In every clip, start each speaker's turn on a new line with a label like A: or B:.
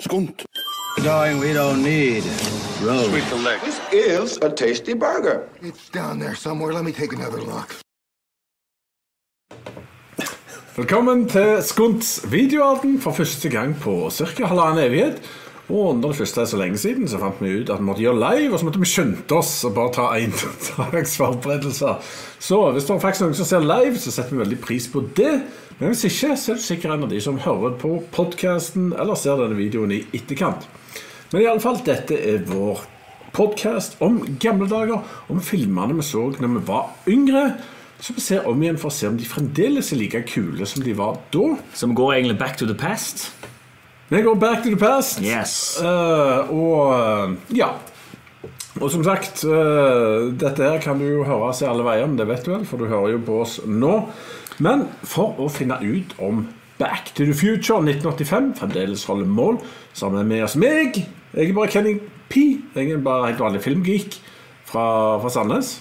A: skumt.
B: Darling, we don't need roads.
C: This is a tasty burger.
D: It's down there somewhere. Let me take another look.
E: Velkommen til Skunts videoarten for første gang på ca. halvannen evighet. Og når det første er så lenge siden, så fant vi ut at vi måtte gjøre live, og så måtte vi skynde oss og bare ta én dags forberedelser. Så hvis det er faktisk noen som ser live, så setter vi veldig pris på det. Men hvis ikke, så er det sikkert en av de som hører på podkasten eller ser denne videoen i etterkant. Men i alle fall, dette er vår podkast om gamle dager, om filmene vi så når vi var yngre. Så vi ser om igjen for å se om de fremdeles er like kule som de var da.
F: Som går egentlig back to the past.
E: Vi går back to the past.
F: Yes.
E: Eh, og eh, ja. Og som sagt, eh, dette her kan du jo høre seg alle veier, men det vet du vel, for du hører jo på oss nå. Men for å finne ut om Back to the Future 1985 fremdeles holder mål, så har vi med oss meg. Jeg er bare Kenny P. Jeg er bare helt vanlig filmgeek fra, fra Sandnes.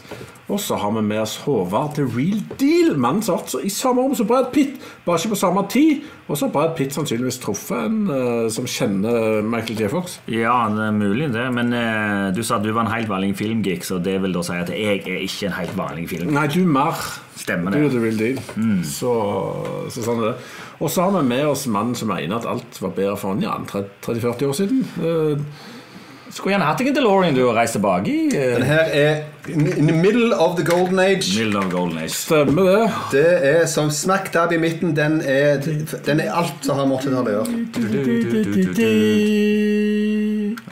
E: Og så har vi med oss Håvard The Real Deal, mannen som altså i samme rom som Brad Pitt, bare ikke på samme tid. Og så har Brad Pitt sannsynligvis truffet en eh, som kjenner Michael J. Fox.
F: Ja, det er mulig, det. Men eh, du sa at du var en helt vanlig filmgeek, så det vil da si at jeg er ikke en helt vanlig film.
E: Nei, du er mer.
F: Stemmer
E: Du
F: det.
E: er The Real Deal. Så, så sånn er det. Og så har vi med oss mannen som mener at alt var bedre for han ja, 30-40 år siden. Eh,
F: Skulle gjerne hatt deg en DeLorean du og reist tilbake i.
G: Den her er in the middle of the golden age.
F: Mild of Golden Age.
E: stemmer det.
G: Det er som smack dab i midten. Den er, den er alt som har med 80-tallet å gjøre.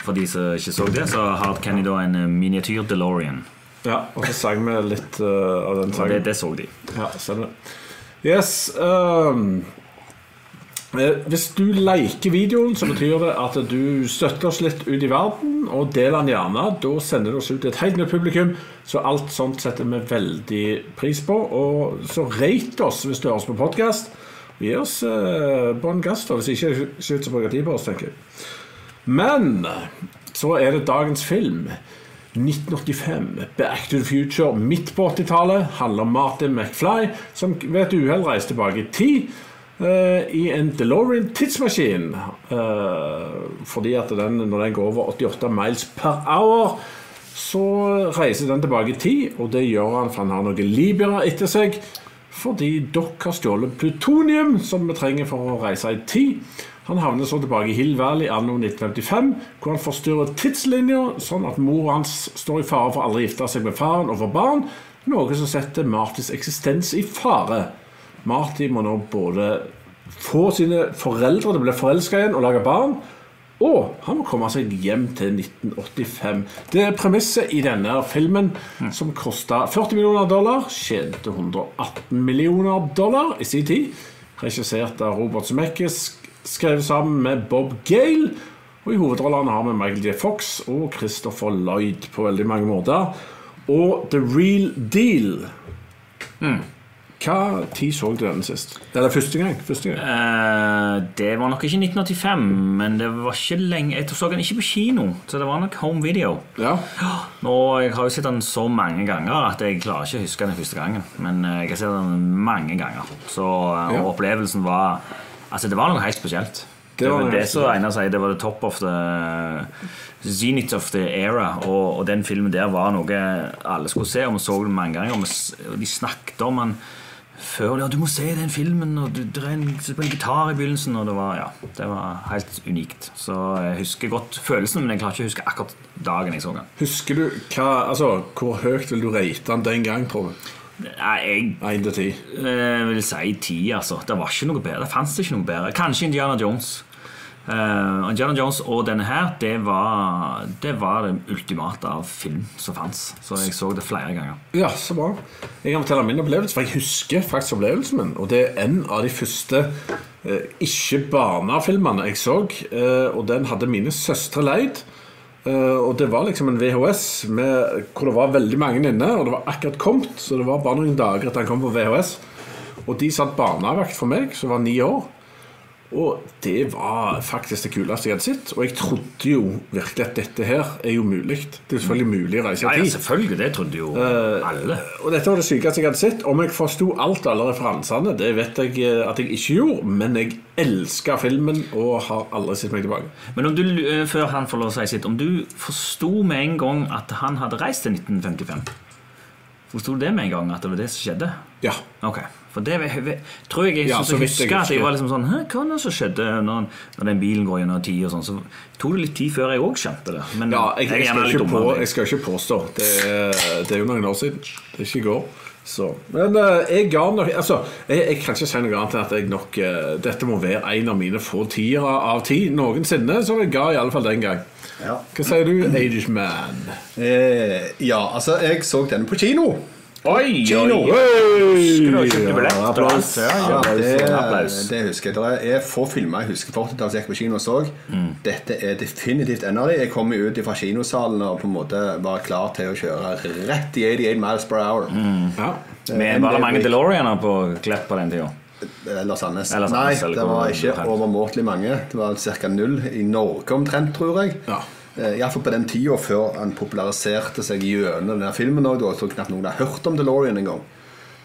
F: For de som ikke så det, så har Kenny da en eh, miniatyr DeLorean.
E: Ja, og så sang vi litt eh, av den
F: Og
E: sangen.
F: det, det så de.
E: Ja, stemmer det. Yes. ehm, eh, hvis du liker videoen, så betyr det at du støtter oss litt ut i verden. Og del den gjerne. Da sender du oss ut til et helt nytt publikum. Så alt sånt setter vi veldig pris på. Og så rate oss hvis du hører oss på podkast. Gi oss eh, bånn gass, da, hvis ikke slutt å bruke tid på oss, tenker jeg. Men så er det dagens film. 1985, Back to the Future, midt på 80-tallet, handler om Martin McFly, som ved et uhell reiser tilbake i tid eh, i en DeLorean-tidsmaskin. eh, fordi at den, når den går over 88 miles per hour, så reiser den tilbake i tid, og det gjør han for han har noen libyere etter seg. Fordi Doc har stjålet plutonium, som vi trenger for å reise i tid. Han havner så tilbake i Hill Valley anno 1955, hvor han forstyrrer tidslinja, sånn at mor hans står i fare for aldri å gifte seg med faren og få barn, noe som setter Martys eksistens i fare. Marty må nå både få sine foreldre til å bli forelska igjen og lage barn, og han må komme seg hjem til 1985. Det er premisset i denne filmen, som kosta 40 millioner dollar, tjente 118 millioner dollar i sin tid. Regissert av Robert Zemeckis, skrevet sammen med Bob Gale. Og i hovedrollene har vi Michael J. Fox og Christopher Lloyd på veldig mange måter. Og The Real Deal. Hva tid så du denne sist? Eller første gang? Første gang.
F: Eh, det var nok ikke 1985, men det var ikke lenge Jeg så den ikke på kino, så det var nok home video.
E: Ja.
F: Nå, Jeg har jo sett den så mange ganger at jeg klarer ikke å huske den første gangen. Men eh, jeg har sett den mange ganger. Så eh,
E: Ja.
F: og opplevelsen var Altså, det var noe helt spesielt.
E: Det
F: Det
E: var
F: var
E: noe
F: det
E: helt
F: som Einar sier, det var the top of the Zenith of the era. Og, og den filmen der var noe alle skulle se, og vi så den mange ganger. Og vi s- og de snakket om den før. Ja, du må se den filmen, og du det er en som spiller gitar i begynnelsen. Og det var, ja, det var helt unikt. Så eh, jeg husker godt følelsen, men jeg klarer ikke å huske akkurat dagen jeg så den.
E: Husker du hva, altså, hvor høyt vil du rate den den gang, tror du?
F: Nei, jeg
E: 1 til 10?
F: Jeg vil si ti, altså. Det var ikke noe bedre. Det fantes ikke noe bedre. Kanskje Indiana Jones. Eh, Indiana Jones og denne her, det var det, var det ultimate av film som fantes. Så jeg så det flere ganger.
E: Ja, så bra. Jeg kan fortelle min opplevelse, for jeg husker faktisk opplevelsen min. Og det er en av de første eh, ikke-barnefilmene jeg så. Eh, og den hadde mine søstre leid. Eh, og det var liksom en VHS med, hvor det var veldig mange inne, og det var akkurat kommet. Så det var bare noen dager etter han kom på VHS. Og de satt barnevakt for meg, som var ni år. Og det var faktisk det kuleste jeg hadde sett. Og jeg trodde jo virkelig at dette her er jo mulig. Det er selvfølgelig mulig å reise
F: Ja,
E: i
F: ja,
E: tid.
F: selvfølgelig. Det trodde jo alle.
E: Og dette var det sykeste jeg hadde sett. Om jeg forsto alt av alle referansene, det vet jeg eh, at jeg ikke gjorde, men jeg elska filmen og har aldri sett meg tilbake.
F: Men om du, eh, før han får lov å si sitt, om du forsto med en gang at han hadde reist til 1955? Forsto du det med en gang, at det var det som skjedde?
E: Ja.
F: Ok, for det vet- vet- tror jeg jeg,
E: Ja,
F: synes
E: så
F: jeg
E: vidt jeg
F: husker at jeg
E: husker.
F: var liksom sånn Hæ, hva er det som skjedde når, han- når den bilen går gjennom tid og sånn? Så tok det litt tid før jeg òg skjønte det. Men
E: ja jeg, jeg,
F: er gjerne
E: skal
F: litt
E: ikke på,
F: dummere enn deg.
E: jeg skal ikke påstå. Det er, det er jo noen år siden. Det er ikke i går. Så. Men eh, jeg ga nok Altså, jeg, jeg kan ikke si noe annet enn at jeg nok eh, Dette må være en av mine få tiere av ti noensinne, som jeg ga i alle fall den gang.
G: Ja.
E: Hva sier du, Irishman?
G: Eh, ja, altså, jeg så den på kino.
F: Oi, oi,
G: Kino!
F: oi! Husker du å kjøpe billett og
E: applaus.
F: alt? Ja,
G: Ja,
F: ja,
G: det,
F: applaus.
G: det husker jeg. Det er få filmer jeg husker fra 80-tallet som jeg gikk på kino og så.
F: Mm.
G: Dette er definitivt en av dem. Jeg kom jo ut fra kinosalen og på en måte var klar til å kjøre rett i 88 miles per hour. Eh,
E: Ja.
F: Mm. Men var det mange DeLoreaner på Klepp på den tida?
G: Eller Sandnes.
F: Eller
G: Nei,
F: Sandnes, eller
G: det
F: hvor-
G: var ikke overmåtelig mange. Det var ca. null i Norge omtrent, tror jeg. Eh,
E: Ja.
G: Iallfall på den tida før han populariserte seg gjennom denne filmen. Også, da, så knapt noen har hørt om DeLorean engang.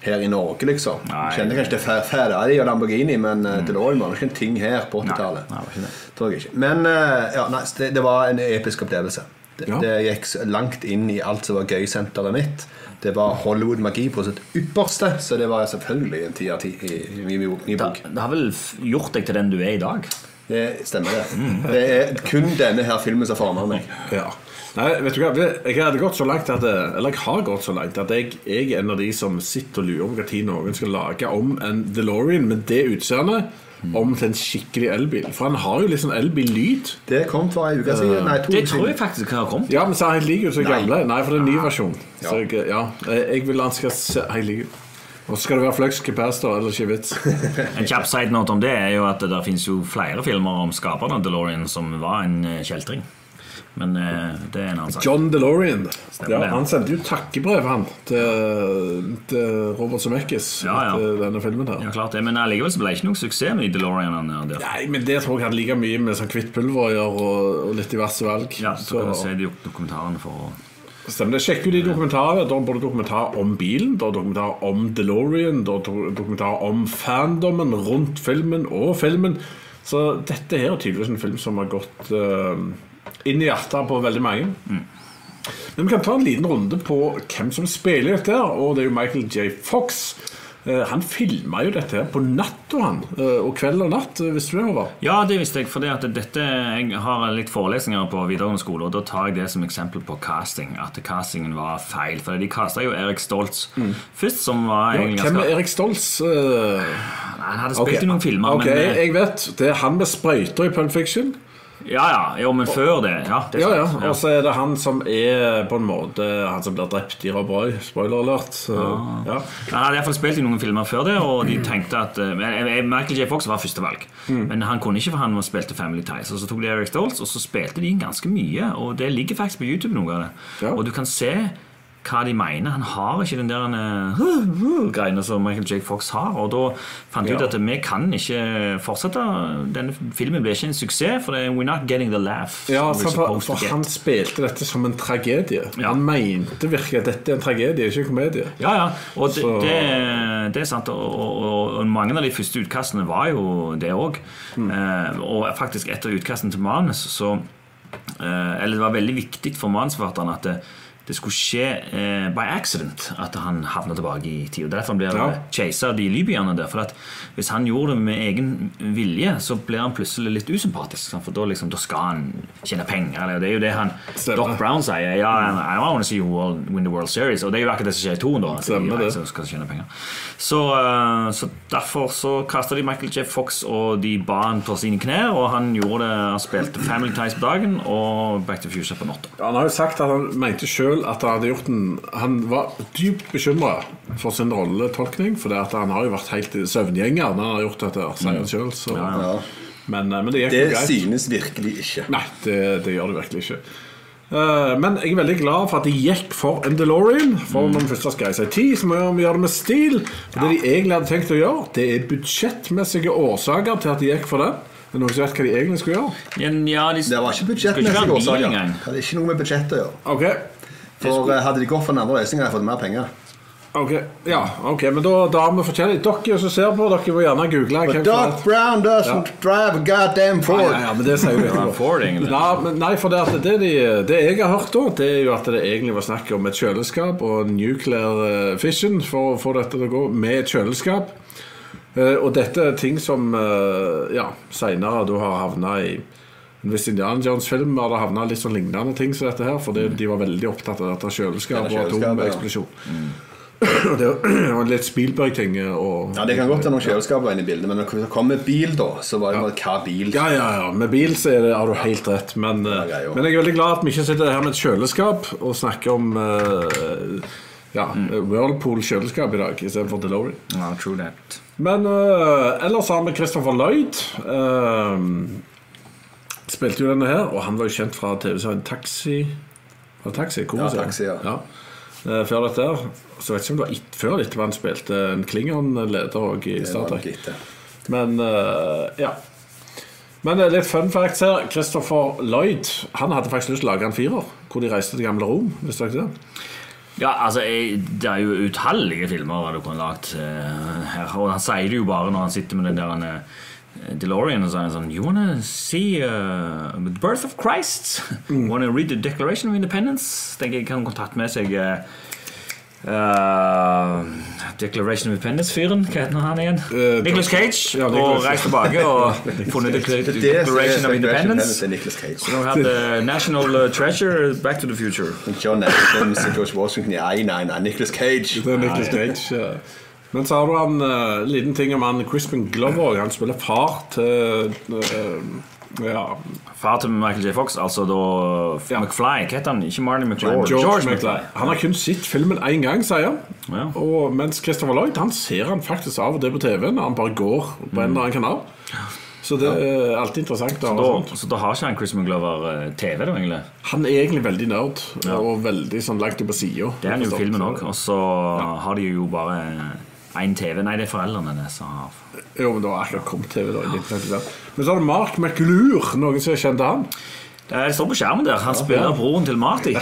G: Her i Norge, liksom.
F: Nei. Mm.
G: Kjenner kanskje til Fer- Ferrari og Lamborghini, men eh, DeLorean var nok ikke en ting her på
F: Nei,
G: 80-tallet.
F: nei, det var ikke det.
G: Tror jeg ikke. Men eh, ja, nei, så det, det var en episk opplevelse. Det,
E: Ja.
G: det gikk så langt inn i alt som var gøysenteret mitt. Det var Hollywood-magi på sitt ypperste, så det var selvfølgelig en ti av ti i i min bok. Min
F: Det,
G: bok.
F: det har vel f- gjort deg til den du er i dag?
G: Det stemmer, det.
E: Mm.
G: Det er kun denne her filmen som former meg.
E: Ja. Nei, vet du hva? Jeg hadde gått så langt at Eller jeg har gått så langt at jeg, jeg er en av de som sitter og lurer på når noen skal lage om en DeLorean med det utseendet om til en skikkelig elbil. For han har jo litt sånn elbil-lyd.
G: Det kom for ei uke siden. Nei, to
F: Det
G: uker
F: tror jeg
G: siden.
F: faktisk har kommet.
E: Ja, men så er han helt lik ut som den
G: Nei.
E: gamle. Nei, for det er en
F: Ah.
E: ny versjon.
G: Ja.
E: Så jeg, ja, Eh, jeg vil han skal se helt lik ut. Og så skal det være flux capacitor, eller ikke vits.
F: En kjapp side note om det er jo at det der finnes jo flere filmer om skaperen av DeLorean som var en eh, kjeltring. Men eh, det er en annen sak.
E: John DeLorean.
F: Stemmer
E: Ja,
F: det.
E: han sendte jo takkebrev, han, til, til Robert Zemeckis
F: Ja, ja.
E: etter denne filmen her.
F: Ja, klart det, Men allikevel så ble det ikke noe suksess med de DeLoreanene der.
E: Nei, men det tror jeg hadde like mye med sånn kvitt pulver å gjøre og, og litt diverse valg.
F: Ja, så kan du se de dokumentarene for å
E: stemmer det. Sjekk ut de dokumentarene. Da er det både dokumentar om bilen, da er det dokumentar om DeLorean, da er det dokumentar om fandomen rundt filmen og filmen. Så dette her er tydeligvis en film som har gått eh, inn i hjertet på veldig mange.
F: Mm.
E: Men vi kan ta en liten runde på hvem som spiller dette. her, Og det er jo Michael J. Fox. Eh, Han filma jo dette her på natta, han. eh, Og kveld og natt, eh, visste du det, Håvard?
F: Ja, det visste jeg. For det at dette, jeg har litt forelesninger på videregående skole, og da tar jeg det som eksempel på casting. At castingen var feil. For de casta jo Erik Stoltz først, som var egentlig
E: Mm. Hvem er
F: ganske
E: Erik Stoltz? eh,
F: Nei, Han hadde
E: ok.
F: spilt i noen filmer,
E: Ok,
F: men eh,
E: jeg vet. Det er han med sprøyter i Pulp Fiction.
F: Ja, ja. Jo, men før det. Ja, det
E: Ja,
F: er
E: ja.
F: sant.
E: Og så er det han som er på en måte han som blir drept i Rob Roy. Spoiler alert. Så,
F: Ah.
E: ja.
F: Han hadde i hvert fall spilt i noen filmer før det, og de tenkte at eh, men, eh, Michael J. Fox var førstevalg.
E: Mm.
F: Men han kunne ikke, for han spilte Family Ties. Og så tok de Eric Stoltz, og så spilte de inn ganske mye. Og det ligger faktisk på YouTube, noe av det.
E: Ja.
F: Og du kan se hva de mener. Han har ikke den der eh, greiene som Michael J. Fox har. Og da fant de
E: Ja.
F: ut at eh, vi kan ikke fortsette. Denne filmen ble ikke en suksess, for det, we're not getting the laugh.
E: Ja,
F: we're
E: for, for,
F: supposed to
E: for
F: get.
E: han spilte dette som en tragedie.
F: Ja.
E: Han mente virkelig at dette er en tragedie, ikke en komedie.
F: Ja, ja. Og det,
E: Så-
F: det, det er sant. Og, og, og- og mange av de første utkastene var jo det òg.
E: Mm.
F: Eh, og faktisk etter utkastene til manus så eh, Eller det var veldig viktig for manusforfatteren at det, det skulle skje eh, by accident at han havna tilbake i tid. Og Derfor han blir
E: Ja.
F: chasa av de libyerne der. For at hvis han gjorde det med egen vilje, så blir han plutselig litt usympatisk. sant? For da, liksom, da skal han tjene penger. Eller, det er jo det han
E: Stemmer.
F: Doc Brown sier. Ja, I want to see you all win the World Series. Og det er jo akkurat det som skjer i toen. da. at de
E: Stemmer det.
F: reiser og skal tjene penger. Så, eh, så derfor så kasta de Michael J. Fox, og de ba han på sine knær. Og han gjorde det, han spilte Family Ties på dagen og Back to the Future på natta.
E: Han har jo sagt at han mente sjøl at han hadde gjort en Han var dypt bekymra for sin rolletolkning, for det at han har jo vært helt søvngjenger når han har gjort dette, sier
F: Mm.
E: han sjøl. så-
G: Ja.
E: Men, eh, men det gikk jo
G: Det
E: greit.
G: synes virkelig ikke.
E: Nei, det, det gjør det virkelig ikke. Eh, Men jeg er veldig glad for at de gikk for en DeLorean. For når vi først har skrevet seg tid, så må vi gjøre det med stil. For Det de egentlig hadde tenkt å gjøre, det er budsjettmessige årsaker til at de gikk for den. Er det noen som vet hva de egentlig skulle gjøre?
F: Men ja, de,
G: Det var ikke
F: Skulle ikke
G: budsjettmessige
F: være en bil
G: årsaker.
F: engang.
G: Det hadde ikke noe med budsjettet å gjøre.
E: Ok,
G: For eh, Hadde de gått for den andre løsningen, hadde jeg fått mer penger.
E: ok, ja, ok, men da, da har vi forskjellig. Dere som ser på, dere må gjerne google. hvem
G: But
E: som
G: Doc
E: vet.
G: Brown doesn't drive a goddamn Ford.
E: Ja, ja, men det sier jo
F: Ja, Ford, egentlig.
E: Nei, men, nei for det, at det, de, det jeg har hørt da, det er jo at det egentlig var snakk om et kjøleskap og nuclear eh, fission for å få dette til å gå med et kjøleskap. Eh, og dette er ting som eh, ja, seinere da har havna i hvis Indiana Jones' film hadde havna litt sånn lignende ting som dette her, for det, de var veldig opptatt av dette kjøleskap
G: Ja,
E: og
G: kjøleskap, ja. Mm.
E: atomeksplosjon. Og det var en litt Spielberg-ting. og-
G: Ja, Det kan godt være noen kjøleskaper inne i bildet, men når det kommer bil, da, så var det bare hva bil.
E: Ja, ja, ja. Med bil så er det, har du helt rett. Men, eh,
G: ja, jo.
E: men jeg er veldig glad at vi ikke sitter her med et kjøleskap og snakker om eh, ja,
G: Mm.
E: Whirlpool-kjøleskap i dag istedenfor DeLorean.
F: ja, true that.
E: Men eh, ellers har vi Christopher Lloyd. eh, spilte jo denne her, og han var jo kjent fra TV-serien Taxi. Var det Taxi? Hvor
G: Ja, Taxi, ja.
E: Eh, før dette her. Så vet jeg ikke om det var et, før dette han spilte en Klingon-leder også i
G: Det
E: Star
G: var nok
E: Trek.
G: gitt, det.
E: Men eh, ja. Men det er litt fun facts her. Christopher Lloyd han hadde faktisk lyst til å lage en firer, hvor de reiste til gamle Rom. Visste dere det?
F: Ja, altså, jeg, Det er jo utallige filmer du kunne lagd eh, her. Og han sier det jo bare når han sitter med den der han, eh, DeLorean og så er han sånn You wanna see eh, The Birth of Christ? Wanna read the Declaration of Independence? Tenker jeg kan ha tatt med seg eh, eh, Declaration of Independence-fyren. Hva heter han igjen?
E: Eh,
F: Nicholas Cage.
E: Ja, Nicolas
F: og reist tilbake og funnet
G: Det
F: The
G: er det som er
F: Declaration of
G: Spectrum Independence,
F: Independence.
G: det er Nicolas Cage.
F: Nå hadde National eh, Treasure Back to the Future.
G: John Adams og George Washington Nei, nei, nei, Nicolas Cage.
E: Det er Nicolas Cage. ja. Men så har du en liten ting om han Crispin Glover. Han spiller far til eh, ja,
F: Far til Michael J. Fox, altså da
E: Ja.
F: McFly. Hva heter han? Ikke Marty McFly.
E: George, McFly. Han har kun sett filmen én gang, sier han.
F: Ja.
E: Og mens Christopher Lloyd han ser han faktisk av og til på TV-en. Han bare går på en eller annen kanal. Så det er alltid interessant. å ha sånn. sånt.
F: Da, så da har ikke han Chris McGlover eh, TV, da, egentlig.
E: Han er egentlig veldig nerd, og veldig sånn langt på sida.
F: Det er han jo i filmen òg. Og så har de jo bare én TV. Nei, det er foreldrene hennes som har
E: Jo, men det var akkurat kommet TV da. i 1955. Men så har du Mark McLure, noen som kjente han.
F: Det er- det Eh, står på skjermen der. Han spiller broren til Marty.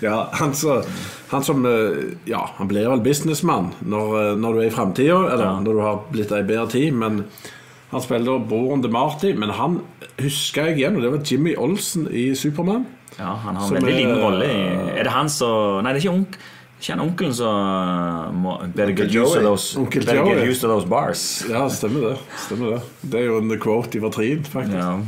E: Ja, han, så, han som eh, Ja, han blir vel businessmann når, eh, når du er i framtida, eller når du har blitt ei bedre tid, men han spiller da broren til Marty, men han husker jeg igjen, og det var Jimmy Olsen i Supermann.
F: Ja, han har
E: Som
F: en veldig
E: er-
F: liten rolle i Er det han som Nei, det er ikke onk... Ikke han onkelen som må- Better get
G: Onkel
F: used to
G: Joey.
F: those
E: Onkel
F: Better
E: Joey.
F: get used to those bars.
E: Ja, stemmer det. stemmer Det Det er jo en quote fra Trien, faktisk.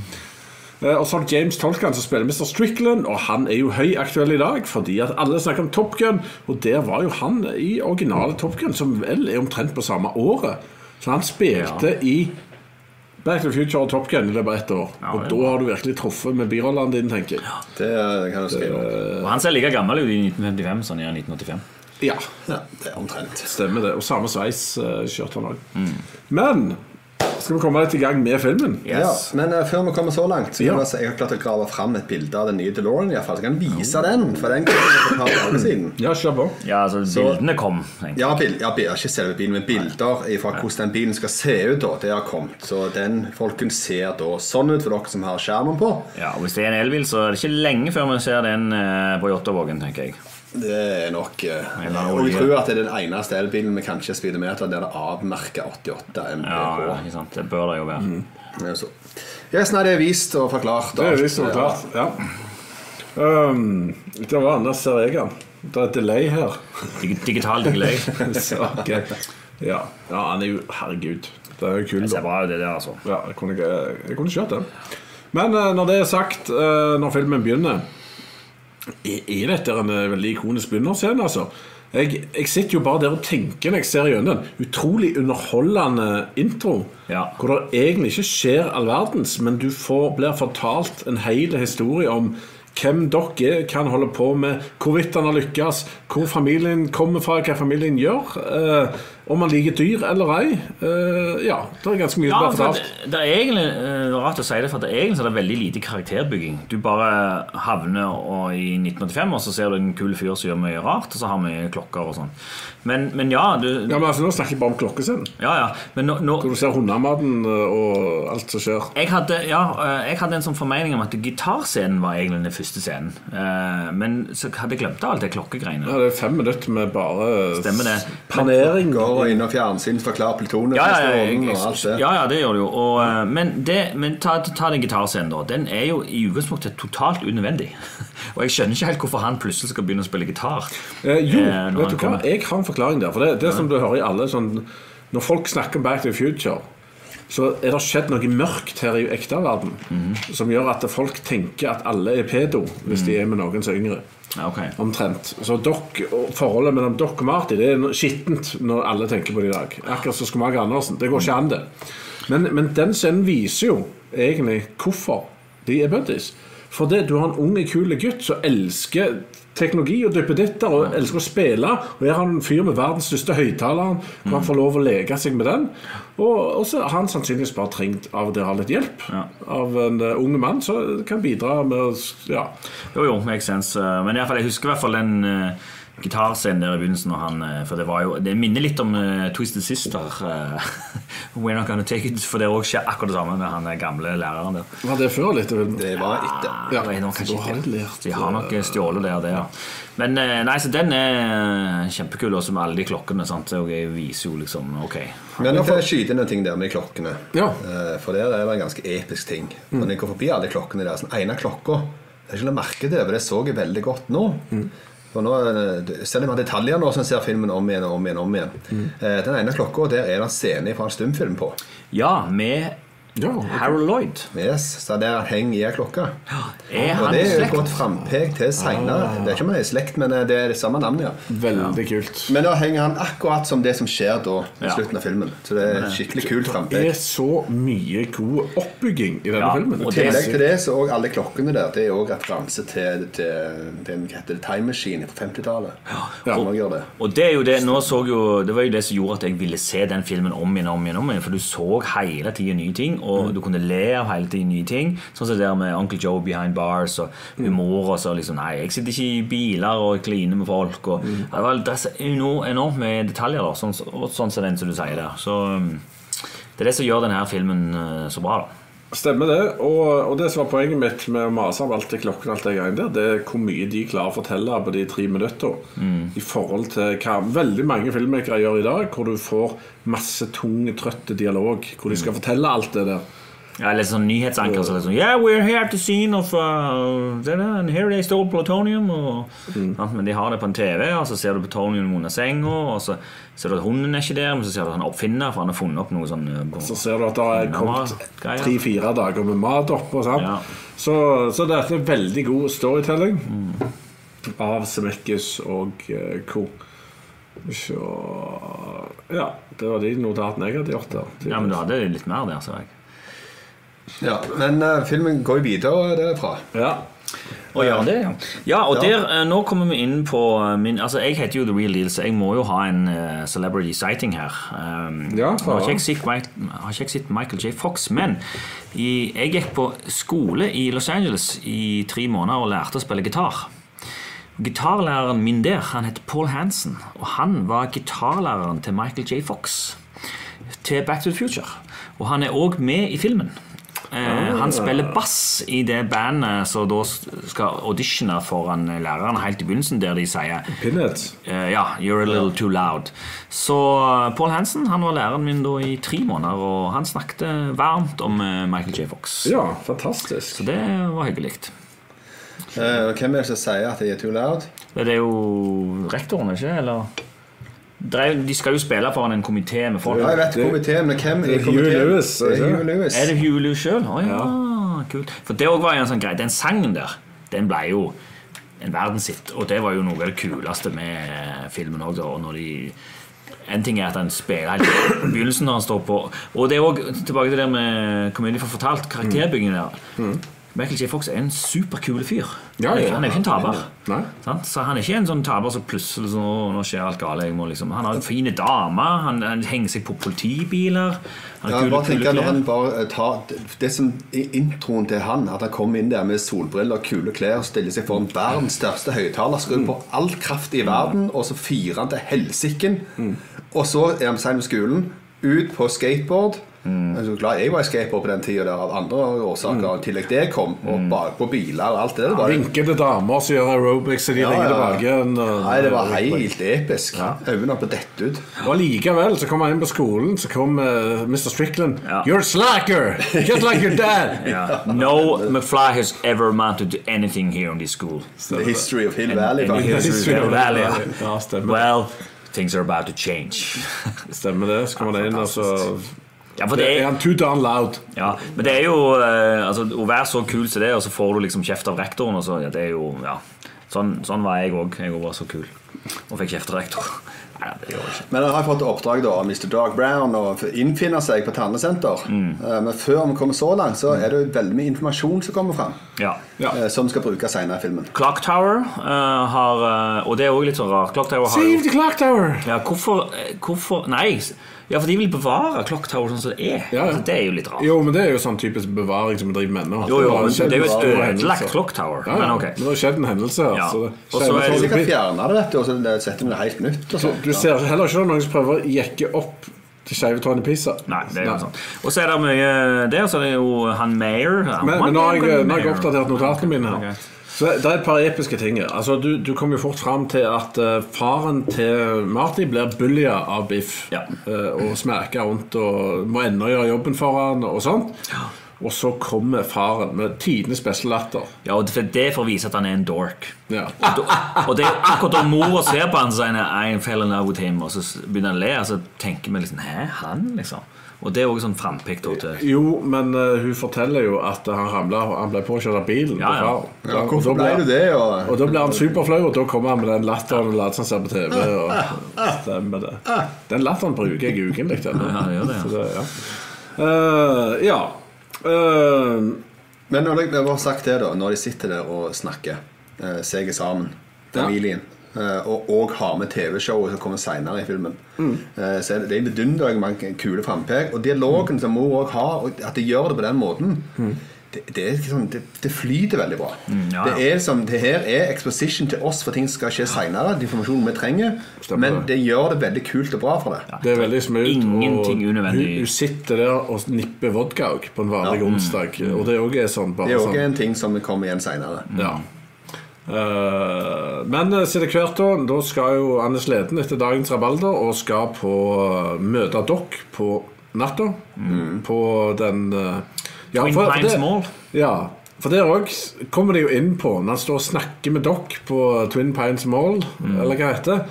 F: Ja.
E: Eh, Og så har du James Tolkan som spiller Mr. Strickland, og han er jo høyaktuell i dag fordi at alle snakker om Top Gun, og der var jo han i originale Top Gun, som vel er omtrent på samme året. Så han spilte i Back to the Future og Top Gun i løpet av ett år.
F: Ja,
E: og
F: det er
E: da
F: bra.
E: har du virkelig truffet med birollene dine, tenker jeg.
G: Det eh, kan du skrive opp.
F: Og han ser like gammel ut i 1955 som han gjør i 1985.
E: Ja,
G: Ja, det er omtrent.
E: stemmer det. Og samme sveis eh, kjørte han òg.
F: Mm.
E: Men skal vi komme litt i gang med filmen?
G: Ja, men eh, før vi kommer så langt, så kan
E: Ja.
G: jeg, si- jeg har klart å grave fram et bilde av den nye DeLorean. i hvert fall. Jeg kan vise den, for den kom for et par dager siden.
E: Ja, kjør på.
F: Ja, altså bildene kom. egentlig.
G: Ja, bil, ja bil, ikke selve bilen, men bilder fra hvordan den bilen skal se ut. da, Det har kommet. Så den folkens ser da sånn ut for dere som har skjermen på.
F: Ja, og Hvis det er en elbil, så er det ikke lenge før vi ser den eh, på Jåttåvågen, tenker jeg.
G: Det er nok eh,
F: Eller annen
G: Og jeg
F: olje.
G: tror at det er den eneste elbilen med kanskje speedometer der det er avmerka 88 MBH.
F: Ja, ja, ikke sant? Det bør det jo være.
E: Mm.
G: Ja, så. Yes, nei, det er vist og forklart. og
E: Det er
G: alt.
E: visst og klart. Ja. Um, det var Anders Serega. Det er et delay her.
F: Dig digital delay.
E: Så, ok. ja. ja, han er jo Herregud. Det er jo kul.
F: Det er
E: da.
F: bra, det der, altså.
E: Ja, jeg kunne, ikke- jeg kunne kjørt den. Men eh, når det er sagt, eh, når filmen begynner Er er dette en eh, veldig ikonisk begynnerscene, altså? Jeg, jeg sitter jo bare der og tenker når jeg ser gjennom den. Utrolig underholdende intro.
F: Ja.
E: Hvor det egentlig ikke skjer all verdens, men du får, blir fortalt en hel historie om hvem dere er, hva han holder på med, hvorvidt han har lykkes, hvor familien kommer fra, hva familien gjør. Eh, Om man liker dyr eller ei. eh, ja, det er ganske mye
F: Ja,
E: du har
F: for
E: fortalt.
F: det, det er egentlig eh, rart å si det, for at egentlig så er det veldig lite karakterbygging. Du bare havner og, i 1985, og så ser du en kul fyr som gjør mye rart, og så har vi klokker og sånn. Men, men ja, du
E: Ja, men altså, Nå snakker jeg bare om klokkescenen.
F: Ja, ja. Men nå, nå
E: Hvor du ser hundematen eh, og alt som skjer.
F: jeg hadde, ja, eh, jeg hadde en sånn formening om at gitarscenen var egentlig den første scenen. Eh, Men så hadde jeg glemt alt det klokkegreiene.
E: Ja, det er fem minutter med bare
F: Stemmer det.
E: s- panering.
G: Går innom fjernsyn, forklarer plutonet
F: Ja, ja, ja,
G: neste morgen
F: jeg-
G: og alt det.
F: ja, ja, det gjør det jo. Og, eh, men det, men ta, ta den gitarscenen, da. Den er jo i utgangspunktet totalt unødvendig. Og jeg skjønner ikke helt hvorfor han plutselig skal begynne å spille gitar.
E: Eh, jo,
F: Eh, når
E: vet
F: han
E: du hva?
F: kommer.
E: Jeg har en forklaring der. For det, det som du hører i alle sånn Når folk snakker om Back to the Future, så er det skjedd noe mørkt her i ekte verden som gjør at folk tenker at alle er pedo hvis de er med noen som er yngre.
F: Ja, ok.
E: Omtrent. Så dere, og forholdet mellom dere og Marty Det er no- skittent når alle tenker på det i dag. Akkurat som Skomager Andersen. Det går ikke an, det. Men, men den scenen viser jo egentlig hvorfor de er buddies. For det, du har en ung, kul gutt som elsker teknologi og duppeditter og elsker å spille. Og her har han en fyr med verdens største høyttaler, hvor han får lov å leke seg med den. Og, og så har han sannsynligvis bare trengt av det å ha litt hjelp
F: Ja.
E: av en eh, ung mann som kan bidra med å s- Ja.
F: Jo, jo, makes sense. Eh, Men i alle fall, jeg husker i hvert fall den eh, gitarscenen der i begynnelsen. Når han, eh, for Det var jo, det minner litt om eh, Twisted Sister. eh, We're not gonna take it. For det er også skjer akkurat det samme med han eh, gamle læreren der.
E: Var det før litt? Vilma?
G: Det var etter.
E: Ja,
F: Nei, nå
E: så
F: kanskje
E: da har
F: ikke.
E: de lært,
F: De har nok eh, stjålet det og det. Ja. Men eh, nei, så den er kjempekul, også med alle de klokkene. Sant? Og jeg viser jo liksom Ok.
G: Men jeg får skyte inn en ting der med klokkene.
E: Ja.
G: Eh, For der er det en ganske episk ting.
F: Mm.
G: For Når jeg går forbi alle klokkene der, sånn ene klokka Jeg skulle merke det, for det så jeg veldig godt nå.
F: Mm.
G: For nå, eh, Selv om jeg har detaljer nå, så ser jeg filmen om igjen og om igjen. om igjen
F: Mm.
G: Eh, Den ene klokka, der er det en scene fra en stumfilm på.
F: Ja, med
E: Ja, ok.
F: Harold Lloyd.
G: Yes, så der henger i ei klokke.
F: Er
G: Og
F: han
G: det
F: i
G: er jo et godt
F: slekt? Ah.
G: frampek til seinere. Det er ikke om han er i slekt, men eh, det er det samme navnet, ja.
E: Veldig kult.
G: Men da henger han akkurat som det som skjer da, i
F: Ja.
G: slutten av filmen. Så det er et skikkelig kult
E: Det
G: frampek.
E: er så mye god oppbygging i denne
F: Ja,
E: filmen.
F: og
G: I tillegg til det så også alle klokkene der Det er også referanse til, til den heter det, Time Machine på 50-tallet.
E: Ja.
G: Som også gjør det.
F: Og det er jo det, nå så jo, det var jo det som gjorde at jeg ville se den filmen om igjen og om igjen. om igjen For du så hele tiden nye ting, og du kunne le av hele tiden nye ting. Sånn som det der med Uncle Joe behind bars og humor og så liksom Nei, jeg sitter ikke i biler og kliner med folk og ja, Det var det er så eno- enormt med detaljer, da. Sånn, og sånn som den som du sier der. Så um, det er det som gjør denne her filmen eh, så bra, da.
E: Stemmer det. Og, og det som var poenget mitt med å mase om alt det klokken og alt det greiene der, det er hvor mye de klarer å fortelle på de tre minuttene. I forhold til hva veldig mange filmmakere gjør i dag, hvor du får masse tung, trøtt dialog. Hvor de skal fortelle alt det der.
F: Ja, eller sånn nyhetsanker som er sånn Yeah, we're here at the scene of uh, da, da, And here they stole plutonium og, sant, Men de har det på en TV Og så ser du plutonium under senga Og så ser du at hunden er ikke der Men så ser du at han er oppfinner For han har funnet opp noe sånn uh, på-
E: Så ser du at det er kommet
F: Greier.
E: tre-fire dager med mat oppå. sant?
F: Ja.
E: Så, så dette er veldig god storytelling av Semekkis og eh, co. Så Ja, det var de notatene jeg hadde gjort der.
F: Ja, men du hadde litt mer der, så jeg
G: Ja, men eh, filmen går jo videre derfra.
E: Ja.
F: Og gjør han det, ja. Ja, og
G: Ja.
F: der, eh, nå kommer vi inn på eh, min Altså, jeg heter jo The Real Deal, så jeg må jo ha en eh, celebrity sighting her. Um,
E: Ja,
F: nå har ikke jeg sett Mi- har ikke jeg sett Michael J. Fox, men i, jeg gikk på skole i Los Angeles i tre måneder og lærte å spille gitar. Gitarlæreren min der, han heter Paul Hansen, og han var gitarlæreren til Michael J. Fox til Back to the Future. Og han er òg med i filmen. Eh, han spiller bass i det bandet som da skal auditione foran læreren helt i begynnelsen, der de sier
E: Pinheads.
F: eh, ja, you're a little too loud. Så eh, Paul Hansen han var læreren min da i tre måneder, og han snakket varmt om eh, Michael J. Fox.
E: Ja, fantastisk.
F: Så det var hyggelig.
G: Eh, og hvem er det som sier at jeg er too loud?
F: Det er jo rektoren, ikke Eller Drev- De skal jo spille foran en komité med folk.
G: Ja, jeg vet komiteen, men hvem
E: det
G: er
E: er
G: komiteen?
E: Huey Lewis,
G: Det er
E: ikke?
G: Huey Lewis.
F: Er det Hulu sjøl? Å ja, kult. For det også var jo en sånn greie. Den sangen der, den ble jo en verden sitt. Og det var jo noe av det kuleste med eh, filmen òg, da. og Når de en ting er at han spiller helt i begynnelsen når han står på Og det er òg tilbake til det med Community for fortalt, karakterbyggingen der. Michael J. Fox er en superkul fyr.
E: Ja, ja, ja.
F: han er jo ikke en taper.
E: Nei.
F: Sant? Så han er ikke en sånn taper som plutselig så, nå, nå skjer alt galt. Jeg må liksom. Han har en fine dame, han, han henger seg på politibiler. Han har
G: Ja, jeg
F: kule,
G: bare
F: kule
G: tenker når
F: klær.
G: han bare eh, tar Det som i introen til han, at han kommer inn der med solbriller og kule klær og stiller seg foran verdens største høyttaler, skrur på all kraft i verden, og så fyrer han til helsiken. Og så er han sein med skolen, ut på skateboard. Jeg er så glad jeg var i skateboard på den tida der av andre årsaker. I tillegg det kom, og bakpå biler og alt det der. Bare,
E: Vinker til damer som gjør aerobics, så de
G: ja,
E: legger
G: ja.
E: tilbake en eh,
G: Nei, det var helt episk. Øynene oppe dette ut.
E: Og likevel så kom han inn på skolen, så kom eh, Mr. Strickland.
F: Ja.
E: You're a slacker! Just like your dad!
F: Ja. No McFly has ever amounted to anything here in this school.
G: The history of Hill Valley,
F: And
G: faktisk.
F: here's the valley.
E: Ja, stemmer.
F: Well, things are about to change.
E: Stemmer det. Så kommer det inn, og så
F: Ja, for det
E: Er
F: er,
E: han too darn loud?
F: ja, men det er jo eh, altså, Å være så kul som det, og så får du liksom kjeft av rektoren. Og så, ja, det er jo, ja. sånn, sånn var jeg òg. Jeg var så kul og fikk kjeft av rektor. Nei, det gjorde jeg ikke.
G: Men han har fått oppdrag da av Mr. Dark Brown å innfinne seg på Tannesenter.
E: Mm.
G: Eh, Men før vi kommer så langt, så er det jo veldig mye informasjon som kommer fram.
F: Ja.
E: Ja.
G: eh, Som skal brukes senere i filmen.
F: Clock Tower eh, har eh, Og det er òg litt sånn rart. Clock Tower har jo
E: Save the clock tower!
F: Ja, hvorfor, eh, hvorfor Nei, s- ja, for de vil bevare Clock Tower sånn som det er.
E: Ja, ja.
F: Altså, det er jo litt rart.
E: Jo, men det er jo sånn typisk bevaring som vi driver med nå.
F: Jo, jo, men det er jo et
E: Store hendelser.
F: ødelagt Clock Tower.
E: Ja, ja.
F: Men ok.
E: Men det har skjedd en hendelse. her,
F: Ja.
E: så
F: Og
E: det-
F: så er
G: Så
F: det
G: de
F: jo-
G: kan fjerne det, vet du, og så det- setter vi det helt nytt. Og sånn.
E: Så
G: sånt.
E: Du ser heller ikke det er noen som prøver å jekke opp det skeive tårnet i Pisa.
F: Nei, det er jo sånn. Og så er det mye der, så er det jo han Mayer. Ja,
E: Men, men nå har jeg, nå har jeg oppdatert notatene mine.
F: Ok.
E: her Så Det er et par episke ting. her. Altså, du, du kom jo fort fram til at eh, faren til Marty blir bullia av Biff.
F: Ja.
E: Eh, og smerker rundt og må ennå gjøre jobben for han og sånt. Og så kommer faren med tidenes beste latter.
F: Ja, og det det er for å vise at han er en dork.
E: Ja.
F: Og da- Og det er akkurat da mora ser på han og sier I fell in love with him, og så s- begynner han å le, og så tenker vi liksom Hæ, han, liksom? Og det er også sånn frampekt da til
E: Jo, men eh, hun forteller jo at han ramla Han ble påkjørt av bilen.
F: Ja, ja.
E: til faren.
G: Ja,
E: Og da
G: hvorfor ble du det?
E: Og
G: Og,
E: da blir han superflau, og da kommer han med den latteren og later som han ser på TV. Og stemmer det. Den latteren bruker jeg ukentlig. den.
F: Ja, det gjør det, ja.
E: Så ja. Eh, ja. Eh,
G: men når de, jeg har bare sagt det da, når de sitter der og snakker eh, seg sammen,
E: Ja.
G: familien, eh, og, og har med TV-showet som kommer senere i filmen, eh, så er det, det er bedundrende mange kule frampek. Og dialogen som mor òg har, og at de gjør det på den måten det, det, er liksom, det, det flyter veldig bra.
F: ja, ja.
G: Det, er liksom, det her er exposition til oss for ting som skal skje seinere. Informasjonen vi trenger.
E: Stemmer
G: Men
E: det.
G: det gjør det veldig kult og bra for det.
E: Det er veldig smooth.
F: Ingenting
E: og
F: unødvendig.
E: Hun, hun sitter der og nipper vodka også på en vanlig onsdag.
F: Mm.
E: Og det òg er sånn.
G: Det
E: Bare
G: er òg
E: sånn.
G: en ting som kommer igjen seinere.
E: Ja. Eh, men eh, siden Kverton, da skal jo Anders Leden etter dagens rabalder og skal på eh, møte dere på natta.
F: Mm.
E: På den eh, ja,
F: Twin
E: for- for
F: Pines
E: det-
F: Mall.
E: Ja. For det òg kommer de jo inn på når han står og snakker med dere på Twin Pines Mall,
F: Mm.
E: eller hva det heter.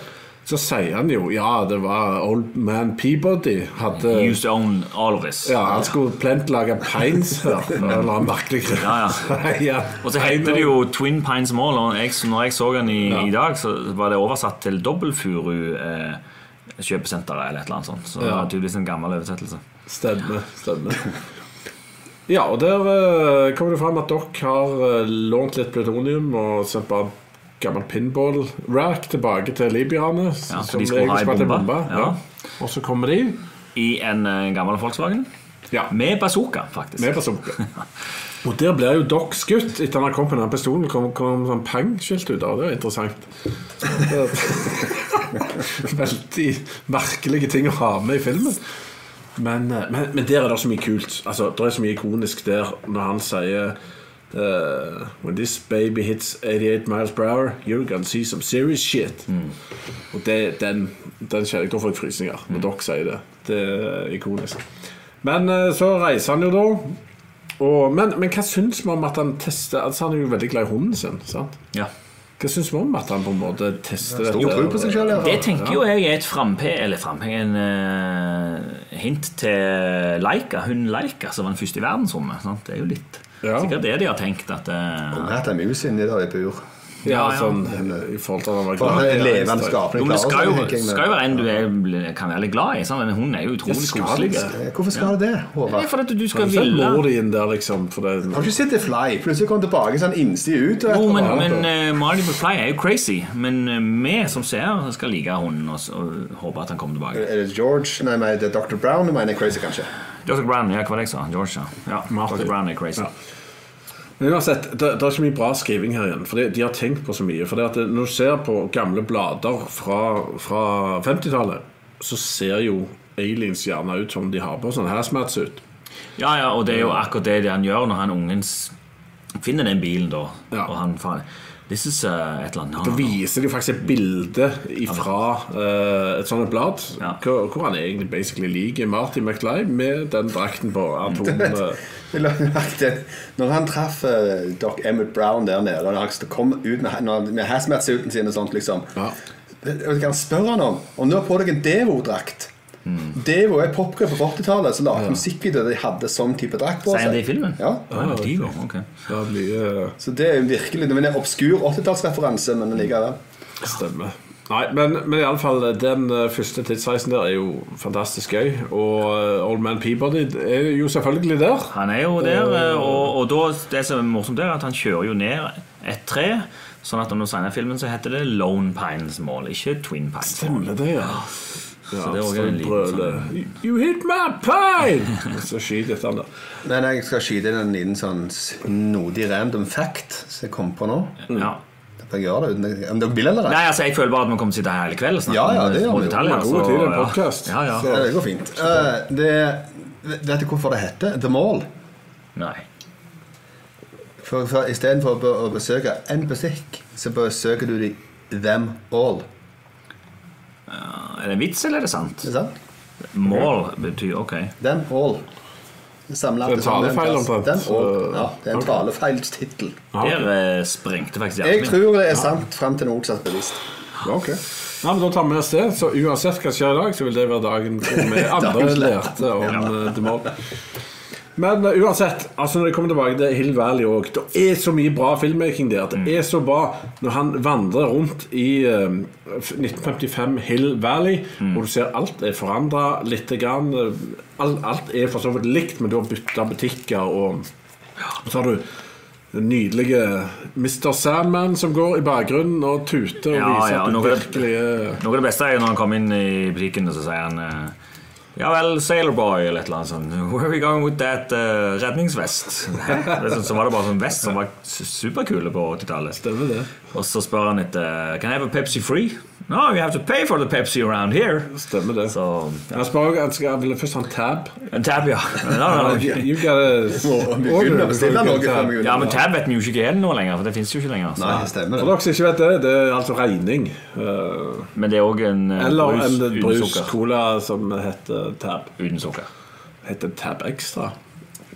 E: Så sier han jo ja, det var Old Man Peabody hadde
F: Use own all of this.
E: ja, Han skulle plentlage pines her. Eller en merkelig grunn.
F: Ja, ja.
E: ja.
F: Og så heter det jo Twin Pines Mall. Og jeg, når jeg så den i, i dag, så var det oversatt til Dobbelfuru eh, kjøpesenter eller et eller annet sånt. Så det
E: Ja.
F: var tydeligvis en gammel oversettelse.
E: Stemmer. stemmer. Ja, og der eh, kommer det fram at dere har eh, lånt litt plutonium og sendt bare gammel pinball-rack tilbake til libyerne. s-
F: Ja, for
E: som
F: de skulle ha ei
E: egentlig spilte
F: bombe.
E: Ja.
F: Ja.
E: Og så kommer de
F: I en eh, gammel Volkswagen.
E: ja,
F: Med bazooka, faktisk.
E: med bazooka. Og der blir jo dere skutt etter han har kommet med den pistolen. Kom, kom sånn pang-skilt ut av det. er Interessant. Veldig merkelige ting å ha med i filmen. Men, eh, men, men der er det så mye kult. Altså, det er så mye ikonisk der når han sier eh, When this baby hits 88 miles per hour, you're gonna see some serious shit. Og det, den, den kjenner jeg. Da får jeg frysninger
G: Mm.
E: når dere sier det. Det er ikonisk. Men eh, så reiser han jo da. Og, men, men hva syns vi om at han tester Altså Han er jo veldig glad i hunden sin. sant?
F: Ja.
E: Hva syns vi om at han på en måte tester dette?
G: Stor tro på seg sjøl,
F: Det tenker jo jeg er et frampe... Eller frampe en eh, hint til Laika, hun Laika, som var den første i verdensrommet. Sant? Det er jo litt
E: Ja.
F: Sikkert det de har tenkt. at eh,
G: Hatt ei mus inni der i bur.
E: Ja,
F: Ja, ja.
E: sånn eh, i forhold til at han var
G: For
E: glad.
G: han er
E: i
G: en
E: Einstein.
G: levende skapning.
F: Jo, men det skal jo,
G: klarer seg,
F: skal jo være en du er, kan være litt glad i. Sant? Men hun er jo utrolig
E: skal
F: koselig.
E: det.
G: Eh, Hvorfor skal det det,
F: Det
G: Håvard?
F: er fordi at du
E: Har
F: skal
E: du sett
F: ville
E: mor di inn der, liksom? For det,
G: Har du ikke sett The Fly? Plutselig kom han tilbake sånn innstig ut. og
F: Jo,
G: etter
F: men,
G: hverandre.
F: men eh, Marty McFly er jo crazy. Men eh, vi som ser, skal like hunden og, s- og håpe at han kommer tilbake.
G: Er det George? Nei, men det er Dr. Brown. Du mener Crazy, kanskje?
F: Dr. Brown, ja, hva var det jeg sa? George, ja. ja
E: Marty.
F: Dr. Brown er crazy.
E: Ja. Men uansett, det, det er ikke mye bra skriving her igjen. For de, de har tenkt på så mye. For det at Når du ser på gamle blader fra, fra 50-tallet, så ser jo aliens gjerne ut som de har på sånn hazmat-suit.
F: Ja, ja, og det er jo akkurat det han gjør når han ungen s- finner den bilen, da.
E: Ja.
F: Og han faen This is eh, et eller annet.
E: Da
F: No, no, no.
E: viser de faktisk et bilde fra et sånt blad,
F: Ja.
E: hvor, hvor han egentlig basically liker Marty McFly med den drakten på. Atom, eh,
G: Jeg la merke til Når han traff eh, Doc Emmett Brown der nede og han kom ut med, når- med hazmat-suiten sin og sånt, liksom
E: Ja.
G: Vet du hva han spør han om? Om du har på deg en Devo-drakt
F: Mm.
G: Devo er en popgruppe på 80-tallet som lagde musikk i det de hadde sånn type drakt på
F: Sier
G: seg.
F: han det i filmen?
G: Ja.
F: Ah, det er Divo, ok.
E: det har mye
G: Så det er jo virkelig Det er en obskur 80-tallsreferanse, men likevel.
E: Stemmer. Nei, men, men i alle fall, den eh, første tidsreisen der er jo fantastisk gøy. Og eh, Old Man Peabody er jo selvfølgelig der.
F: Han er jo der, eh, og, og da, det som er morsomt, er at han kjører jo ned et tre. Sånn at når du signer filmen, så heter det Lone Pines Mall, ikke Twin Pines Mall.
E: Stemmer det, ja. ja
F: det er også
E: så
F: en liten sånn-
E: brøler, You hit my pine! Og så skyter han der.
G: Men jeg skal skyte inn en liten sånn snodig random fact som jeg kom på nå.
F: Ja.
G: Jeg gjør det uten Om dere vil eller
F: Nei, altså, jeg føler bare at vi kommer til å sitte her hele kvelden og snakke
G: Ja, ja, det gjør
F: om
G: vi jo.
F: detaljer.
E: Vi har god
F: så-
E: tid i en
F: ja.
E: podcast.
F: Ja, ja.
G: Ja, det går fint. Eh, det, vet du hvorfor det heter The Mall?
F: Nei.
G: For, for Istedenfor å, be- å besøke en butikk, så besøker du de them all.
F: Er det en vits, eller er det sant?
G: Ikke sant?
F: Mall betyr ok.
G: Them all. Samlet
E: Det er en
G: til sammen
E: talefeil,
G: en plass.
E: omtrent.
G: Them all.
E: Så-
G: Ja, det er en talefeilstittel.
F: Der eh, sprengte faktisk
G: Jeg
F: hjertet mitt.
G: tror det er sant fram til noe motsatt bevisst.
E: Ok. Nei, men Da tar vi oss det. Så uansett hva som skjer i dag, så vil det være dagen hvor vi andre
G: Dagens lære.
E: lærte om eh, The Mall. Men eh, uansett, altså når jeg kommer tilbake til Hill Valley òg Det er så mye bra filmmaking der.
F: Mm.
E: Det er så bra når han vandrer rundt i eh, 1955 Hill Valley,
F: Mm.
E: og du ser alt er forandra lite grann. eh, Alt, alt er for så vidt likt, men du har bytta butikker, og så har du den nydelige Mr. Sandman som går i bakgrunnen og tuter og
F: Ja,
E: viser
F: ja,
E: at
F: nå
E: du
F: er det-
E: virkelig er
F: Noe av det beste er jo når han kommer inn i butikken og så sier han eh, Ja vel, Sailorboy eller et eller annet sånt. Where are we going with that eh, redningsvest? Hæ? Det er sånn- så var det bare sånn vest som var su- superkule på 80-tallet.
E: Stemmer det.
F: Og så spør han etter eh, Can I have a Pepsi free? No, you have to pay for the Pepsi around here.
E: Stemmer det.
F: Så
E: Han spør også at skal jeg ville først ha en tab.
F: En tab, ja. No, no, no.
E: You gotta
G: Vi begynner å bestille noe før vi
F: Ja, men tab vet vi jo ikke hva er nå lenger, for det fins jo ikke lenger. Så.
G: Nei, det stemmer
E: For
G: det.
E: dere som ikke vet det, det er altså regning. eh,
F: Men det er òg en eh,
E: Eller
F: brus,
E: en
F: uten
E: brus
F: sukker.
E: cola som heter Tab.
F: Uten sukker.
E: Heter Tab Extra?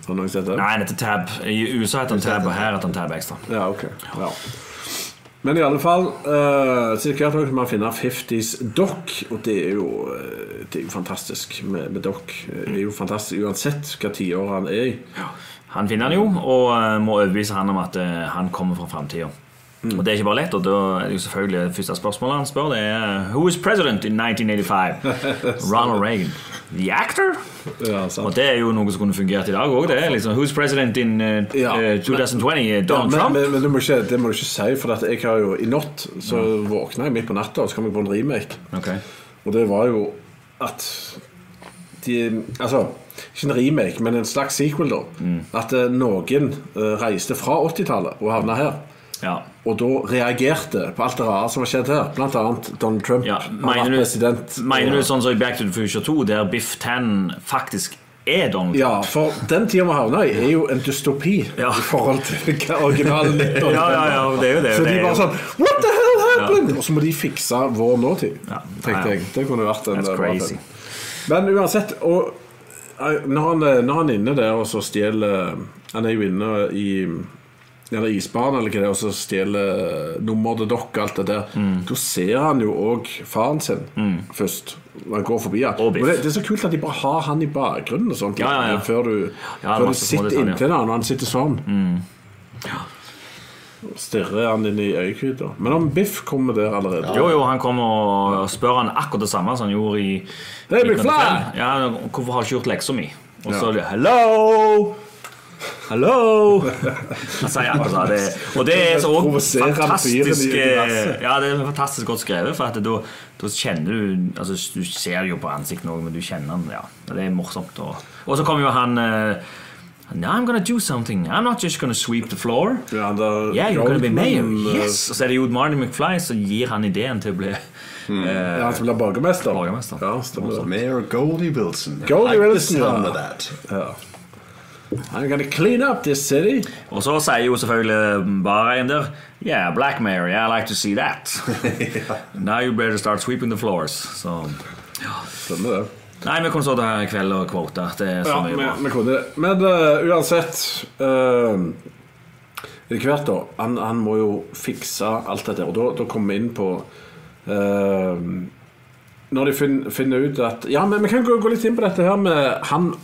E: Har noen sett det?
F: Nei, den heter tab. I USA heter den tab, og her heter den tab ekstra.
E: Ja, ok. Ja. Men i alle fall, uh, sikkert også man finner 50s Dock, og det er jo, eh, det er jo fantastisk med, med Dock. Det er jo fantastisk uansett hva tiår han er i.
F: Han finner han jo, og eh, må overbevise han om at eh, han kommer fra framtida.
E: Mm.
F: Og det er ikke bare lett, og da er det jo selvfølgelig det første spørsmålet han spør, det er eh, Who is president in 1985? Ronald Reagan. The actor?
E: Ja,
F: Og
E: sant.
F: det er jo noe som kunne fungert i dag òg. Liksom, Who's president in eh,
E: Ja.
F: eh, 2020? eh,
E: Ja,
F: Donald
E: men
F: Trump?
E: men, men du må ikke, det må du ikke si, for at jeg har jo i natt så våkna jeg midt på natta, og så kom jeg på en remake.
F: Ok.
E: Og det var jo at de Altså, ikke en remake, men en slags sequel, da.
F: Mm.
E: At eh, noen eh, reiste fra 80-tallet og havna her.
F: Ja.
E: Og da reagerte på alt det rare som har skjedd her. Blant annet Donald Trump.
F: Ja,
E: Han var
F: mener,
E: president.
F: du, mener du
E: Og-
F: sånn som i Back to the Future 2, der Biff Tannen faktisk er Donald Trump?
E: eh, Ja, for den tida vi havna i, er jo en dystopi
F: Ja.
E: i forhold til hva originalen er.
F: Ja, ja, ja, det er jo det,
E: Så
F: det
E: de
F: er
E: bare
F: jo-
E: sånn What the hell happened? Og så må de fikse vår nåtid,
F: Ja, ja.
E: tenkte jeg. Det kunne vært en eh,
F: That's sånn.
E: bra
F: crazy.
E: film. Men uansett og, eh, når, han, eh, når han er inne der og så stjeler eh, Han er jo inne i eller isbanen eller hva det er, og så stjeler nummer til dere og alt det der.
F: Mm.
E: Da ser han jo òg faren sin først. Når han går forbi han.
F: Og Biff.
E: Men det, det er så kult at de bare har han i bakgrunnen og sånt. eh,
F: Ja, ja, ja.
E: Før du,
F: Ja,
E: før du
F: masse Mm. små
E: sitter
F: detaljer.
E: inntil han, og han sitter sånn. Stirrer han inn i øyekryta. Men om Biff kommer der allerede
F: Jo, jo, han kom og spør han akkurat det samme som han gjorde i
E: Hey, big
F: 1995.
E: fly!
F: Ja, Hvorfor har du ikke gjort leksa mi? Og så Hello! Hello! Han sier akkurat sånn, det. Og det er så også
E: Provoserer han
F: fantastisk eh,
E: fyren i universet.
F: Ja, det er fantastisk godt skrevet, for at da, da kjenner du Altså, du ser det jo på ansiktet òg, men du kjenner han, ja. Det er morsomt. Og, og så kommer jo han eh, Now I'm gonna do something. I'm not just gonna sweep the floor.
E: Ja, han der-
F: Yeah, you're gonna be mayor.
E: Goldman, eh,
F: Yes! Og så er det jo Marty McFly som gir han ideen til å bli
E: ja, Han som blir borgermester.
F: Borgermester.
E: Ja, stemmer det.
G: Mayor Goldie Wilson.
E: Goldie
G: I like the
E: Wilson, ja.
G: sound of that.
E: Ja. I'm gonna clean up this city.
F: Og så sier jo selvfølgelig bare en der Yeah, Black Mary, I like to see that. Now you better start sweeping the floors. Så
E: Stemmer det.
F: Nei, vi kommer så til her i kveld og kvote. Det Sånn er så
E: Ja,
F: mye
E: vi,
F: bra.
E: vi kunne det. Men eh, uansett uh, Etter hvert, da. Han, han må jo fikse alt dette. Og da, da kommer vi inn på eh, Når de fin, finner ut at Ja, men vi kan gå, gå litt inn på dette her med Han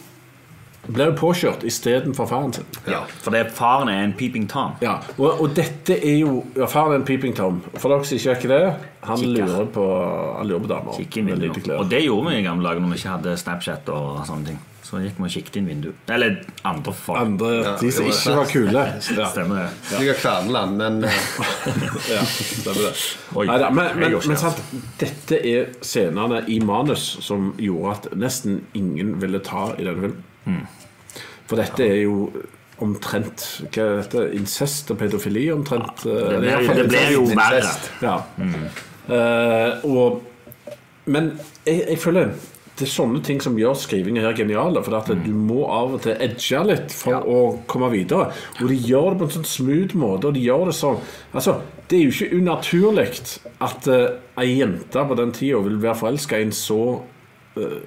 E: ble jo påkjørt istedenfor faren sin.
F: Ja, for det er faren er en peeping Tom.
E: Ja, og, og dette er jo ja, Faren er en peeping tom. For dere som ikke er ikke det, han
F: Kikker.
E: lurer på Han lurer på damer.
F: Kikke inn
E: med lite
F: vinduet.
E: klær.
F: Og det gjorde vi i gamle dager når vi ikke hadde Snapchat og sånne ting. Så gikk vi og kikket inn vinduet. Eller andre folk.
E: Andre, de som
G: det
E: ikke var kule. Ja.
F: Stemmer det.
G: Jeg har Kverneland, men eh,
E: Ja, stemmer det.
F: Oi,
E: Neida, men
F: jeg
E: men,
F: går ikke altså.
E: men
F: her.
E: sant, dette er scenene i manus som gjorde at nesten ingen ville ta i denne filmen.
F: Hmm.
E: For dette er jo omtrent hva er dette, incest og pedofili omtrent. eh,
F: Det
E: er
F: blir,
E: iallfall
F: det blir jo verre. Hmm.
G: Incest.
E: ja. Eh, og, men jeg, jeg føler det er sånne ting som gjør skrivingen her geniale. For at
F: Mm.
E: du må av og til edge litt for å komme videre. Og de gjør det på en sånn smooth måte. Og de gjør det sånn Altså, det er jo ikke unaturlig at eh, ei jente på den tida vil være forelska i en så eh,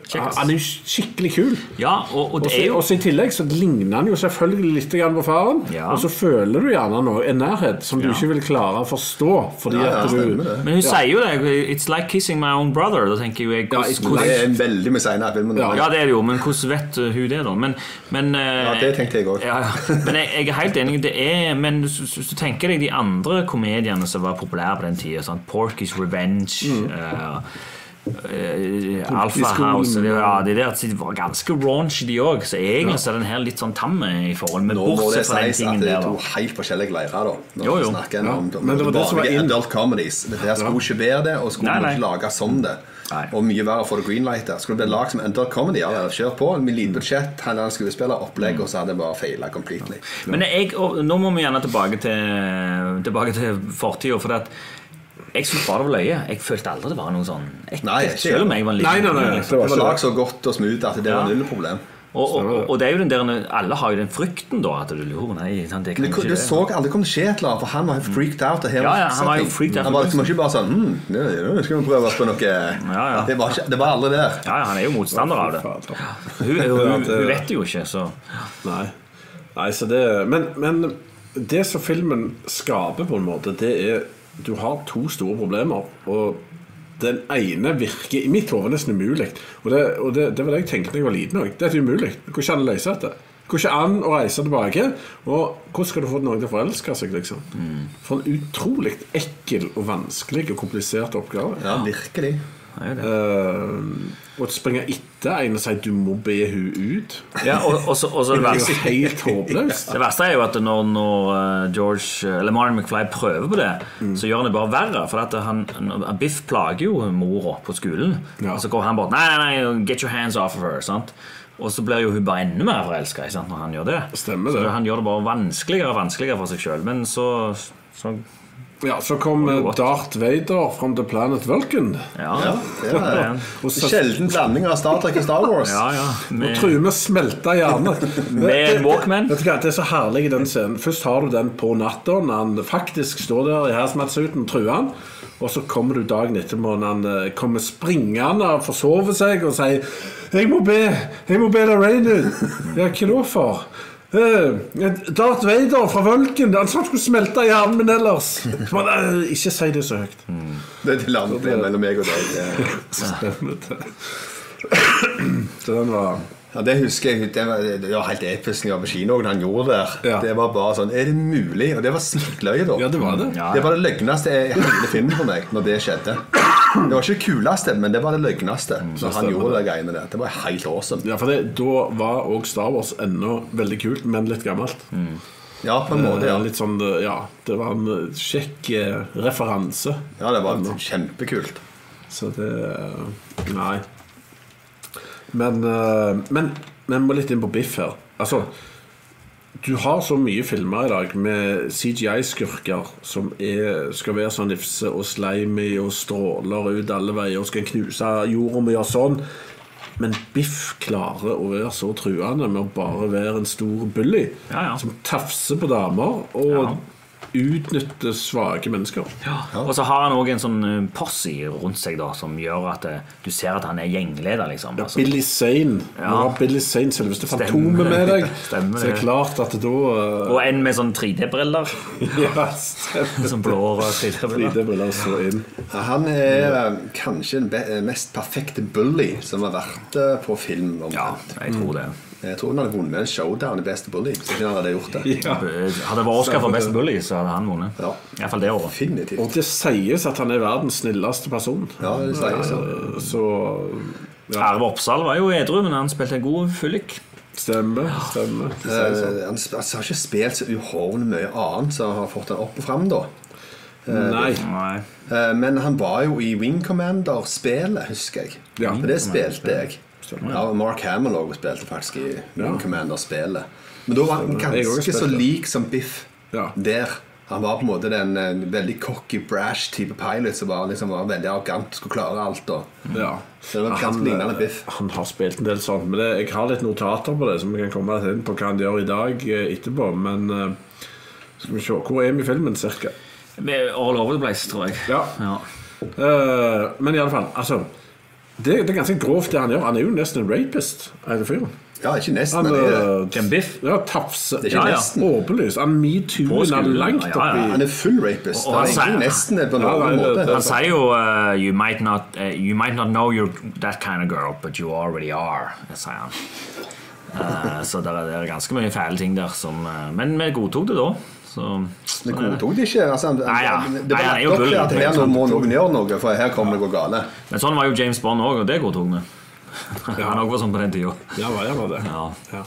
F: Kjekkas.
E: Han er jo skikkelig kul.
F: Ja, og, og
E: Og
F: det
E: så
F: er jo
E: også I tillegg så ligner han jo selvfølgelig litt grann på faren.
F: Ja.
E: Og så føler du gjerne noe, en nærhet som
F: Ja.
E: du ikke vil klare å forstå. Fordi
G: ja,
E: at
G: stemmer
E: du,
G: det.
F: Men hun sier jo det. It's like kissing my own brother. Da tenker jo jeg
E: Ja,
F: hvordan,
E: it's
G: Det
F: hvordan,
G: er en veldig mye senere i filmen.
E: Ja.
F: Ja, det er det jo, men hvordan vet uh, hun det, da? Men, men Ja,
G: det tenkte jeg også.
F: Ja, ja. men jeg, jeg er helt enig. Det er Men hvis hvis du tenker deg de andre komediene som var populære på den tida, sånn Porky's Revenge
G: Mm.
F: eh, eh, Alpha
E: Skolen.
F: House det, ja, de der, de var ganske raunchy, de òg. Så egentlig så er den her litt sånn tam i forhold. Men
G: Nå må det
F: bortsett fra den
G: sies at
F: tingen
G: det
F: der,
G: er to
F: da.
G: helt forskjellige leirer, da. Når
F: Jo, jo.
G: vi snakker
E: Ja,
G: om, om
E: men det var det som var
G: vanlige
E: inn-
G: adult comedies. Det her skulle ikke være det, og skulle
F: Nei, nei.
G: ikke lage som det.
F: Nei.
G: Og mye verre for the greenlight der. Skulle det bli lagd som adult comedy, ja, ja, kjør på. Med lite budsjett, han er en skuespiller,
F: Mm.
G: opplegg, og så hadde det bare feila completely.
F: Men jeg, og, nå må vi gjerne tilbake til, tilbake til fortida, for at jeg syntes bare det var løye. Jeg følte aldri det var noe sånn
G: Nei,
F: ekkelt.
G: ikke
F: Selv om jeg var en liten
E: Nei, nei, nei,
F: gutt, liksom.
G: Det
E: det var
G: var
E: ikke
G: lagd så godt og smooth at det var null problem.
F: Og, og, og det er jo den der, alle har jo den frykten da at du lurer nei, sant, det kan
G: Men
F: ikke
G: det,
F: det.
G: det så aldri kom skje et eller annet, for han var helt freaked out. Og her
F: Ja, ja,
G: var
F: han var jo
G: setting.
F: freaked out.
G: Han var liksom ikke bare sånn hm, nå nå skal vi prøve oss på noe
F: Ja, ja.
G: Det, var ikke, det var aldri der.
F: Ja, ja, han er jo motstander av det.
E: Fader.
F: Hun, hun, hun vet det jo ikke, så
E: Nei. Nei, så det men, men det som filmen skaper, på en måte, det er Du har to store problemer. Og den ene virker i mitt hode nesten umulig. Og, det, og det, det var det jeg tenkte da jeg var liten òg. Dette er umulig. Går ikke an å løse dette. Går ikke an å reise tilbake. Og hvordan skal du få noen til å forelske seg, liksom? For en utrolig ekkel og vanskelig og komplisert oppgave.
G: Ja, virkelig.
E: Eh, og springe etter en og si 'du må be hun ut'.
F: ja, og, og, så, og så det
E: Det er
F: verste
E: jo helt håpløst.
F: Det verste er jo at når, når eh, George, eller Martin McFly prøver på det,
E: Mm.
F: så gjør han det bare verre. For at han, han- Biff plager jo mora på skolen.
E: Ja.
F: Og så går han bare Nei, nei, nei, get your hands off of her. Sant? Og så blir jo hun bare enda mer forelska når han gjør det.
E: Stemmer det.
F: Så han gjør det bare vanskeligere og vanskeligere for seg sjøl. Men så, så
E: Ja, så kom eh, Darth Vader from the planet Vulcan.
F: ja.
G: Ja, det er det.
E: Og så-
G: Sjelden blanding av Star Trek og Star Wars.
F: ja, ja.
E: Og
F: Med,
E: truer med å smelte hjerne.
F: Med en Walkman?
E: Vet du hva, Det er så herlig i den scenen. Først har du den på natta når han faktisk står der i hazmat-suiten og truer han. Og så kommer du dagen etterpå når han eh, kommer springende og forsover seg og sier 'Jeg må be! Jeg må be deg regne ut!' Ja, hva da for? Eh, Darth Vader fra Vulcan. Han sa han skulle smelte hjernen min ellers. Men, eh, ikke si det så høyt.
G: Det er de landene mellom meg og deg. det-
E: Stemmer det. Så den var
G: Ja, Det husker jeg. Det var, det var helt episk når jeg var på kino. når han gjorde det der.
E: Ja.
G: Det var bare sånn Er det mulig? Og det var snittløye, da.
E: Ja, det var det.
F: Ja,
G: Det var det løgneste i hele filmen for meg når det skjedde. Det var ikke det kuleste, men det var det løgneste.
F: Mm,
G: når han
E: stemmer
G: gjorde de greiene der. Det var helt awesome.
E: Ja, for det, Da var òg Star Wars ennå veldig kult, men litt gammelt.
G: Ja, på en måte.
E: Eh,
G: Ja,
E: Litt sånn, eh, ja, Det var en eh, kjekk eh, referanse.
G: ja det var kjempekult.
E: Så det eh, Nei. Men, eh, men men vi må litt inn på Biff her. Altså, du har så mye filmer i dag med CGI-skurker som er, skal være sånn nifse og slimy og stråler ut alle veier og skal knuse jorda med og sånn. Men Biff klarer å være så truende med å bare være en stor bully
F: Ja, ja.
E: som tafser på damer og utnytter svake mennesker.
F: Og så har han òg en sånn eh, posse rundt seg da, som gjør at eh, du ser at han er gjengleder. liksom. Altså,
E: Billy Zane.
F: Ja.
E: Når du har Billy Zane, selveste
F: Stemmer.
E: fantomet med deg,
F: Stemmer
E: så er det
F: det.
E: klart at da eh,
F: og en med sånn 3D-briller.
E: Ja, stemmer.
F: Sånn blå og rød 3D-briller.
E: Det vil jeg så inn.
G: Han er eh, kanskje den be- mest perfekte bully som har vært eh, på film. omtrent.
F: Ja, jeg tror det.
G: Jeg tror han hadde vunnet en showdown i Beste bully. Så han hadde gjort det.
E: Ja.
F: Eh, Hadde det vært Oscar for Best Bully, så hadde han vunnet.
G: Ja.
F: Iallfall det året.
G: Definitivt.
E: Og det sies at han er verdens snilleste person.
G: Ja, det sier jeg så.
E: Eh, Så ja,
F: Arve Oppsal var jo edru, men han spilte en god fyllik.
E: stemmer. stemmer. Det sies sånn.
G: Eh, Han sp- altså, har ikke spilt så uhorvende mye annet som har fått han opp og fram, da.
E: Nei.
F: Nei.
G: Eh, Men han var jo i Wing Commander-spelet, husker jeg.
E: Ja.
G: For det spilte jeg. Ja, og Mark Hamill også spilte faktisk i Wing Commander-spelet. Men da var han
E: Jeg også
G: ganske
E: spilte.
G: så lik som Biff
E: Ja.
G: der. Han var på en måte den eh, veldig cocky, brash type pilot som var, liksom, var veldig arrogant, skulle klare alt. Og.
E: Ja.
G: Så det var ganske
E: eh,
G: lignende Biff.
E: han har spilt en del sånn, men det, jeg har litt notater på det, som vi kan komme inn på hva han gjør i dag eh, etterpå. Men eh, skal vi se Hvor er vi i filmen, cirka?
F: Med All over the place, tror jeg.
E: Ja. Eh, men i alle fall, altså det, det er ganske grovt, det han gjør. Han er jo nesten en rapist. Er det fyren?
G: Ja, ikke nesten.
E: Han
G: Han er,
E: eh,
F: Jim Biff?
E: Ja, tafse.
G: Det er ikke
E: Ja, ja.
G: nesten.
E: Åpenlyst. Han
F: På
E: metoo-en er
F: skolen,
E: langt
F: ja, ja.
E: oppi
G: han er full rapist.
F: Og
G: Han
F: han
G: er
F: sier-
G: egentlig nesten det på
E: Ja,
G: noen
E: nei, det-
G: måte.
E: det-
F: Han sier jo eh, you, might not, eh, 'You might not know you're that kind of girl, but you already are', det sier han. Eh, så det er, det er ganske mye fæle ting der som eh, Men vi godtok det da. Så,
G: Det
F: sånn er det.
G: godtok de ikke. Altså, han-
F: Nei, ja.
G: han- Det
F: Nei,
G: var
F: han er
G: lagt
F: jo
G: opp til
F: bullen.
G: at her nå må noen gjøre noe, for her kommer det å gå gale.
F: Men sånn var jo James Bond òg, og det godtok vi. Han òg var sånn på den tida.
E: Ja, hva gjør det?
F: Ja.
E: Ja.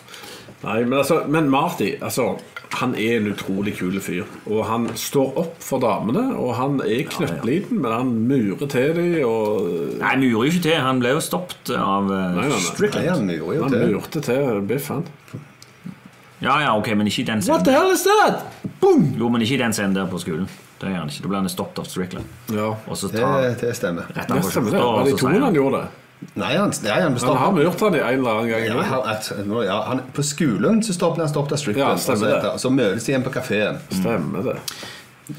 E: Nei, men, altså, men Marty, altså, han er en utrolig kul fyr. Og han står opp for damene, og han er knøttliten, men han murer til dem, og
F: Nei, murer jo ikke til. Han ble jo stoppet av eh,
E: Nei, nei, nei.
G: Nei,
F: Strickland.
G: han gjorde jo
E: han
G: det.
E: murte til Biff, han.
F: Ja, ja, ok, men ikke i den scenen.
E: hell is that? Boom!
F: Jo, men ikke i den scenen der på skolen. Det gjør han ikke. Da ble han stoppet av Strickland.
E: Ja.
F: Og så tar han
G: Det, det stemmer.
F: rett
E: Ja,
F: han på
E: stemmer det.
F: skjorta,
E: Var
F: og
E: det i
F: så sier
E: toen han
F: han
E: gjorde det?
G: Nei, han, det er han
E: Han
G: bestopper.
E: har murt han i en eller annen gang.
G: Ja,
E: Ja,
G: han, at, nå, ja, han, på skolen så stopper han stoppet av
E: Ja,
G: stripperen, og
E: stemmer
G: så,
E: det.
G: etter- så møtes de igjen på kafeen.
E: Stemmer det.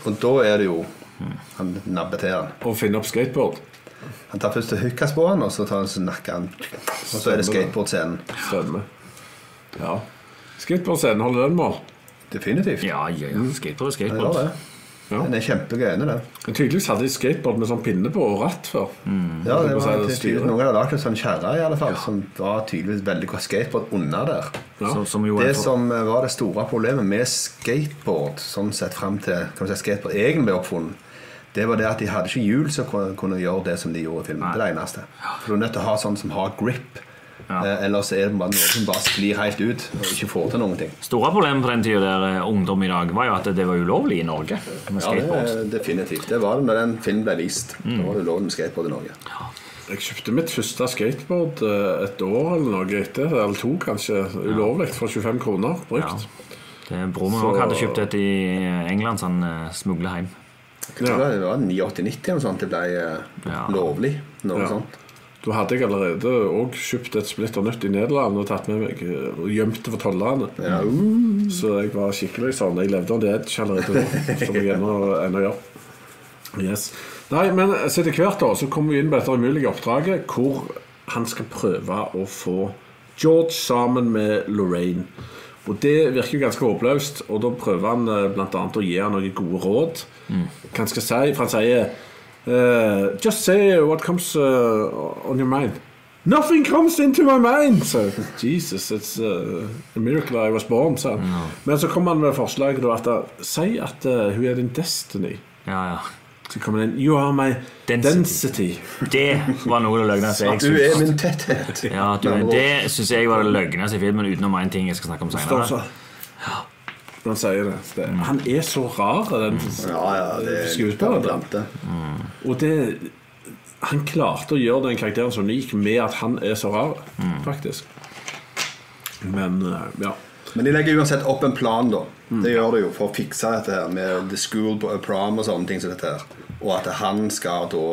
G: Og da er det jo Han nabber til han.
E: Å finne opp skateboard.
G: Han tar først hookas på han, og så tar han så nakker han. Og så er det skateboardscenen.
E: Stemmer. Ja. Skateboardscenen, holder den mål?
G: Definitivt.
F: Ja, ja,
E: Mm.
F: ja. Skateboard er
G: Han gjør
F: skateboard.
G: det.
E: Ja.
G: Den er kjempegøy, den der.
E: Men Tydeligvis hadde de skateboard med sånn pinne på og ratt før.
G: Ja, det
E: på å si
G: var
E: det
G: det
E: styret.
G: tydelig, Noen hadde lagd en sånn kjerre i alle fall, som var tydeligvis veldig godt skateboard under der.
E: Ja.
F: Som, som jo er
G: Det
F: for-
G: som eh, var det store problemet med skateboard, sånn sett frem til kan vi si, skateboard egentlig ble oppfunnet, det var det at de hadde ikke hjul som kunne kunne gjøre det som de gjorde i filmen. Det er det eneste. For du er nødt til å ha sånn som har grip.
F: Ja.
G: Eh, Ellers er det bare noe som bare sklir helt ut og ikke får til noen ting.
F: Store problemet på den tida der eh, ungdom i dag, var jo at det var ulovlig i Norge med
G: Ja, det
F: skateboard. Mm.
G: er definitivt. Det var det når den filmen ble vist. Da var det lov med skateboard i Norge.
E: Jeg kjøpte mitt første skateboard eh, et år eller noe etter, eller to kanskje, ulovlig, for 25 kroner
F: Ja.
E: brukt.
F: Det Broren min
E: Så-
F: også hadde kjøpt et i England, så han eh, smugla hjem.
G: Jeg tror det var 89-90 eller noe sånt det ble eh,
F: Ja.
G: lovlig. Noe
E: Ja.
G: sånt.
E: Da hadde jeg allerede òg kjøpt et splitter nytt i Nederland og tatt med meg eh, og gjemt det for tollerne. Så jeg var skikkelig sånn. Jeg levde on the edge allerede da, som jeg ennå ennå gjør. Yes. Nei, men eh, så etter hvert år så kommer vi inn på dette umulige oppdraget hvor han skal prøve å få George sammen med Lorraine. Og Det virker jo ganske håpløst, og da prøver han bl.a. å gi han noen gode råd. Hva han skal si, for han sier eh, Just say what comes eh, on your mind. Nothing comes into my mind! Så, Jesus, it's uh, a miracle I was born, sa han. Men så kom han med forslaget da, at han- Si at uh, hun er din destiny.
F: Ja, ja.
E: Så kommer den You are my
F: Density.
E: density.
F: Det var noe av det løgneste jeg
G: Du er
F: synes.
G: min tetthet.
F: Ja, du, det syns jeg var det løgneste i filmen, utenom en ting jeg skal snakke om
E: Står
F: senere.
E: så. Når han sier det. det Han er så rar, den
G: Ja, ja, det er
E: skuespilleren.
G: Plante.
E: Og det Han klarte å gjøre den karakteren så unik med at han er så rar, faktisk. Men uh, ja.
G: Men de legger uansett opp en plan, da. Det gjør de jo for å fikse dette her med the school prom og sånne ting som dette her. Og at han skal da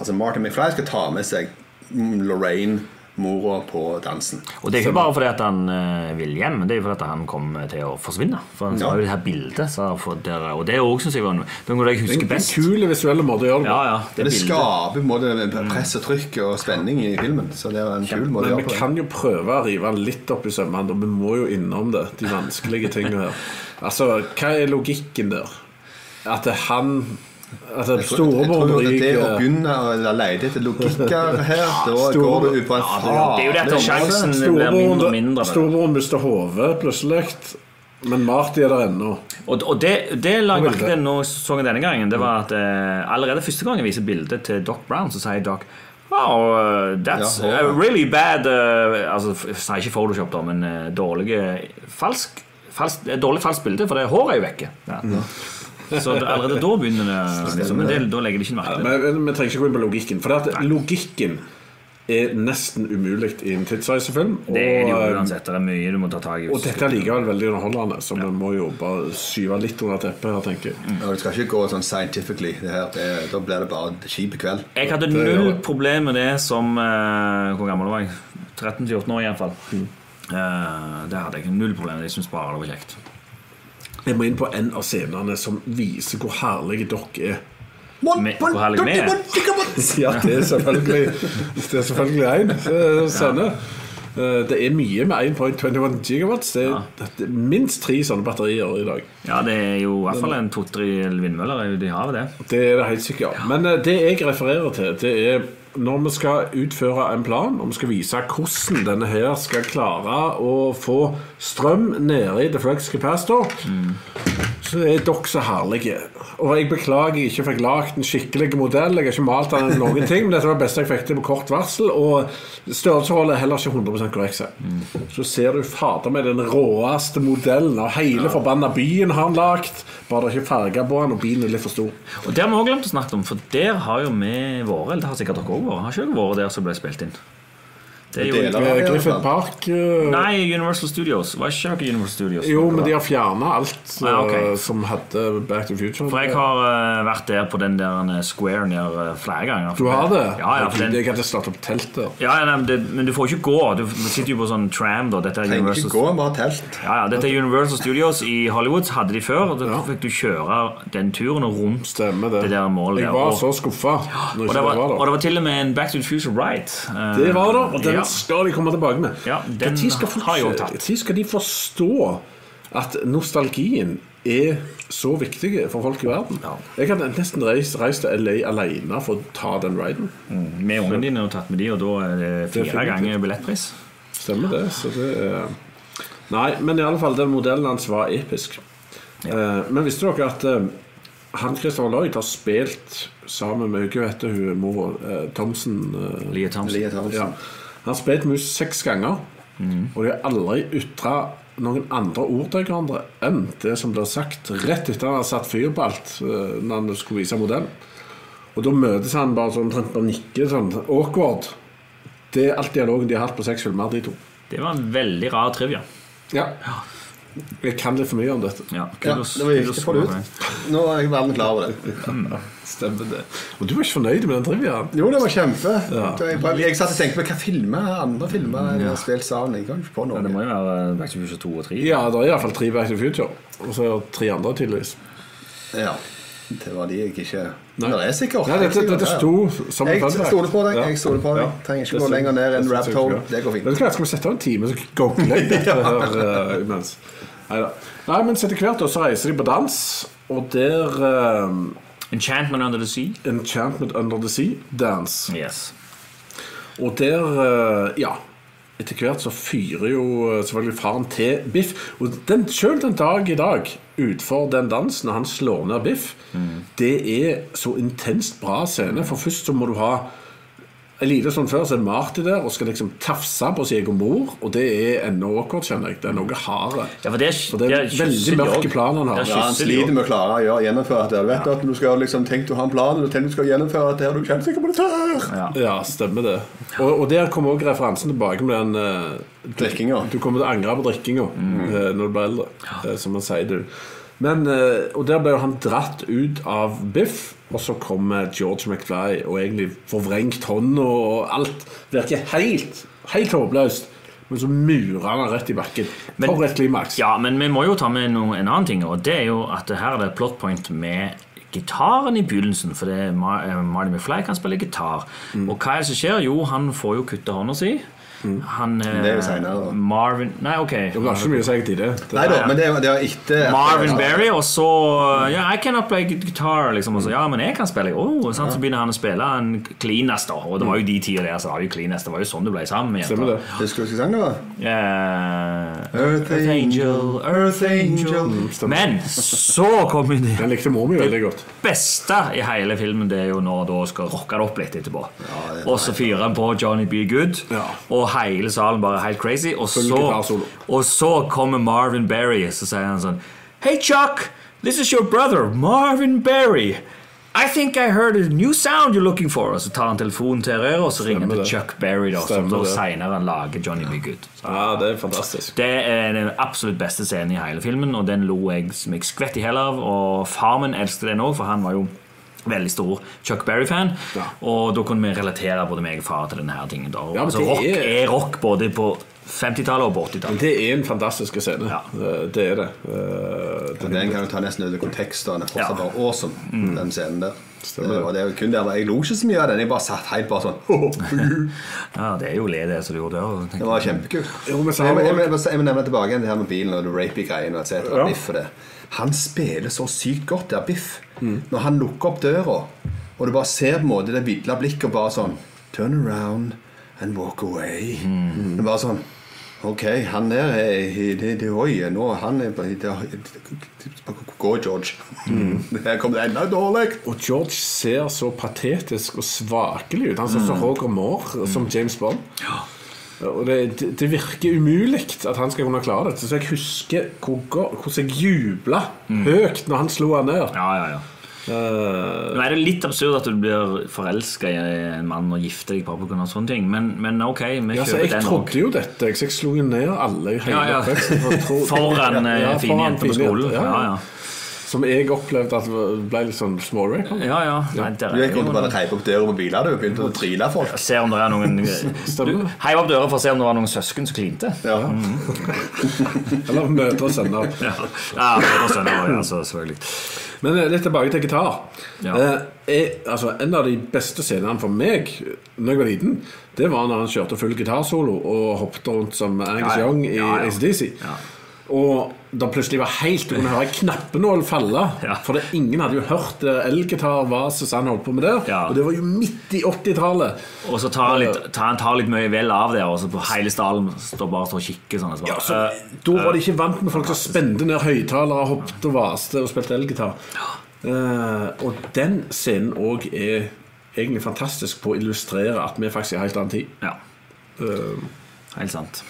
G: Altså Martin McFly skal ta med seg mm, Lorraine, mora, på dansen.
F: Og det er ikke bare fordi at han eh, vil hjem, men det er jo fordi at han kommer til å forsvinne. For han
G: Ja.
F: har jo det her bildet, sa han, for dere, og det òg syns jeg var noe Det er noe jeg
E: En
F: husker best.
E: kul visuell måte å gjøre det
F: Ja,
E: på.
F: ja,
G: Det,
F: det bildet. Mm.
G: skaper på en måte press og trykk og spenning i filmen. Så det er en kul måte å
E: Men
G: gjøre
E: vi
G: på.
E: kan jo prøve å rive han litt opp i sømmene. og Vi må jo innom det, de vanskelige tingene her. Altså, hva er logikken der? At det er han At
G: Jeg tror- jeg
E: storebror
G: tror at det å
E: ryker
G: begynne å lete etter logikker her, da går det ut på en
F: Ja, det- det er jo dette
G: farlig
F: sjansen-
G: måte.
F: blir mindre og mindre, men-
E: Storebroren mister hodet plutselig. Men Marty er der ennå.
F: Og, og det, det la jeg
E: Og
F: merke
E: bildet.
F: til når jeg så den denne gangen, det var at eh, allerede første gang jeg viser bildet til Doc Brown, så sier Doc Wow, eh, that's
G: Ja, håret.
F: a really bad eh, Altså, f- sier ikke Photoshop, da, men eh, dårlig eh, falsk, falsk, eh, Dårlig falskt bilde, for det håret er jo vekke. Ja. Så det, allerede da begynner det liksom, Men det, da legger de ikke merke til det.
E: Men men vi trenger ikke gå inn på logikken. For det at logikken er nesten umulig i en tidsreisefilm. Og, eh,
F: Det er det jo uansett. Det er mye du må ta tak i.
E: og dette er likevel veldig underholdende, så vi må jo bare syve litt under teppet her, tenker
F: Mm.
E: jeg.
G: Ja, det skal ikke gå sånn scientifically. Det her, det, da blir det bare en kjip kveld.
F: Jeg hadde
G: Det gjør
F: null
G: det.
F: problem med det som eh, Hvor gammel var jeg? 13-14 år, iallfall.
E: Mm.
F: Uh, det hadde jeg null problem med. Jeg syns bare det var kjekt.
E: Jeg må inn på en av scenene som viser hvor herlige dere er.
F: Med, hvor herlig vi er.
E: Ja, det er selvfølgelig Det er selvfølgelig én eh, scene. Eh, Det er mye med 1.21 gigawatts. Det er, det er minst tre sånne batterier i dag.
F: Ja, det er jo i hvert fall en to-tre vindmøller eh, ute i havet, det.
E: Det er det helt sikkert. Men eh, det jeg refererer til, det er når vi skal utføre en plan, og vi skal vise hvordan denne her skal klare å få strøm nede i The Flux Capacitor, så er dere så herlige. Og jeg beklager jeg ikke fikk lagd en skikkelig modell. Jeg har ikke malt den eller noen ting, men dette var det beste jeg fikk til på kort varsel. Og størrelsesholdet er heller ikke 100 korrekt. seg. Så ser du fader meg den råeste modellen av hele forbanna byen har han lagd. Bare det er ikke farga på den, og bilen er litt for stor.
F: Og det har vi også glemt å snakke om, for der har jo vi vært. Eller det har sikkert dere òg vært. Har ikke dere vært der som ble spilt inn? Det er
G: Deler
F: jo
G: av det, i
E: Eh,
G: hvert
E: Griffith
G: fall.
E: Park eh,
F: Nei, Universal Studios. Var ikke dere Universal Studios?
E: Jo, men de har fjerna alt eh,
F: Ja, ok.
E: som hadde Back to the Future.
F: For jeg har eh, vært der på den der eh, squaren der eh, flere ganger.
E: Du har det?
F: Ja, ja, for den,
E: Jeg hadde slått opp teltet.
F: Ja, ja, nei, men, det, men du får ikke gå. Du sitter jo på sånn tram. da Dette er
G: Trenger ikke
F: Universal,
G: gå, bare telt.
F: ja, ja, dette er Universal Studios i Hollywood. Hadde de før. og Da
E: Ja.
F: fikk du kjøre den turen og rundt
E: Stemmer det.
F: det der målet.
E: jeg
F: der.
E: var
F: Og-
E: så skuffa.
F: og det, var, og det var til og med en Back to the Future Ride. Eh,
E: Det var det, og den
F: ja.
E: skal de komme tilbake med.
F: Ja, den
E: Når skal folk-
F: har jeg jo tatt.
E: når skal de forstå at nostalgien er så viktig for folk i verden?
F: Ja.
E: Jeg kan nesten reise, reise til LA alene for å ta den riden.
F: Med ungene dine og tatt med de, og da er det
E: Det er
F: fire
E: fint.
F: ganger billettpris.
E: Stemmer det. Så det er Nei, men i alle fall, den modellen hans var episk. Eh, men visste dere at eh, han Christopher Lloyd har spilt sammen med Hva heter hun mor eh, Thomsen? eh,
F: Lia Thompson.
G: Lia Thompson.
E: ja. Han har spilt mus seks ganger, og de har aldri ytra noen andre ord til hverandre enn det som blir sagt rett etter han har satt fyr på alt eh, når han skulle vise modellen. Og da møtes han bare sånn omtrent bare nikker sånn awkward. Det er alt dialogen de har hatt på seks filmer, de to.
F: Det var en veldig rar trivia.
E: Ja. Jeg kan litt for mye om dette.
F: Ja,
G: Ja,
F: kudos-
G: det var
F: kudos
G: viktig å få det
F: for meg.
G: ut. Nå er jeg verden klar over det.
E: Stemmer det. Og du var ikke fornøyd med den triviaen?
G: Jo, det var kjempe. Da Jeg, bare- jeg satt og tenkte på hva filmer andre filmer jeg har spilt sammen. Jeg kom ikke på
F: Det må
G: noe.
F: jo være eh, Back to the Future 2 og 3.
E: Ja, det er iallfall tre Back to the Future. Og så er det tre andre, tydeligvis.
G: Ja, det var de jeg ikke
E: Nei.
G: Nei. Det er sikkert.
E: Nei, dette,
G: helt sikkert,
E: dette
G: ja.
E: sto som
G: Jeg
E: fun fact.
G: stoler på deg.
E: Ja.
G: jeg stoler på deg
E: Ja.
G: Trenger ikke
E: Det
G: gå
E: synes-
G: lenger ned
E: det
G: enn
E: synes
G: rabbit
E: jeg
G: hole.
E: ikke.
G: Det går
E: Vet
G: fint.
E: du hva, Skal vi sette av en time, så googler jeg dette her eh, imens? Neida. Nei, men så etter hvert da, så reiser de på dans, og der eh,
F: Enchantment Under the Sea.
E: Enchantment Under the Sea Dance.
F: Yes.
E: Og der, eh, ja Etter hvert så fyrer jo eh, selvfølgelig faren til Biff. Og den, selv den dag i dag, utfor den dansen når han slår ned Biff, det er så intenst bra scene. For først så må du ha en liten stund før så er Marty der og skal liksom tafse på sin egen mor. Og det er ennå awkward, skjønner jeg. Det er noe harde.
F: Ja, for det er,
E: Og det
F: de
E: er
F: kysser
E: veldig
F: de
E: mørke
F: også.
E: planer han har.
F: Der
G: Ja, han
F: kysser de
G: sliter
F: også.
G: med å klare å gjøre- gjennomføre dette. Du vet at du skal liksom tenkt du har en plan, og du tenker du skal gjennomføre dette, og du er kjempesikker på det tør.
F: Ja.
E: Ja, stemmer det. Og, og der kommer også referansen tilbake med den eh,
G: Drikkinga.
E: Du kommer til å angre på drikkinga eh, når du blir eldre, eh, som man sier, du. Men, eh, og der ble jo han dratt ut av Biff, og så kommer George McFly og egentlig forvrengt hånda og alt. Virker helt, helt håpløst. Men så murer han han rett i bakken.
F: Men-
E: For et klimaks.
F: Ja, men vi må jo ta med noe, en annen ting, og det er jo at det her er det et plot point med gitaren i begynnelsen, for det er Ma- eh, Marty McFly kan spille gitar. Og hva er det som skjer? Jo, han får jo kutte hånda si. Han, eh,
G: Det er jo senere, da.
F: Marvin Nei, ok.
E: Det var ikke så mye å si til det. det
G: Nei da, men det er jo- det er jo etter
F: Marvin Berry, og så Ja, I cannot play guitar, liksom. Og så, ja, men jeg kan spille. Oh, sant? Så begynner han å spille en cleanest, da. Og det var jo de tider der, så det var jo cleanest. Det var jo sånn du ble sammen med
E: Stemmer det.
F: jenter.
G: Husker du hva sangen var?
F: Eh,
G: Earth Angel,
F: Earth Angel.
E: Mm,
F: Men så kom jo det
E: Den likte mor mi veldig godt.
F: beste i hele filmen Det er jo når han da skal rocke det opp litt etterpå. og så fyrer han på Johnny B. Good,
E: Ja.
F: og hele salen bare er helt crazy. Og
E: Full
F: så,
E: gitarsolo.
F: og så kommer Marvin Berry, så sier han sånn Hey Chuck, this is your brother, Marvin Berry. I think I heard a new sound you're looking for. Og så tar han telefonen til Herrera, og så ringer han til
E: Stemmer det.
F: Chuck Berry, da, som
E: Stemmer
F: da
E: det.
F: senere lager Johnny B. Good. Så
E: Ja, det er fantastisk.
F: det er den absolutt beste scenen i hele filmen, og den lo jeg som jeg skvett i hæl av. Og far min elsket den òg, for han var jo veldig stor Chuck Berry-fan.
E: Ja.
F: Og da kunne vi relatere både meg og far til denne her tingen. Da.
E: Ja, men
F: altså,
E: det
F: rock er...
E: er-
F: rock både på 50-tallet og på 80-tallet.
E: Det er en fantastisk scene.
F: Ja.
E: Eh, Det er det. Eh, det-
G: Den kan du ta nesten ut av kontekst. og Den er
F: Ja.
G: fortsatt bare awesome, den scenen der.
E: Mm. Stemmer det.
G: Eh, Og det er jo kun der, Jeg lo ikke så mye av den. Jeg bare satt helt bare sånn
F: Ja, det er jo le, det som du gjorde der.
G: Det
F: tenker
G: var
F: jeg.
G: kjempekult.
E: Jo, men så
G: jeg,
E: har
G: må-
E: vi
G: jeg, må- jeg, må- jeg må nevne tilbake igjen det her med bilen og det rapey-greiene. og et cetera,
E: Ja.
G: Biff og det. Han spiller så sykt godt der, Biff. Når han lukker opp døra, og du bare ser på en måte det vidla blikket og bare sånn Turn around and walk away. Det er bare sånn Ok, han der er i det, det høye nå. Han er på i det, Gå, George. Det her kommer enda dårlig.
E: Og George ser så patetisk og svakelig ut. Han ser så
F: Mm.
E: Roger Moore som James Bond. Og det, det det virker umulig at han skal kunne klare dette. Så jeg husker hvor go- hvordan jeg jubla høyt når han slo han ned. Eh,
F: Ja, ja, Mm. ja. Nå er det litt absurd at du blir forelska i en mann og gifter deg bare pga. sånne ting, men, men ok, vi
E: Ja, så
F: kjøper
E: jeg
F: den òg.
E: trodde jo dette, så jeg slo jo ned alle i hele
F: Ja, ja.
E: oppveksten. for å tro-
F: Foran eh,
E: Ja,
F: fine
E: foran
F: jenter på
E: fine
F: skolen.
E: jenter,
F: Ja, ja.
E: Som jeg opplevde at ble litt sånn smårape.
F: ja, ja. Nei, der er
G: Du gikk rundt
F: jo
G: og bare reiv opp døra på biler. Du begynte å drille folk.
F: Se om det er noen
E: Stemmer.
F: du, Heiv opp døra for å se om det var noen søsken som klinte.
G: Ja.
E: Eller mødre og sønner.
F: Ja, ja det var sønner også, ja, så selvfølgelig.
E: Men eh, litt tilbake til gitar.
F: Ja.
E: Eh, jeg, altså, en av de beste scenene for meg Når jeg var liten, det var når han kjørte full gitarsolo og hoppet rundt som Angus
F: Ja, ja.
E: Young i
F: Ja, ja.
E: ACDC.
F: Ja.
E: Og da plutselig var helt Du kunne høre en knappenål falle.
F: Ja.
E: For det, ingen hadde jo hørt eh, elgitar hva Susanne holdt på med der.
F: Ja.
E: Og det var jo midt i 80-tallet.
F: Og så tar han litt, tar han tar litt mye vel av der, og så på hele stallen står bare og kikker sånn. og så bare,
E: Ja, så,
F: eh,
E: da var de ikke vant med folk som spente ned høyttalere, hoppet og vaste og spilte elgitar. Eh, og den scenen òg er egentlig fantastisk på å illustrere at vi faktisk er i helt annen tid.
F: ja,
E: Eh,
F: helt sant.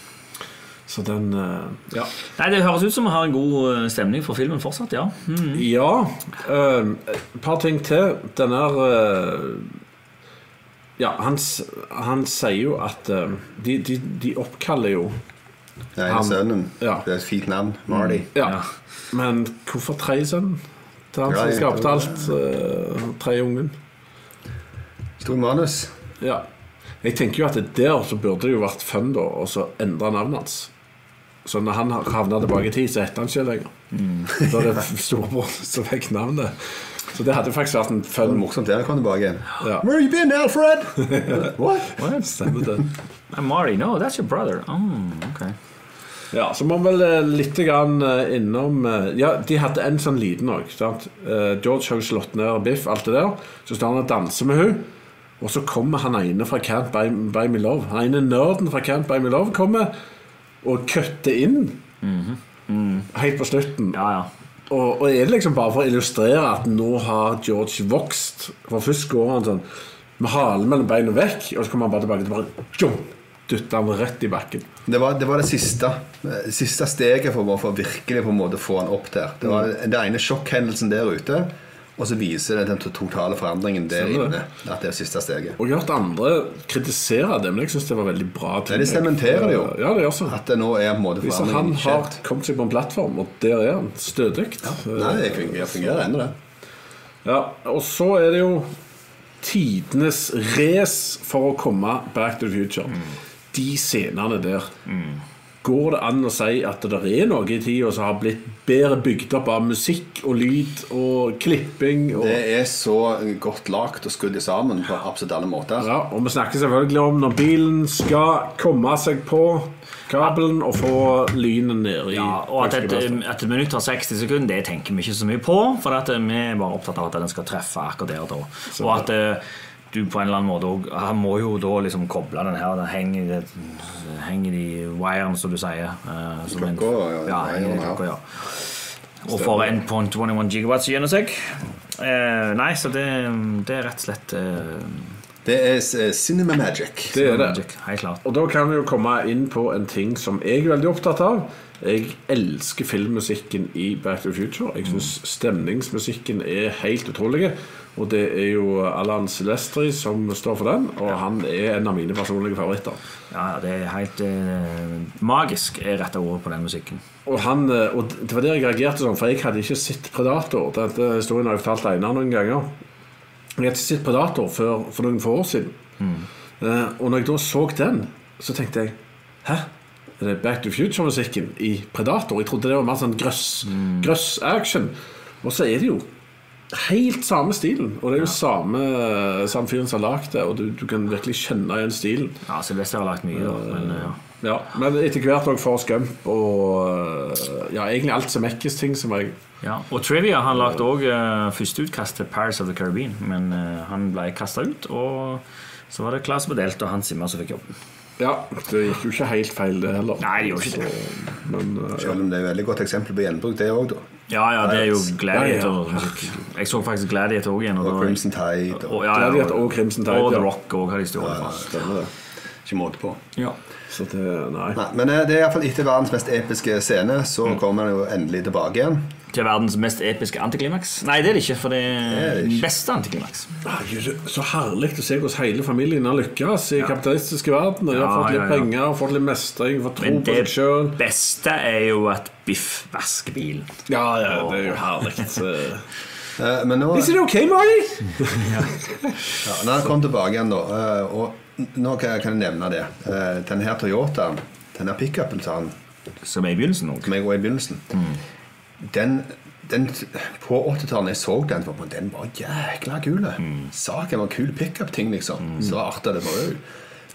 E: så den eh, Ja.
F: Nei, Det høres ut som vi har en god eh, stemning for filmen fortsatt, ja. Mm.
E: ja eh, et par ting til. Den her eh, Ja, han, s- han sier jo at eh, de, de, de oppkaller jo
G: Det er sønnen.
E: Ja.
G: Det er et fint navn. Marty.
E: Ja.
F: Ja.
E: Men hvorfor tre sønnen? Det er han
G: Ja,
E: som
G: jeg
E: skapte
G: tror
E: alt. Uh, tre ungen.
G: Stor manus.
E: Ja. Jeg tenker jo at det der så burde det jo vært fun da å så endre navnet hans. Så når han havna tilbake i tid, så heter han ikke lenger. Da er det storebror som fikk navnet. Så det hadde faktisk vært en
G: Det var
E: fun
G: morsomt der jeg kom tilbake igjen.
E: Ja.
G: Where you been, Alfred? What?
F: Mm.
E: Stemmer det.
F: Nei, Marty, no, that's your brother. Mm, ok.
E: Ja, så må vi vel eh, litt grann eh, innom eh, Ja, de hadde en sånn Eh, liten òg. George har jo slått ned Biff, alt det der. Så står han og danser med hun Og så kommer han ene fra Can't Buy, Buy Me Love. Han ene nerden fra Can't Buy Me Love kommer og kutter inn helt på slutten.
F: Ja, ja.
E: Og, og er det liksom bare for å illustrere at nå har George vokst? For først går han sånn med halen mellom beina vekk, og så kommer han bare tilbake til bare tjong, dytter han rett i bakken.
G: Det var det, var det siste, eh, siste steget for, å- for å virkelig på en måte få han opp der. Det var
E: Mm.
G: den ene sjokkhendelsen der ute, og så viser det den to- totale forandringen der
E: Stemmer det.
G: inne. At det er siste steget.
E: Og jeg har hørt andre kritisere det, men jeg syns det var veldig bra.
G: Nei,
E: tillegg.
G: det sementerer jo
E: Ja, det gjør så.
G: at det nå er på en måte
E: Hvis han
G: forandringen
E: har
G: skjedd.
E: kommet seg på en plattform, og der er han stødig
G: Nei, det fungerer, fungerer ennå, det.
E: Ja, og så er det jo tidenes race for å komme Back to the Future.
G: Mm.
E: De scenene der. Går det an å si at det er noe i tida som har blitt bedre bygd opp av musikk og lyd og klipping? Og,
G: Det er så godt lagt og skudd i sammen på absolutt alle måter.
E: ja, og vi snakker selvfølgelig om når bilen skal komme seg på kabelen og få lynet ned i
F: Ja, og at et,
E: høyskapet.
F: et minutt har 60 sekunder, det tenker vi ikke så mye på. For at eh, vi er bare opptatt av at den skal treffe akkurat der og da. Og at eh, du på en eller annen måte også- Han må jo da liksom koble den her. Den henger i, det, henger i wiren, som du sier. eh, som en-
G: Klokka, ja, i
F: ja, henger i
G: wiren, ja.
F: klokka, ja. Og for 1.21 gigawatt gjennom seg. Eh, nei, så det, det er rett og slett eh,
G: Det er eh, cinema magic.
E: Det er det.
F: magic, Helt klart.
E: Og da kan vi jo komme inn på en ting som jeg er veldig opptatt av. Jeg elsker filmmusikken i Back to the Future. Jeg syns
F: Mm.
E: stemningsmusikken er helt utrolig. Og det er jo Alan Silvestri som står for den, og han er en av mine personlige favoritter.
F: Ja, ja, det er helt eh, magisk, er rette ordet på den musikken.
E: Og, han, eh, og det var der jeg reagerte sånn, for jeg hadde ikke sett Predator. Dette historien har jeg fortalt Einar noen ganger. Jeg hadde ikke sett Predator før for noen få år siden. Eh, og når jeg da så den, så tenkte jeg Hæ? Er det Back to Future-musikken i Predator? Jeg trodde det var mer sånn grøss, grøss action. Og så er det jo helt samme stilen. Og det er jo samme, eh, samme fyren som har lagd det, og du, du kan virkelig kjenne igjen stilen.
F: Ja, Sylvester har lagt mye, da. Men, eh, ja.
E: Ja, men etter hvert òg for Scump og øh, ja, egentlig alt som Mekkes ting som jeg
F: Ja, og Trivia han lagde òg uh, første utkast til Paris of the Caribbean, men eh, han ble kasta ut. Og så var det Claes Bedelt og Hans Zimmer som fikk jobben.
E: Ja, det gikk jo ikke helt feil, det heller.
F: Nei, det gjorde ikke det.
E: Så, men øh,
G: Selv om det er et veldig godt eksempel på gjenbruk, det òg, da.
F: Ja, ja, det er jo
E: Ja,
F: Gladiator.
E: ja.
F: Jeg så faktisk Gladiator òg igjen.
G: Og
F: da-
G: Crimson Tide. Og,
F: Og, ja, ja,
E: Gladiator og Crimson Tide,
F: Og The
E: ja.
F: Rock òg har de stjålet fra.
G: Stemmer det. Ikke måte på.
F: Ja.
E: så det Nei.
G: Nei, men eh, det er iallfall etter verdens mest episke scene, så kommer han jo endelig tilbake igjen.
F: Til verdens mest episke antiklimaks? Nei, det er det ikke, for det
G: er
F: er
G: det
F: den
G: ikke.
F: beste antiklimaks.
E: Ah, jø, Så herlig å se hvordan hele familien har lykkes i kapitalistiske verden. Og de har
F: Ja,
E: fått litt
F: ja, ja.
E: penger, fått litt mestring, fått tro
F: Men
E: på
F: det
E: seg sjøl.
F: beste er jo at Biff vasker bilen.
E: Ja, ja, det er jo herlig. så-
G: Eh, Men nå,
E: Is it okay, Marty?
G: ja, når han kom tilbake igjen, da eh, Og n- nå kan jeg- kan jeg nevne det. Eh, Denne her Toyotaen, denne pickupen til han
F: Som er i begynnelsen òg.
G: som jeg var i begynnelsen den, den, På 80-tallet jeg så den, var den var jækla kul. Saken var kul pickup-ting, liksom. Så arta det var ut.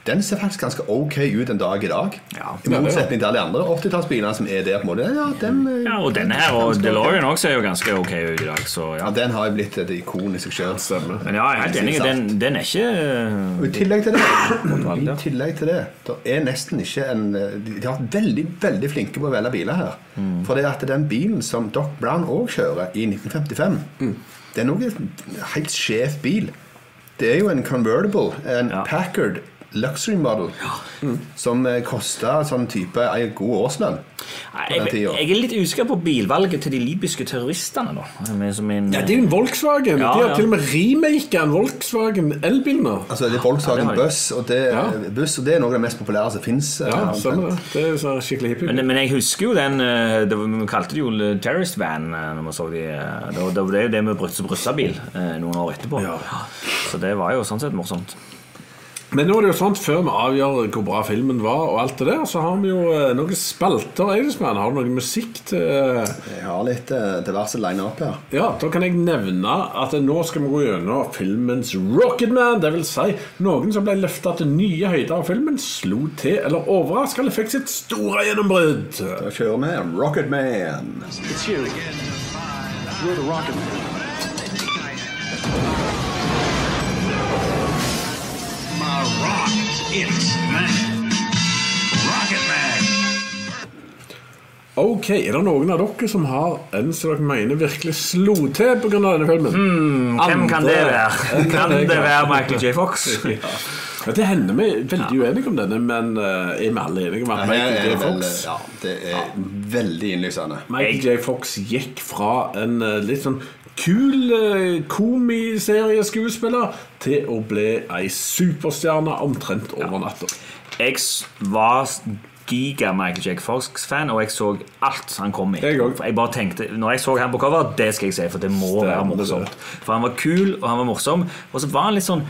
G: Den ser faktisk ganske ok ut en dag i dag.
F: Ja.
G: I motsetning til alle andre 80-tallsbiler som er der. på en måte Ja, den, eh,
F: Ja, og denne her og DeLorean også er jo ganske ok ut i dag, så ja.
G: ja, den har jo blitt et ikon i seg sjøl.
F: Men ja, jeg er helt enig. Den, den er ikke
G: Og I tillegg til det, i tillegg til det der er nesten ikke en De har vært veldig veldig flinke på å velge biler her.
F: Mm.
G: For det at den bilen som Doc Brown òg kjører i 1955,
F: Mm.
G: det er noe helt skjev bil. Det er jo en convertible, en
F: Ja. Mm.
G: Packard luxury model, som kosta sånn type ei god årslønn.
F: Nei,
G: på den
F: jeg,
G: tiden.
F: jeg er litt usikker på bilvalget til de libyske terroristene, da. Som er- som en-
E: Ja, det er jo en
F: Ja,
E: Volkswagen. de har
F: ja.
E: til og med remaka en Volkswagen elbil nå.
G: Altså det er
F: Ja, det
G: Volkswagen
F: har de.
G: Buss, og det,
E: Ja.
G: buss, og det er noe av det mest populære som eh, fins.
E: Ja, stemmer det. Det er jo sånn skikkelig hippie.
F: men, men jeg husker jo den eh, det, var- Vi kalte det jo terrorist van eh, når vi så de eh, Det var det var jo det med Brusse Brussa-bil eh, noen år etterpå.
E: Ja.
F: Så det var jo sånn sett morsomt.
E: Men nå er det jo sånn, før vi avgjør hvor bra filmen var, og alt det der, så har vi jo eh, noen spalter. Eidsmann. Har du noe musikk til eh,
G: Jeg har litt eh, diverse line-up her.
E: Ja, da kan jeg nevne at nå skal vi gå gjennom filmens Rocketman. Det vil si noen som ble løfta til nye høyder av filmen, slo til eller overraska eller fikk sitt store gjennombrudd.
G: Da kjører vi Rocket Man.
B: It's you. You're the rocket man.
E: Ok, Er det noen av dere som har en som dere mener virkelig slo til pga. denne filmen?
F: Hmm, Hvem kan det være? Kan det være Michael J. Fox?
E: Ja, det hender vi er veldig uenige om denne, men eh, er vi alle enige om at
G: Her
E: Michael
G: er
E: J.
G: det vel- eh,
E: Fox
G: Ja, det er veldig innlysende.
E: Michael J. Fox gikk fra en eh, litt sånn kul eh, komiserieskuespiller til å bli ei superstjerne omtrent over natta.
F: Jeg s- var giga Michael J. Fox-fan, og jeg så alt han kom i.
E: Jeg òg.
F: For Jeg bare tenkte, når jeg så han på cover, det skal jeg si, for det må
E: Stemmer
F: være morsomt. For han var kul, og han var morsom, og så var han litt sånn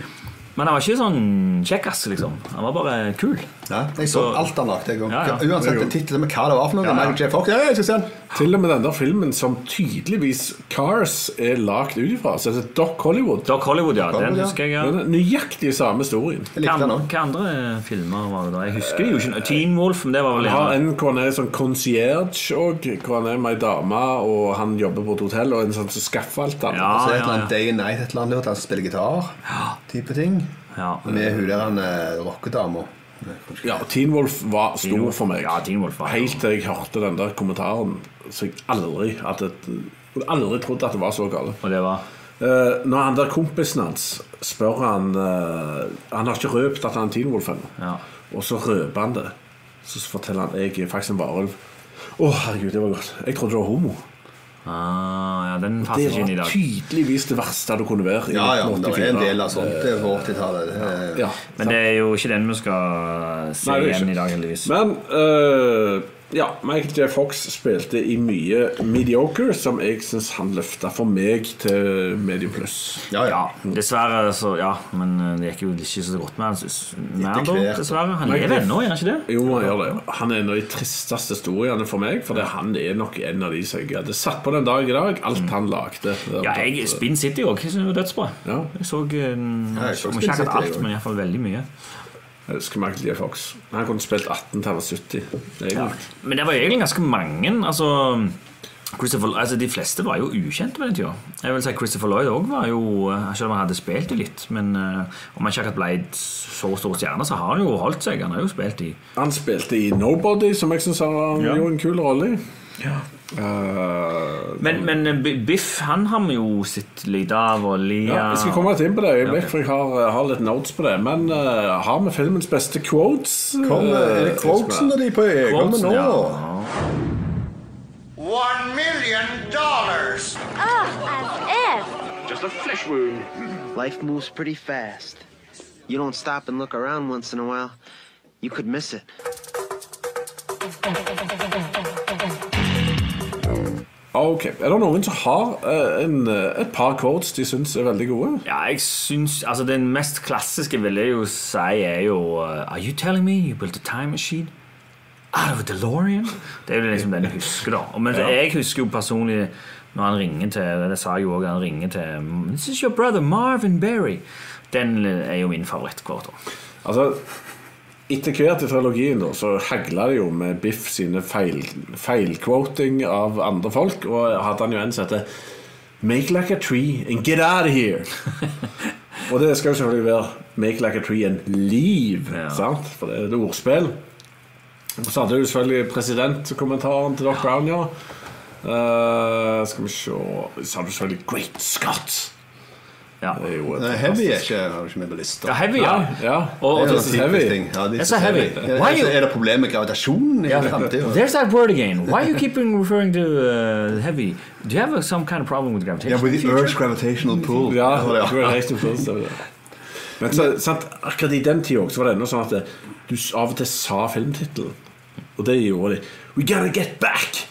F: Men han var ikke sånn kjekkas, liksom. Han var bare kul.
G: Ja, jeg så
F: Så-
G: alt han lagde. jeg.
F: Ja, ja.
G: Uansett hva tittel med hva det var for noe. Michael J. Fox, ja, jeg skal se den.
E: Til og med den der filmen som tydeligvis Cars er lagd ut ifra, som heter Doc Hollywood.
F: Doc Hollywood, ja. Den
G: Hollywood, ja.
F: husker jeg. ja
E: Den er nøyaktig samme historien.
G: Jeg
F: Hva
G: likte den
F: andre,
G: òg.
F: hva andre filmer var det da? Jeg husker jo ikke Teen Wolf, men det var vel
E: Jeg har
F: en
E: en hvor han er sånn concierge òg, hvor han er med ei dame, og han jobber på et hotell, og en sånn som skaffer alt
G: Så
E: annet.
F: Ja, ja,
G: er det et eller
F: ja.
G: annet Day and Night, et eller annet, han spiller gitar. Type ting.
F: Ja.
G: Med hun der han eh, rockedama.
E: Ja, Teen Wolf var
F: Teen
E: stor
F: Wolf-
E: for meg.
F: ja, Teen Wolf var-
E: Helt til jeg hørte den der kommentaren, så jeg aldri hadde Aldri trodd at det var så galt.
F: Og det var
E: Eh, når han der kompisen hans spør han eh, Han har ikke røpt at han er en Teen Wolf ennå.
F: Ja.
E: Og så røper han det. Så forteller han jeg er faktisk en varulv. Å, herregud, det var godt. Jeg trodde du var homo.
F: ah, Ja, den passer
E: Det
F: ikke inn i
E: var
F: dag.
E: tydeligvis det verste du kunne være. i
G: Ja, ja, men det er en
E: 1984.
G: del altså. av sånt det er på 80-tallet. Det er-
E: Ja.
F: Men det er jo ikke den vi skal se
E: Nei, det er
F: igjen
E: ikke.
F: i dag, heldigvis.
E: Men eh, ja, Michael J. Fox spilte i mye mediocre, som jeg syns han løfta for meg til medium pluss.
G: Ja, ja.
F: Ja, dessverre, så Ja, men eh, det gikk jo ikke så godt med han s- med han, da,
G: hvert.
F: dessverre. Han
E: Nei,
F: lever
E: det-
F: ennå, gjør han ikke det?
E: Jo, han gjør det. Han er en av de tristeste historiene for meg, for det, han er nok en av de som jeg hadde satt på den dag i dag. Alt han lagde.
F: Ja, jeg, Spin City òg. Jeg synes det var dødsbra.
E: Ja.
F: Jeg så eh,
G: jeg så
F: om
G: Spin
F: ikke akkurat
G: City, jeg
F: alt,
G: også.
F: men iallfall veldig mye.
E: Jeg elsker Michael J. Fox. Han kunne spilt 18 til han var 70.
F: Ja.
E: egentlig.
F: Men det var jo egentlig ganske mange. Altså, Christopher, altså De fleste var jo ukjente på den tida. Jeg vil si Christopher Lloyd òg var jo eh, Selv om han hadde spilt det litt, men eh, om han ikke akkurat ble så stor stjerne, så har han jo holdt seg. Han har jo spilt i
E: Han spilte i Nobody, som jeg syns han
F: Ja.
E: gjorde en kul rolle i. Eh,
F: Men, men eh, B- Biff, han har vi jo sett lite av, og Lia
E: Ja, jeg skal komme litt inn på det i øyeblikk,
F: Ok.
E: for jeg har, eh, har litt notes på det. Men eh, har vi filmens beste quotes?
G: Kom, eh, er det
E: Eh,
G: Quotesen og de på kommer
F: Watson,
G: nå?
F: ja.
A: One million dollars.
H: Ah, as if.
I: Life moves pretty fast. You don't stop and look around once in a while, you could miss it.
E: Ah, Ok, Er det noen som har eh, en, eh, et par quotes de syns er veldig gode?
F: Ja, jeg syns Altså, den mest klassiske vil jeg jo si er jo uh, Are you telling me you built a time machine? Out of a DeLorean? Det er jo liksom den jeg husker, da. Og Men jeg husker jo personlig når han ringer til Det sa jeg jo også, han ringer til This is your brother Marvin Berry. Den eh, er jo min favorittkvart.
E: Altså, Etter hvert i trilogien da, så hagla det jo med Biff sine feil- feilquoting av andre folk. Og hadde han jo en som heter Make like a tree and get out of here. og det skal jo selvfølgelig være Make like a tree and leave,
F: Ja.
E: sant? for det er et ordspill. Og så hadde du selvfølgelig presidentkommentaren til Doc Brown, ja. Eh, skal vi se Så hadde du selvfølgelig Great Scott.
F: Ja.
E: Det er jo et
G: Nei, Heavy er ikke, har ikke med på lista.
F: ja, heavy, ja.
E: Ja, ja.
F: Og, og
G: Det er
E: this
G: sånn
E: is
G: typisk
E: heavy.
G: ting. Ja, this
F: It's a
G: is
F: heavy.
G: Er, Altså,
F: Why you-
G: er det problem med gravitasjonen i fremtiden?
F: There's that word again. Why you keeping referring to uh, heavy? Do you have uh, some kind of problem with gravitation?
G: Yeah, with the Earth's gravitational pull.
E: Ja,
G: Det var det,
E: du er helt opptatt av det. Men så, sant, akkurat i den tida også var det ennå sånn at det, du s- av og til sa filmtittelen. Og det gjorde de. We gotta get back!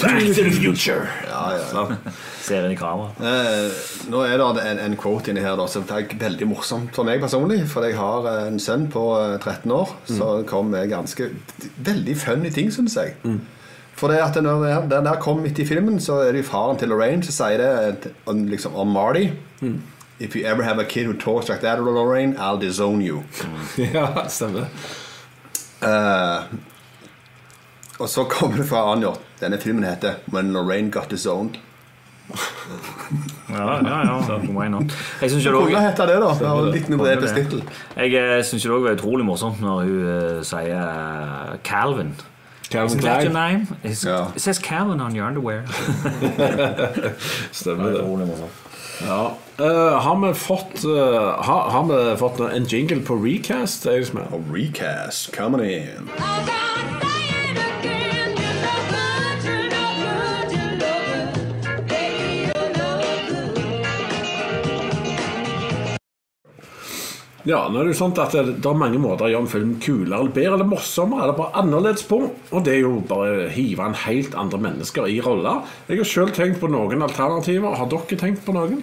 E: Back to the future!
G: Ja, ja.
E: Sant?
F: Ser inn i kamera.
G: Eh, nå er det en, en quote inni her da, som er veldig morsom for meg personlig. For jeg har eh, en sønn på eh, 13 år som kom med ganske veldig funny ting, syns jeg. For det at når den- den der kom midt i filmen, så er det jo faren til Lorraine som sier det eh, om, liksom, om Marty. If you ever have a kid who talks like that, Lorraine, I'll disown you.
E: Ja, stemmer.
G: Eh, og så kommer det fra Anjo. Denne filmen heter When Lorraine Got Disowned.
F: Ja, ja, ja. Why not? Jeg syns
G: Det kunne hette det, da. Det var en litt mindre episk
F: det.
G: tittel.
F: Jeg eh, synes jo det også var utrolig morsomt når hun eh, sier eh, Calvin.
E: Calvin
F: Isn't that your
E: Klein.
F: name? It's-
G: Ja.
F: It says Calvin on your underwear.
E: Stemmer det.
F: Utrolig morsomt.
E: Ja. Eh, har vi fått, eh, har, har vi fått en jingle på recast? Er det som er?
G: Og Recast coming in.
E: Ja, nå er det jo sånn at det, det er mange måter å gjøre en film kulere eller bedre eller morsommere eller bare annerledes på. Og det er jo bare å hive en helt andre mennesker i roller. Jeg har sjøl tenkt på noen alternativer. Har dere tenkt på noen?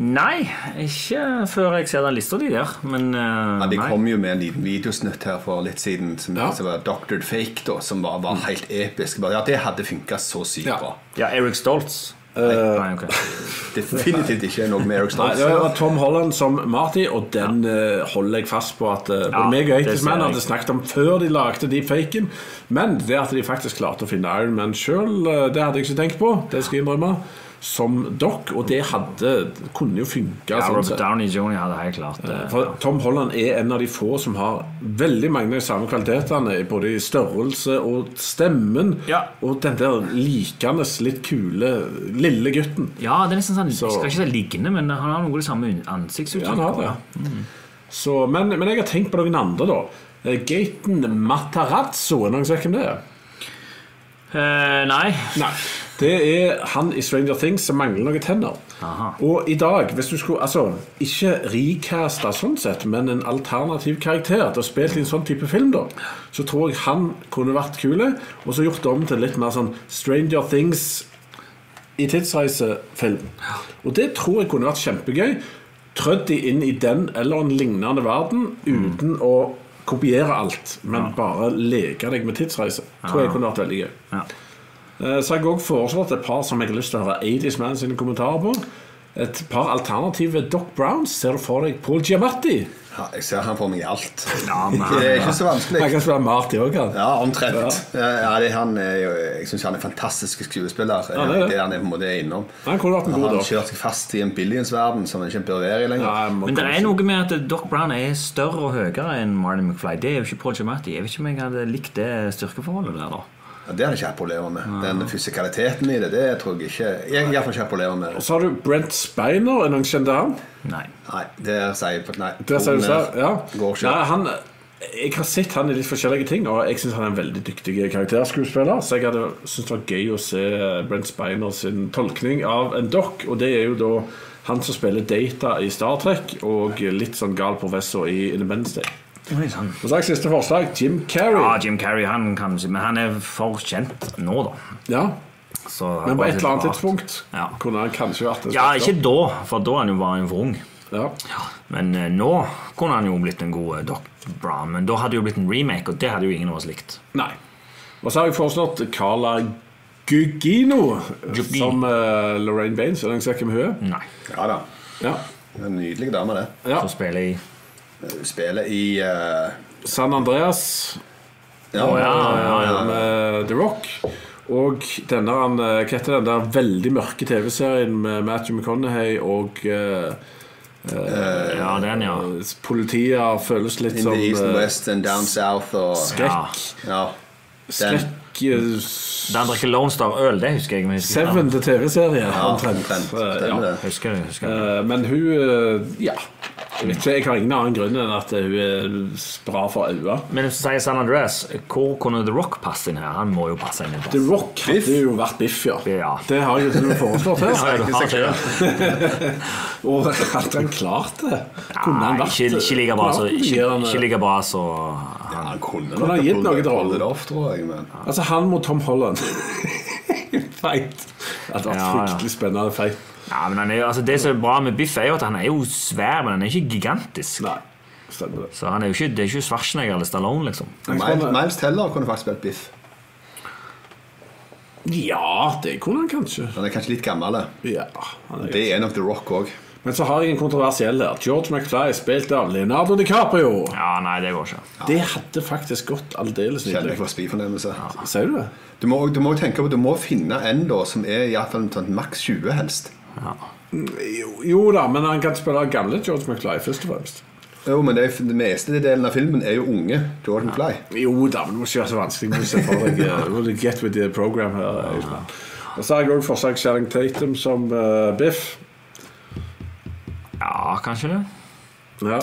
F: Nei, ikke før jeg ser den lista di der. Men eh,
G: Ja, De
F: nei.
G: kom jo med en liten videosnutt her for litt siden som,
E: Ja. Mm.
G: som var Doctored Fake, da, som var, var helt episk. Bare, Ja, Det hadde funka så sykt
E: Ja.
G: bra.
F: Ja, Eric Stoltz. Eh, nei, ok.
G: Definitivt ikke noe med Eric
E: Nei, det var
G: Stoltz.
E: Tom Holland som Marty, og den eh, holder jeg fast på at uh,
F: Ja,
E: både meg og
F: det
E: Hates
F: ser
E: Man
F: jeg.
E: hadde snakket om før de lagde de faken. Men det at de faktisk klarte å finne Iron Man sjøl, det hadde jeg ikke tenkt på. Det skal jeg innrømme. Som dokk, og det hadde kunne jo funka.
F: Ja,
E: sånn
F: Robert
E: sett.
F: Downey jr. hadde helt klart eh, det.
E: Eh, For Tom Holland er en av de få som har veldig mange av de samme kvalitetene, både i størrelse og stemmen,
F: Ja.
E: og den der likende, litt kule lille gutten.
F: Ja, det er nesten sånn,
E: Så-
F: jeg skal ikke si liggende, men han har noe av det samme
E: Ja, han har
F: ansiktsuttrykket.
E: det. Så, men, men jeg har tenkt på noen andre, da. Eh, Gaten Matarazzo, er det noen som vet hvem det er?
F: Eh, nei.
E: Nei. Det er han i Stranger Things som mangler noen tenner.
F: Aha.
E: Og i dag, hvis du skulle Altså, ikke recaste sånn sett, men en alternativ karakter til å spille i en sånn type film, da, så tror jeg han kunne vært kul, og så gjort det om til litt mer sånn Stranger Things i tidsreisefilm. Og det tror jeg kunne vært kjempegøy. Trødd de inn i den eller en lignende verden
F: Mm.
E: uten å kopiere alt, men bare leke deg med tidsreise. Tror jeg kunne vært veldig gøy.
F: Ja.
E: Eh, Så har jeg også foreslått et par som jeg har lyst til å høre 80's Man sine kommentarer på. Et par alternative Doc Browns. Ser du for deg Paul Giamatti?
G: Ja, jeg ser han for meg i alt.
F: Ja, men-
G: det er ikke så vanskelig.
E: Han kan spille Marty òg, han.
G: Ja, omtrent. Ja. Ja, det, er han er jo, jeg syns han er en fantastisk skuespiller.
E: Ja, det er det.
G: han er på en måte er innom.
E: Han kunne vært en god
G: Han
E: dag.
G: har kjørt seg fast i en billions-verden som han ikke bør være i lenger.
E: Ja, jeg må
F: Men det
E: komme
F: er
E: til-
F: noe med at Doc Brown er større og høyere enn Martin McFly. Det er jo ikke Paul Giamatti. Jeg vet ikke om jeg hadde likt det styrkeforholdet der, da.
G: Ja, det har jeg ikke hatt problemer med. Den fysikaliteten i det, det tror jeg ikke Jeg har iallfall ikke hatt problemer med.
E: Så har du Brent Spiner. Er noen kjent til han?
F: Nei.
G: Nei, der sier jeg Nei.
E: Der ser du
G: tonen
E: der.
G: her
E: Ja.
G: Går ikke.
E: Nei, han, jeg har sett han i litt forskjellige ting, og jeg syns han er en veldig dyktig karakterskuespiller. Så jeg hadde syntes det var gøy å se eh, Brent Spiner sin tolkning av en doc, og det er jo da han som spiller Data i Star Trek, og litt sånn gal professor i Independence Day.
F: Oi, sann.
E: Og så har jeg siste forslag. Jim
F: Ja,
E: Carrey.
F: Jim Carrey, han kan si, men han er for kjent nå, da.
E: Ja,
F: Så
E: men på
F: bare
E: et eller annet
F: rart.
E: tidspunkt
F: Ja.
E: kunne han kanskje vært en
F: Ja,
E: spiller.
F: ikke da, for da er han jo bare en vrung.
E: Ja.
F: Men eh, nå kunne han jo blitt en god eh, Doc Brown, men da hadde det jo blitt en remake, og det hadde jo ingen av oss likt.
E: Nei. Og så har jeg foreslått Carla Gugino
F: Gugino. Mm.
E: som eh, Lorraine Baines. Er det noen som vet hvem hun er?
F: Nei.
G: Ja da.
E: Ja.
G: En nydelig dame, det.
E: ja.
F: Så spiller jeg
G: Hun spiller i eh,
E: San Andreas eh,
G: ja,
F: Å, ja, ja, ja.
E: med The Rock. Og denne han, eh, hva heter den der veldig mørke TV-serien med Matthew McConaughey og eh,
F: Ja, den, ja.
E: politiet føles litt
G: In
E: som
G: the East and
E: eh,
G: West and Down South og
F: Skrekk.
G: Ja. Den.
E: skrekk eh, s-
F: Den drikker Lone Star-øl, det husker jeg. men jeg husker ikke
E: Seven til TV-serie,
G: Ja,
E: omtrent.
G: omtrent.
E: Eh,
G: Stemmer
F: navnet.
G: det.
F: Ja, husker jeg, husker jeg.
E: Eh, Men hun eh, Ja. Jeg vet ikke, jeg har ingen annen grunn enn at eh, hun er bra for øynene.
F: Men hvis du sier San Andreas, hvor kunne The Rock passe inn her? Han må jo passe inn. i
E: The
F: plass.
E: Rock
G: Biff?
E: hadde jo vært biff, ja.
F: Ja.
E: Det har jeg jo til og med foreslått
F: Ja,
E: her.
F: du har det, ja.
E: Og hadde han klart det? Kunne han
F: Nei,
E: vært eh,
F: Ikke ikke like bra så-
E: kunne han
F: ikke-
E: vært-
F: ikke like bra så
G: Ja, han kunne
E: han gitt noe til
G: holde
E: rollen?
G: det opp, tror jeg. Men.
E: Altså, han mot Tom Holland. Feit. Det hadde vært
F: Ja, ja.
E: fryktelig spennende feit.
F: Ja, men han er, jo- altså, Det som er bra med Biff, er jo at han er jo svær, men han er ikke gigantisk.
E: Nei, stemmer det.
F: Så han er jo ikke, Det er ikke Schwarzenegger eller Stallone, liksom.
G: Miles, Miles Teller kunne faktisk spilt Biff.
E: Ja, det kunne han kanskje.
G: Han er kanskje litt gammel. det.
E: Ja, han er
G: Det er nok The Rock òg.
E: Men så har jeg en kontroversiell her. George McFly spilt av Leonardo DiCaprio.
F: Ja, Nei, det går ikke.
E: Det hadde faktisk gått aldeles
G: Kjenner jeg
E: nydelig.
G: for spyfornemmelse.
E: Sier du det?
G: Du må, du må tenke på, du må finne en da som er i hvert fall omtrent maks 20, helst.
E: Jo da, men han kan spille gamle George McFly, først og fremst.
G: Jo, men det, er- det meste delen av filmen er jo unge. Jordan Fly.
E: Jo da, men det må ikke være så vanskelig. Du må se for deg eh, må du Get with the program her. eh, Øystein. Og så har jeg òg forsøkt Sharing Tatum som eh, Biff.
F: Ja, kanskje det.
E: Ja.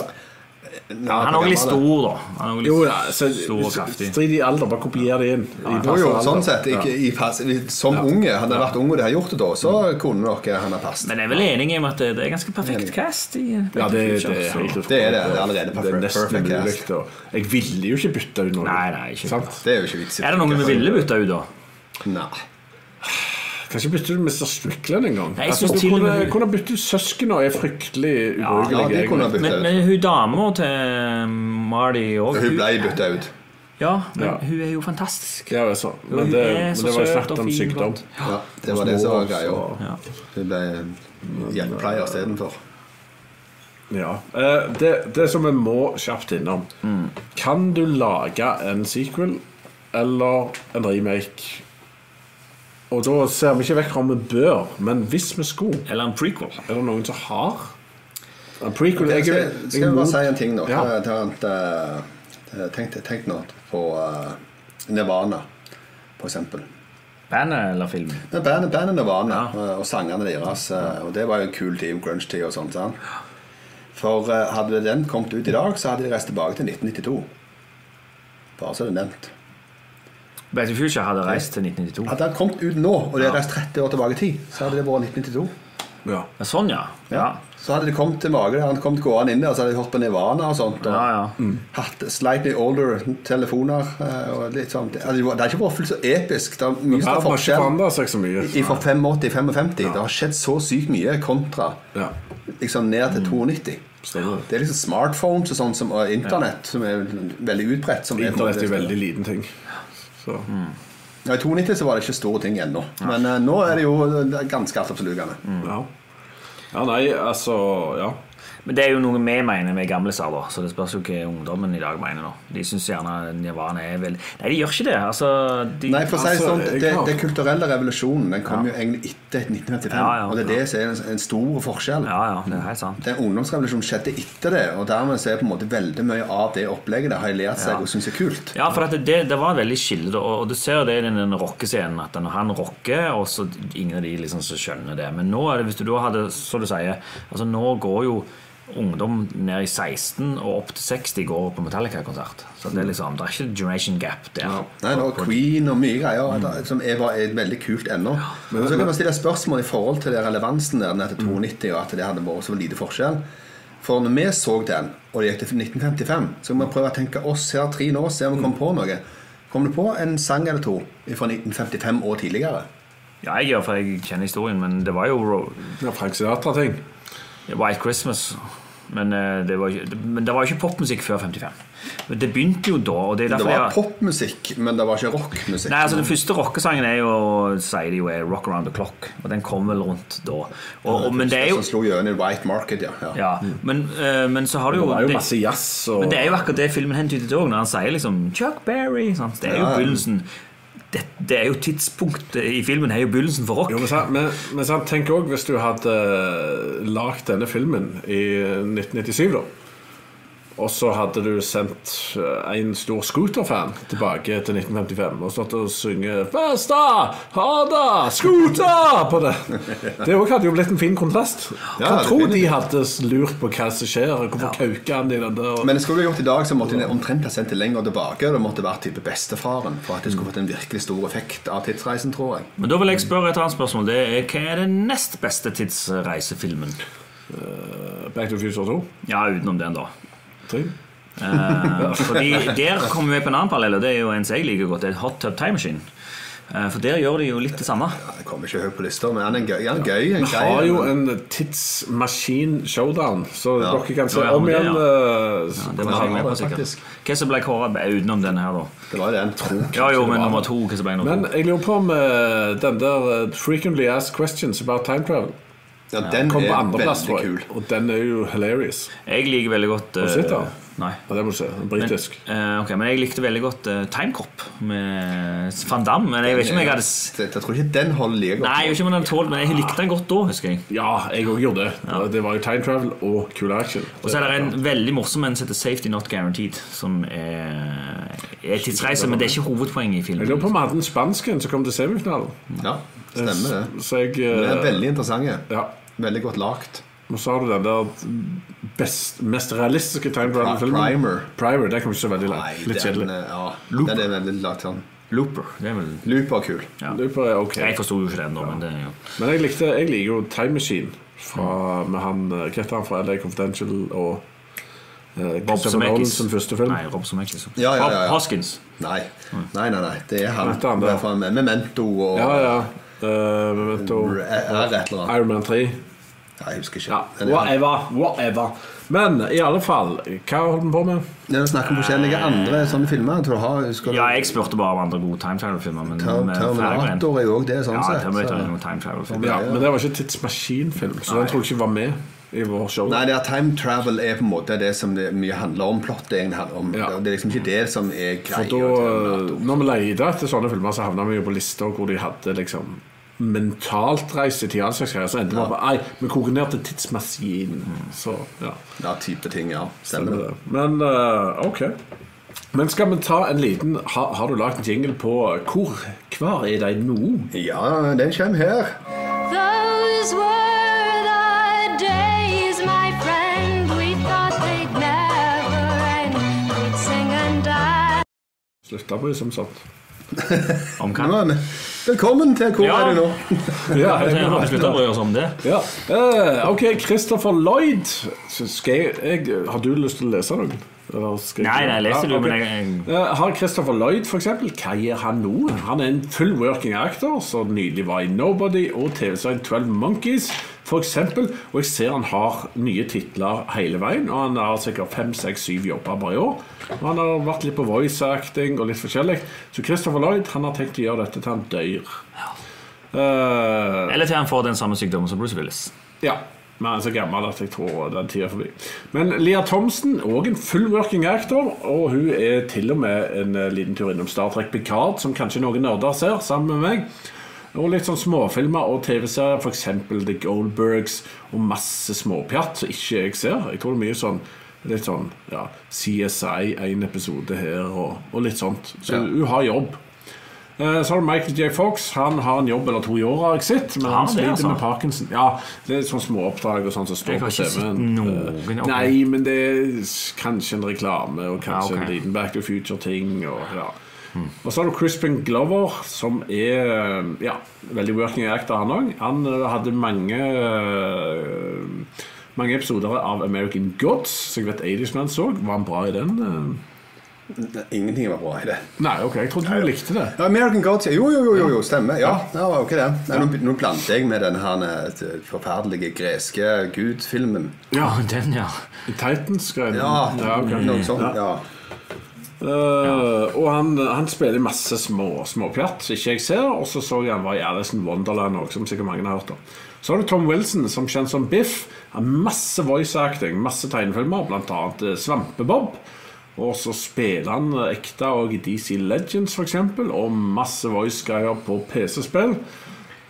F: Han er også litt stor, da. Han er også litt
E: Jo da, så
F: stor og kraftig.
E: strid i alder. Bare kopier det inn.
G: Jo, jo,
E: I
F: altså.
E: passe
G: sånn
E: alder.
G: sett. Ikke, i pass, som unge. Hadde han vært ung og de har gjort det da, så kunne nok han ha passet.
F: Mm. Men jeg er vel enig i at det det er ganske perfekt cast. I
E: Ja, det, det, er
F: så-
E: helt utrolig.
G: Det er det, det er allerede
E: Det er nesten
G: perfect cast.
E: mulig, da. Jeg ville jo ikke bytte ut noe.
F: Nei, nei, ikke
E: Sant?
G: Det er jo ikke vits i.
F: Er det noe vi ville bytte ut, da?
G: Nei.
E: Kan ikke bytte ut Mr. Strickland engang.
F: Nei, jeg synes
E: du
F: til og
E: kunne,
F: med-
E: kunne bytte ut søsknene, og er fryktelig ubrukelig.
G: Ja, de kunne ha bytta
F: Men,
G: ut.
F: men hun dama til Mardi òg
G: Hun ble bytta ut.
F: Ja, men
E: Ja.
F: hun er jo fantastisk.
E: Ja, jeg sa. Men
F: Hun
E: det,
F: er
E: men
F: så
E: det var jo
F: søt
E: snakk
F: og
E: om
F: fin,
E: sykdom.
F: godt.
G: Ja, det var det som var greia. Hun ble hjelpepleier istedenfor.
E: Ja. Eh, det, det som vi må kjapt innom
G: Mm.
E: Kan du lage en sequel eller en remake? Og da ser vi ikke vekk fra om vi bør, men hvis vi skulle,
F: Eller en prequel.
E: er det noen som har en prequel?
G: Skal,
E: Jeg,
G: skal
E: jeg,
G: jeg bare si en ting nå?
E: Ja.
G: Ta- ta et, eh, Tenk, tenk nå på eh, Nirvana, for eksempel.
F: Bandet eller filmen?
G: Ja, Bandet bandet Nirvana eh, og sangene deres. eh, Og det var jo en kul team, grunge-tid og sånt. sant? For eh, hadde den kommet ut i dag, så hadde de reist tilbake til 1992. Bare så det er nevnt.
F: Back to Future hadde reist til 1992.
G: Hadde den kommet ut nå, og de hadde reist 30 år tilbake i tid, så hadde det vært 1992.
E: ja.
F: Ja, Sånn, ja.
G: Ja. Så hadde de kommet til mage der, han kom gående inn der, så hadde de hørt på Nirvana og sånt. Og
F: Ja, ja.
E: Mm.
G: Hatt slightly older telefoner eh, og litt sånt. Det hadde jo- det har ikke vært fullt så episk. Det er mye
E: Det
G: større
E: har ikke
G: forskjell
E: forandra seg så mye.
G: i- fra 85 til 55. Det har skjedd så sykt mye kontra
E: Ja. Mm.
G: liksom ned til 92.
E: Stemmer det.
G: Det er liksom smartphones og sånn som, og internett som er veldig utbredt. Som er-
E: Internett er veldig liten ting. Så.
F: Mm.
G: Ja, I 92 så var det ikke store ting ennå. Men eh, nå er det jo eh, ganske altoppslukende.
F: Mm.
E: Ja. ja, nei, altså Ja.
F: Men det er jo noe vi mener med gamliser, da. Så det spørs jo hva ungdommen i dag mener nå. De syns gjerne Nirvana er veldig Nei, de gjør ikke det. Altså, de...
G: Nei, for å si det
E: Altså,
G: sånn,
E: jeg
G: det,
E: kan-
G: det kulturelle revolusjonen den kom jo egentlig etter 1955.
F: Ja, ja,
G: og det er det som er en, en stor forskjell.
F: Ja, ja, det er helt sant.
G: Den ungdomsrevolusjonen skjedde etter det, og dermed så er på en måte veldig mye av det opplegget det har lært seg og syns er kult.
F: Ja, for at det, det var veldig skille, da, og og du ser jo det i den, den rockescenen. At når han rocker, og så ingen av de liksom så skjønner det. Men nå er det, hvis du da hadde, så du sier altså Nå går jo ungdom ned i 16 og opp til 60 går på Metallica-konsert. Så det er liksom, det er ikke generation gap der.
G: Nei, nå, Queen og mye greier
F: Mm.
G: da, som er, bare- er veldig kult ennå. Og så kan man stille spørsmål i forhold til det relevansen der ned til
F: Mm.
G: 92, og at det hadde vært så lite forskjell. For når vi så den, og det gikk til 1955, så må vi prøve å tenke oss her tre nå, se om vi
F: Mm.
G: kommer på noe. Kommer du på en sang eller to fra 1955 og tidligere?
F: Ja, jeg gjør for jeg kjenner historien, men det var jo Ro-
E: Ja, Frank Sinatra-ting.
F: White Christmas. Men eh, det var, ikke- men det var jo ikke popmusikk før 55. Men det begynte jo da. og det er
G: Det
F: derfor
G: var
F: jeg...
G: popmusikk, men det var ikke rockmusikk.
F: Nei, altså Den første rockesangen er jo sier de jo er 'Rock Around the Clock'. Og den kom vel rundt da. Og, og, men det er jo
G: Som slo gjennom i White Market, ja. ja.
F: ja, men, eh, men så har du
E: Det
F: jo,
E: var jo
F: det-
E: masse jazz og
F: Men det er jo akkurat det filmen hentyder til òg, når han sier liksom 'Chuck Berry'. Sant? Det er jo begynnelsen. Det, det er jo tidspunktet i filmen er jo begynnelsen for rock.
E: Jo, men, sant- men, men sant, tenk òg hvis du hadde eh, lagd denne filmen i 1997, da. Og så hadde du sendt eh, en stor scooterfan tilbake til 1955 og stått og synge 'Festa! Harda! Scooter!' på det. Det også hadde jo blitt en fin kontrast.
G: Ja,
E: Hva tror de
G: definitivt.
E: hadde lurt på hva som skjer? og Hvorfor kauker han i den der?
G: Men det skulle du gjort i dag, så måtte de omtrent ha sendt det lenger tilbake. Og det måtte vært type bestefaren for at det skulle fått en virkelig stor effekt av tidsreisen, tror jeg.
F: Men da vil jeg spørre et annet spørsmål. Det er, hva er den nest beste tidsreisefilmen?
E: Back to the Future 2?
F: Ja, utenom den, da.
E: Tre?
F: Eh, fordi Der kommer vi på en annen parallell, og det er jo en som jeg liker godt. Det er Hot Tub Time Machine. Eh, for der gjør de jo litt det samme.
G: Ja, det kommer ikke høyt på lista, men han er en gøy. Han er gøy en
E: Vi har
G: gøy-
E: jo en tidsmaskin-showdown, så dere kan se
F: Ja, ja,
E: om
F: det,
E: igjen.
F: ja.
E: eh,
F: Ja, det var jeg med på, sikkert. Hva som ble kåret utenom den her, da?
G: Det var jo den tro.
F: Ja jo, men nummer to. Hva som ble nummer to?
E: Men eh, jeg lurer på om eh, den der eh, frequently asked questions about time travel
G: Ja, den
E: Kom på
G: er
E: andreplass,
G: veldig
E: tror jeg.
G: kul.
E: Og den er jo hilarious.
F: Jeg liker veldig godt eh,
E: Har du sett den?
F: Nei.
E: Ja, det må du se. Den er
F: Men,
E: Britisk.
F: eh, ok, men jeg likte veldig godt eh, Time Cop med Van Damme. Men jeg vet ikke om jeg hadde s-
G: Jeg, jeg tror ikke den holder like godt.
F: Nei, jeg vet ikke om jeg hadde tålt, men jeg likte den godt da, husker jeg.
E: Ja, jeg òg gjorde det. Det var jo time travel og cool action.
F: Og så er det en veldig morsom en som heter Safety Not Guaranteed, som er, er tidsreise, men det er ikke hovedpoenget i
E: Jeg lurer på
F: filmen.
E: om vi hadde en spansk en som kom til semifinalen.
G: Ja, stemmer det.
E: Så jeg
G: Den er
E: eh,
G: veldig interessant.
E: Ja.
G: Veldig godt lagt.
E: Nå sa du den der best, mest realistiske time travel-filmen.
G: Primer.
E: Primer, Det kom ikke så veldig
G: Nei,
E: langt. Litt
G: den,
E: kjedelig.
G: eh, ja,
F: Looper.
G: den er veldig lagt sånn. Looper.
F: Det er vel-
G: Looper er kul.
F: Ja.
E: Looper er ok.
F: Jeg forsto jo ikke den da, men det er jo
E: Men jeg, likte, jeg liker jo Time Machine fra, med han eh, Hva heter han fra LA Confidential og eh, Christopher Nolan sin første film?
F: Nei, Rob Zemeckis.
G: Ja, ja, ja, ja.
F: Hoskins.
G: Nei. nei, nei, nei. Det er han.
E: Dette er han, det.
G: Det er fra Memento og
E: Ja, ja. Eh, Memento,
G: Er er et eller annet.
E: Iron Man 3.
G: Nei, jeg husker ikke.
E: Ja,
G: Den er-
E: whatever. Whatever. Men i alle fall, hva holdt vi på med?
G: Det er å snakke om forskjellige andre sånne filmer. Jeg tror du har, skal du-
F: Ja, jeg spurte bare om andre gode time travel-filmer. Men
G: Ter-
F: men Fergren-
G: Terminator er jo òg det, sånn
F: Ja,
G: sett.
F: Terminator er
G: så-
F: jo en time travel-film.
E: Ja, men det var ikke tidsmaskinfilm, så den tror jeg ikke var med i vår show.
G: Nei, det er time travel er på en måte det som det mye handler om. Plottet egentlig handler om.
E: Ja.
G: Det er liksom ikke det som er
E: For
G: greia.
E: da,
G: Terminator.
E: når vi leter etter sånne filmer, så havna vi jo på lister hvor de hadde liksom mentalt reist i tid. all slags greier, Så endte vi opp med Nei, vi koker ned til tidsmaskin. Så, ja.
G: Ja, type ting, ja. Stemmer
E: Stemmer
G: det.
E: det. Men eh, ok. Men skal vi ta en liten ha, Har du lagd en jingle på Hvor hver er de nå?
G: Ja, den kommer her.
H: Those were the days, my friend. We thought they'd never end. We'd sing and die.
E: Slutta på det som sånt.
F: Om hva?
G: Nå er vi. Velkommen til Hvor
F: Ja.
G: er du nå?
E: Ja,
F: Jeg har besluttet å bry oss om det.
E: ja. Eh, ok, Christopher Lloyd. Så skal jeg, jeg, har du lyst til å lese noen? Eller skal jeg-
F: Nei, nei, leser du,
E: ok.
F: men jeg- jeg-
E: Eh, Har Christopher Lloyd, for eksempel, hva gjør han nå? Han er en full working actor, som nylig var i Nobody og TV-serien 12 Monkeys, for eksempel. Og jeg ser han har nye titler hele veien, og han har sikkert fem, seks, syv jobber bare i år. Og han har vært litt på voice acting og litt forskjellig. Så Christopher Lloyd han har tenkt å gjøre dette til han dør. Eh,
F: Eller til han får den samme sykdommen som Bruce Willis.
E: ja. Men han er så gammel at jeg tror den tida er forbi. Men Lea Thomsen, òg en full working actor, og hun er til og med en eh, liten tur innom Star Trek Picard, som kanskje noen nerder ser, sammen med meg. Og litt sånn småfilmer og TV-serier, f.eks. The Goldbergs, og masse småpjatt som ikke jeg ser. Jeg tror det er mye sånn litt sånn ja, CSI, én episode her, og, og litt sånt. Så hun har jobb. Eh, Så har du Michael J. Fox. Han har en jobb eller to i året, har jeg sett. Men
F: Har
E: han
F: han det,
E: sliter
F: altså?
E: med Parkinson. Ja, det er sånne småoppdrag og sånn som står
F: Jeg har
E: på
F: ikke sett
E: TV-en.
F: noen
E: Eh,
F: av
E: Nei, men det er s- kanskje en reklame, og kanskje
F: Ja, ok.
E: en liten Back to Future-ting. Og, ja. og så har du Crispin Glover, som er eh, ja, veldig working actor, han òg. Han eh, hadde mange eh, mange episoder av American Gods, som jeg vet 80's Man så. Var han bra i den? eh?
G: Ingenting var bra i det.
E: Nei, ok, jeg trodde du likte det.
G: Ja, American Gods Jo, jo, jo, jo, jo stemmer. Ja, det var jo ikke det. Nei, nå, nå blandet jeg med den her eh, forferdelige greske gudfilmen.
F: Ja, den, ja.
E: Titans-greiene.
G: Ja,
E: ok.
G: noe sånt. Ja.
E: Eh, og han, han spiller i masse små småpjatt som ikke jeg ser. Og så så jeg han var i Alice in Wonderland òg, som sikkert mange har hørt om. Så har du Tom Wilson, som kjent som Biff. Han har masse voice acting, masse tegnefilmer, bl.a. Uh, Svampebob. Og så spiller han eh, ekte og i DC Legends, f.eks., og masse voice-greier på PC-spill.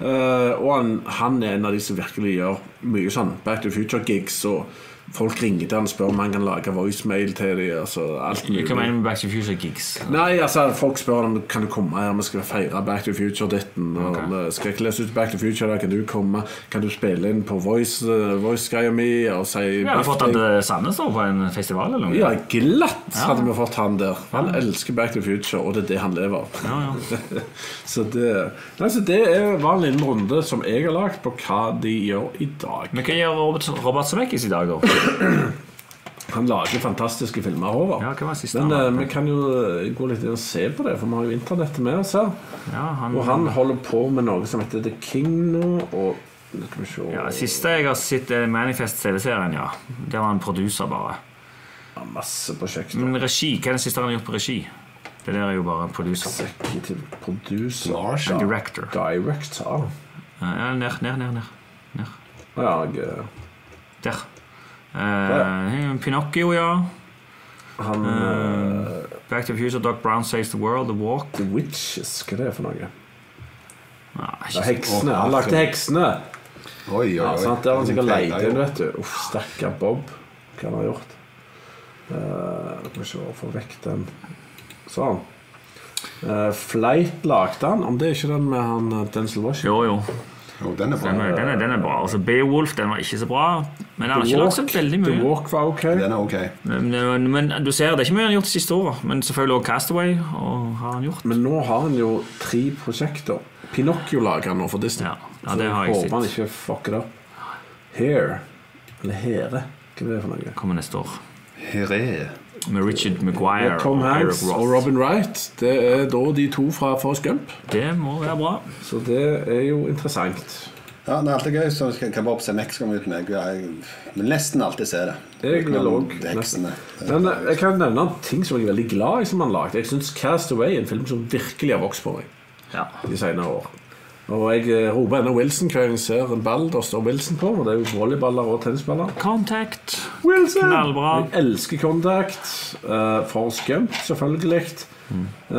E: Eh, og han, han er en av de som virkelig gjør mye sånn Back to Future-gigs. Og folk ringer til han og spør om han kan lage voicemail til dem. Altså, alt mulig.
F: Hva mener du med Back to the Future Gigs?
E: Nei, altså folk spør om Kan du komme her, vi skal feire Back to Future-ditten. og vi Skal ikke lese ut Back to Future, da kan du komme? Kan du spille inn på voice, eh, voice-greia mi? Og si
F: Vi hadde fått han
E: birthday?
F: til Sandnes da, på en festival eller noe.
E: Ja, glatt hadde vi fått han der. Han elsker Back to Future, og det er det han lever av.
F: Ja,
E: så det, nei, så det er, var en liten runde som jeg har lagt på hva de gjør i dag.
F: Men hva gjør Robert, Robert Zemeckis i dag, da?
E: Han lager fantastiske filmer, Håvard.
F: Ja, hva var siste
E: Men
F: han lagde?
E: eh, vi kan jo eh, gå litt inn og se på det, for vi har jo internettet med oss her.
F: Ja, han-
E: Og han holder på med noe som heter The King nå, og nå skal vi se
F: Ja, det siste jeg har sett, er Manifest TV-serien, ja. Der var han produser, bare.
E: Ja, Masse prosjekter.
F: Men regi, hva er det siste han har gjort på regi? Det der er jo bare producer.
E: Executive producer
F: Director.
E: Director.
F: Ja, ned, ned, ned, ned. ned.
E: Ja, jeg, eh,
F: Der. Eh, Pinocchio, ja.
E: han eh,
F: Back to the Future, Doc Brown Saves the World, The Walk.
E: The Witches, hva er det for noe?
F: Nei, Ah, ikke
E: Det er
F: så-
E: heksene. Han lagde heksene.
G: Oi, oi, oi.
E: Ja, sant? Der var han sikkert
G: Feil
E: leid
G: dag.
E: inn, vet du. Uff, stakkar Bob. Hva han har gjort. Eh, Skal vi se, få vekk den. Sånn. Eh, Flight lagde han. Om det er ikke den med han eh, Denzel Washington?
F: Jo, jo.
G: Jo, den er bra.
F: Den er, den er, den er bra. Altså, Beowulf den var ikke så bra. Men han har ikke lagd så veldig
E: The
F: mye.
E: Walk var ok.
G: Den er ok.
F: Men, men du ser, det er ikke mye han har gjort de siste åra. Men selvfølgelig også Castaway og har han gjort.
E: Men nå har han jo tre prosjekter. Pinocchio lager han nå for Disney.
F: Ja, ja, det har jeg
E: håper
F: sett.
E: han ikke fucker det opp. Hair. Eller Here. Hva er det for noe?
F: Kommer neste år.
G: Heré.
F: Med Richard Maguire
E: Ja, Tom
F: og Eric
E: Hanks og
F: Roth.
E: Robin Wright. Det er da de to fra Forrest Gump.
F: Det må være bra.
E: Så det er jo interessant.
G: Ja, det er alltid gøy. Så kan kan bare opp se Mexico ut med. Jeg vil nesten alltid se det.
E: Jeg vil
G: Utenom
E: også.
G: Heksene.
E: Men eh, jeg kan nevne en ting som jeg er veldig glad i som han lagde. Jeg syns Cast Away er en film som virkelig har vokst på meg
F: Ja.
E: de senere år. Og jeg eh, roper ennå Wilson hver gang jeg ser en ball der står Wilson på. Og det er jo volleyballer og tennisballer.
F: Contact.
E: Wilson!
F: Knallbra.
E: Jeg elsker Contact. Uh, Forrest Gump, selvfølgelig.
F: Mm.
E: Eh,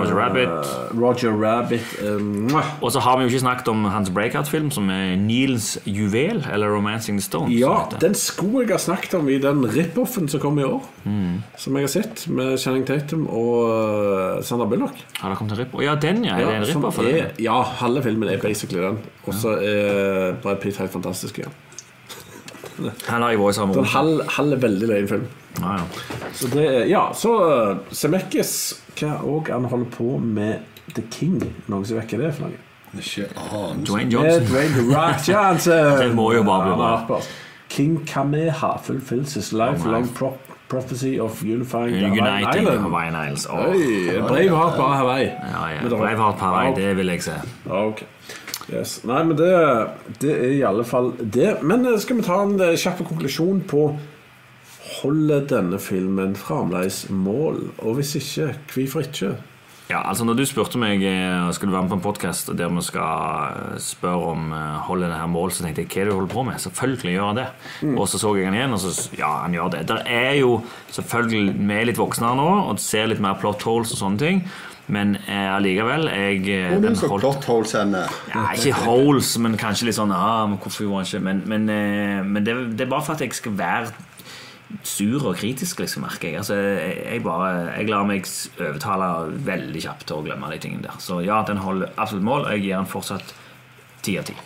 F: Roger Rabbit.
E: Roger Rabbit. eh, mwah.
F: Og så har vi jo ikke snakket om hans breakout-film, som er Neils juvel, eller 'Romancing the Stone'. som
E: ja,
F: heter.
E: den skulle jeg ha snakket om i den rip-offen som kom i år.
F: Mm.
E: Som jeg har sett, med Channing Tatum og eh, Sandra Bullock.
F: Har det kommet en rip Å, ja, den, ja. er det en
E: som
F: ripper for
E: er-
F: den?
E: Ja, halve filmen er basically den. Og så er Brad Pitt helt fantastisk igjen.
F: Han har jeg vært sammen
E: Den
F: med.
E: halv, halv er veldig løyen film.
F: Ja, ja.
E: Så det er, ja, så eh, Zemeckis Hva òg han holder på med The King? Noen som vekker det for noe?
G: Ikke anelse.
F: Dwayne
E: Med
F: Johnson.
E: Eh, Dwayne The Rock Johnson.
F: Det må jo bare bli bra.
E: Ja, bra. King Kameha fulfills his lifelong pro prophecy of unifying the Hawaiian
F: Uniting
E: Island.
F: Hawaiian Islands. Åh.
E: Oi, Braveheart på Hawaii.
F: Ja, ja.
E: Men det var-
F: Braveheart Hawaii,
E: Ja,
F: det vil jeg se.
E: Ja, ok. Yes. Nei, men det, det er i alle fall det. Men eh, skal vi ta en eh, kjapp konklusjon på Holder denne filmen fremdeles mål? Og hvis ikke, hvorfor ikke?
F: Ja, altså Når du spurte meg eh, skal du være med på en podkast der vi skal eh, spørre om eh, holder det her mål, så tenkte jeg hva er det du holder på med? Selvfølgelig gjør han det.
E: Mm.
F: Og så så jeg han igjen, og så s- ja, han gjør det. Der er jo selvfølgelig Vi er litt voksne nå og ser litt mer plot holes og sånne ting, men eh, allikevel jeg, eh,
G: Hvor er
F: den
G: det som
F: holdt-
G: plot holes henne?
F: Ja, ikke holes, men kanskje litt sånn ah, men Hvorfor gjorde han ikke Men, men, eh, men det, det er bare for at jeg skal være sur og kritisk, liksom, merker jeg. Altså, jeg, jeg bare Jeg lar meg s- overtale veldig kjapt til å glemme de tingene der. Så ja, den holder absolutt mål, og jeg gir den fortsatt ti av ti.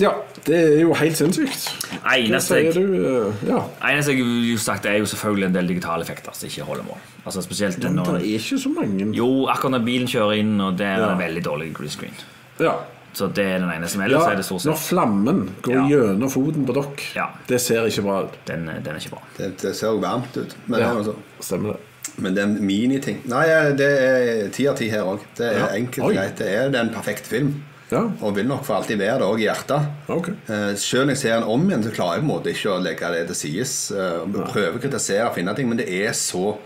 E: Ja, det er jo helt sinnssykt. Hva
F: Eneste
E: sier
F: jeg
E: du? eh, Ja.
F: eneste jeg vil sagt, er jo selvfølgelig en del digitale effekter som ikke holder mål. Altså spesielt
E: Men det
F: når
E: er ikke så mange.
F: Jo, akkurat når bilen kjører inn, og det er
E: Ja.
F: en veldig dårlig green screen.
E: Ja.
F: Så det er den eneste. Men ellers
E: Ja,
F: er det stort
E: når
F: sett
E: flammen går
F: Ja.
E: gjennom foten på dere,
F: Ja.
E: det ser ikke bra ut.
F: den, den er ikke bra.
G: Det, det ser jo varmt ut. Men, det er jo så-
E: Stemmer det.
G: men det er en miniting. Nei, det er ti av ti her òg. Det er
E: Ja.
G: enkelt
E: Oi.
G: og greit. Det er det er en perfekt film.
E: Ja.
G: Og vil nok for alltid være det òg i hjertet.
E: Ok.
G: Eh, Selv når jeg ser den om igjen, så klarer jeg på en måte ikke å legge det til sides. Eh, Prøve å kritisere og finne ting, men det er så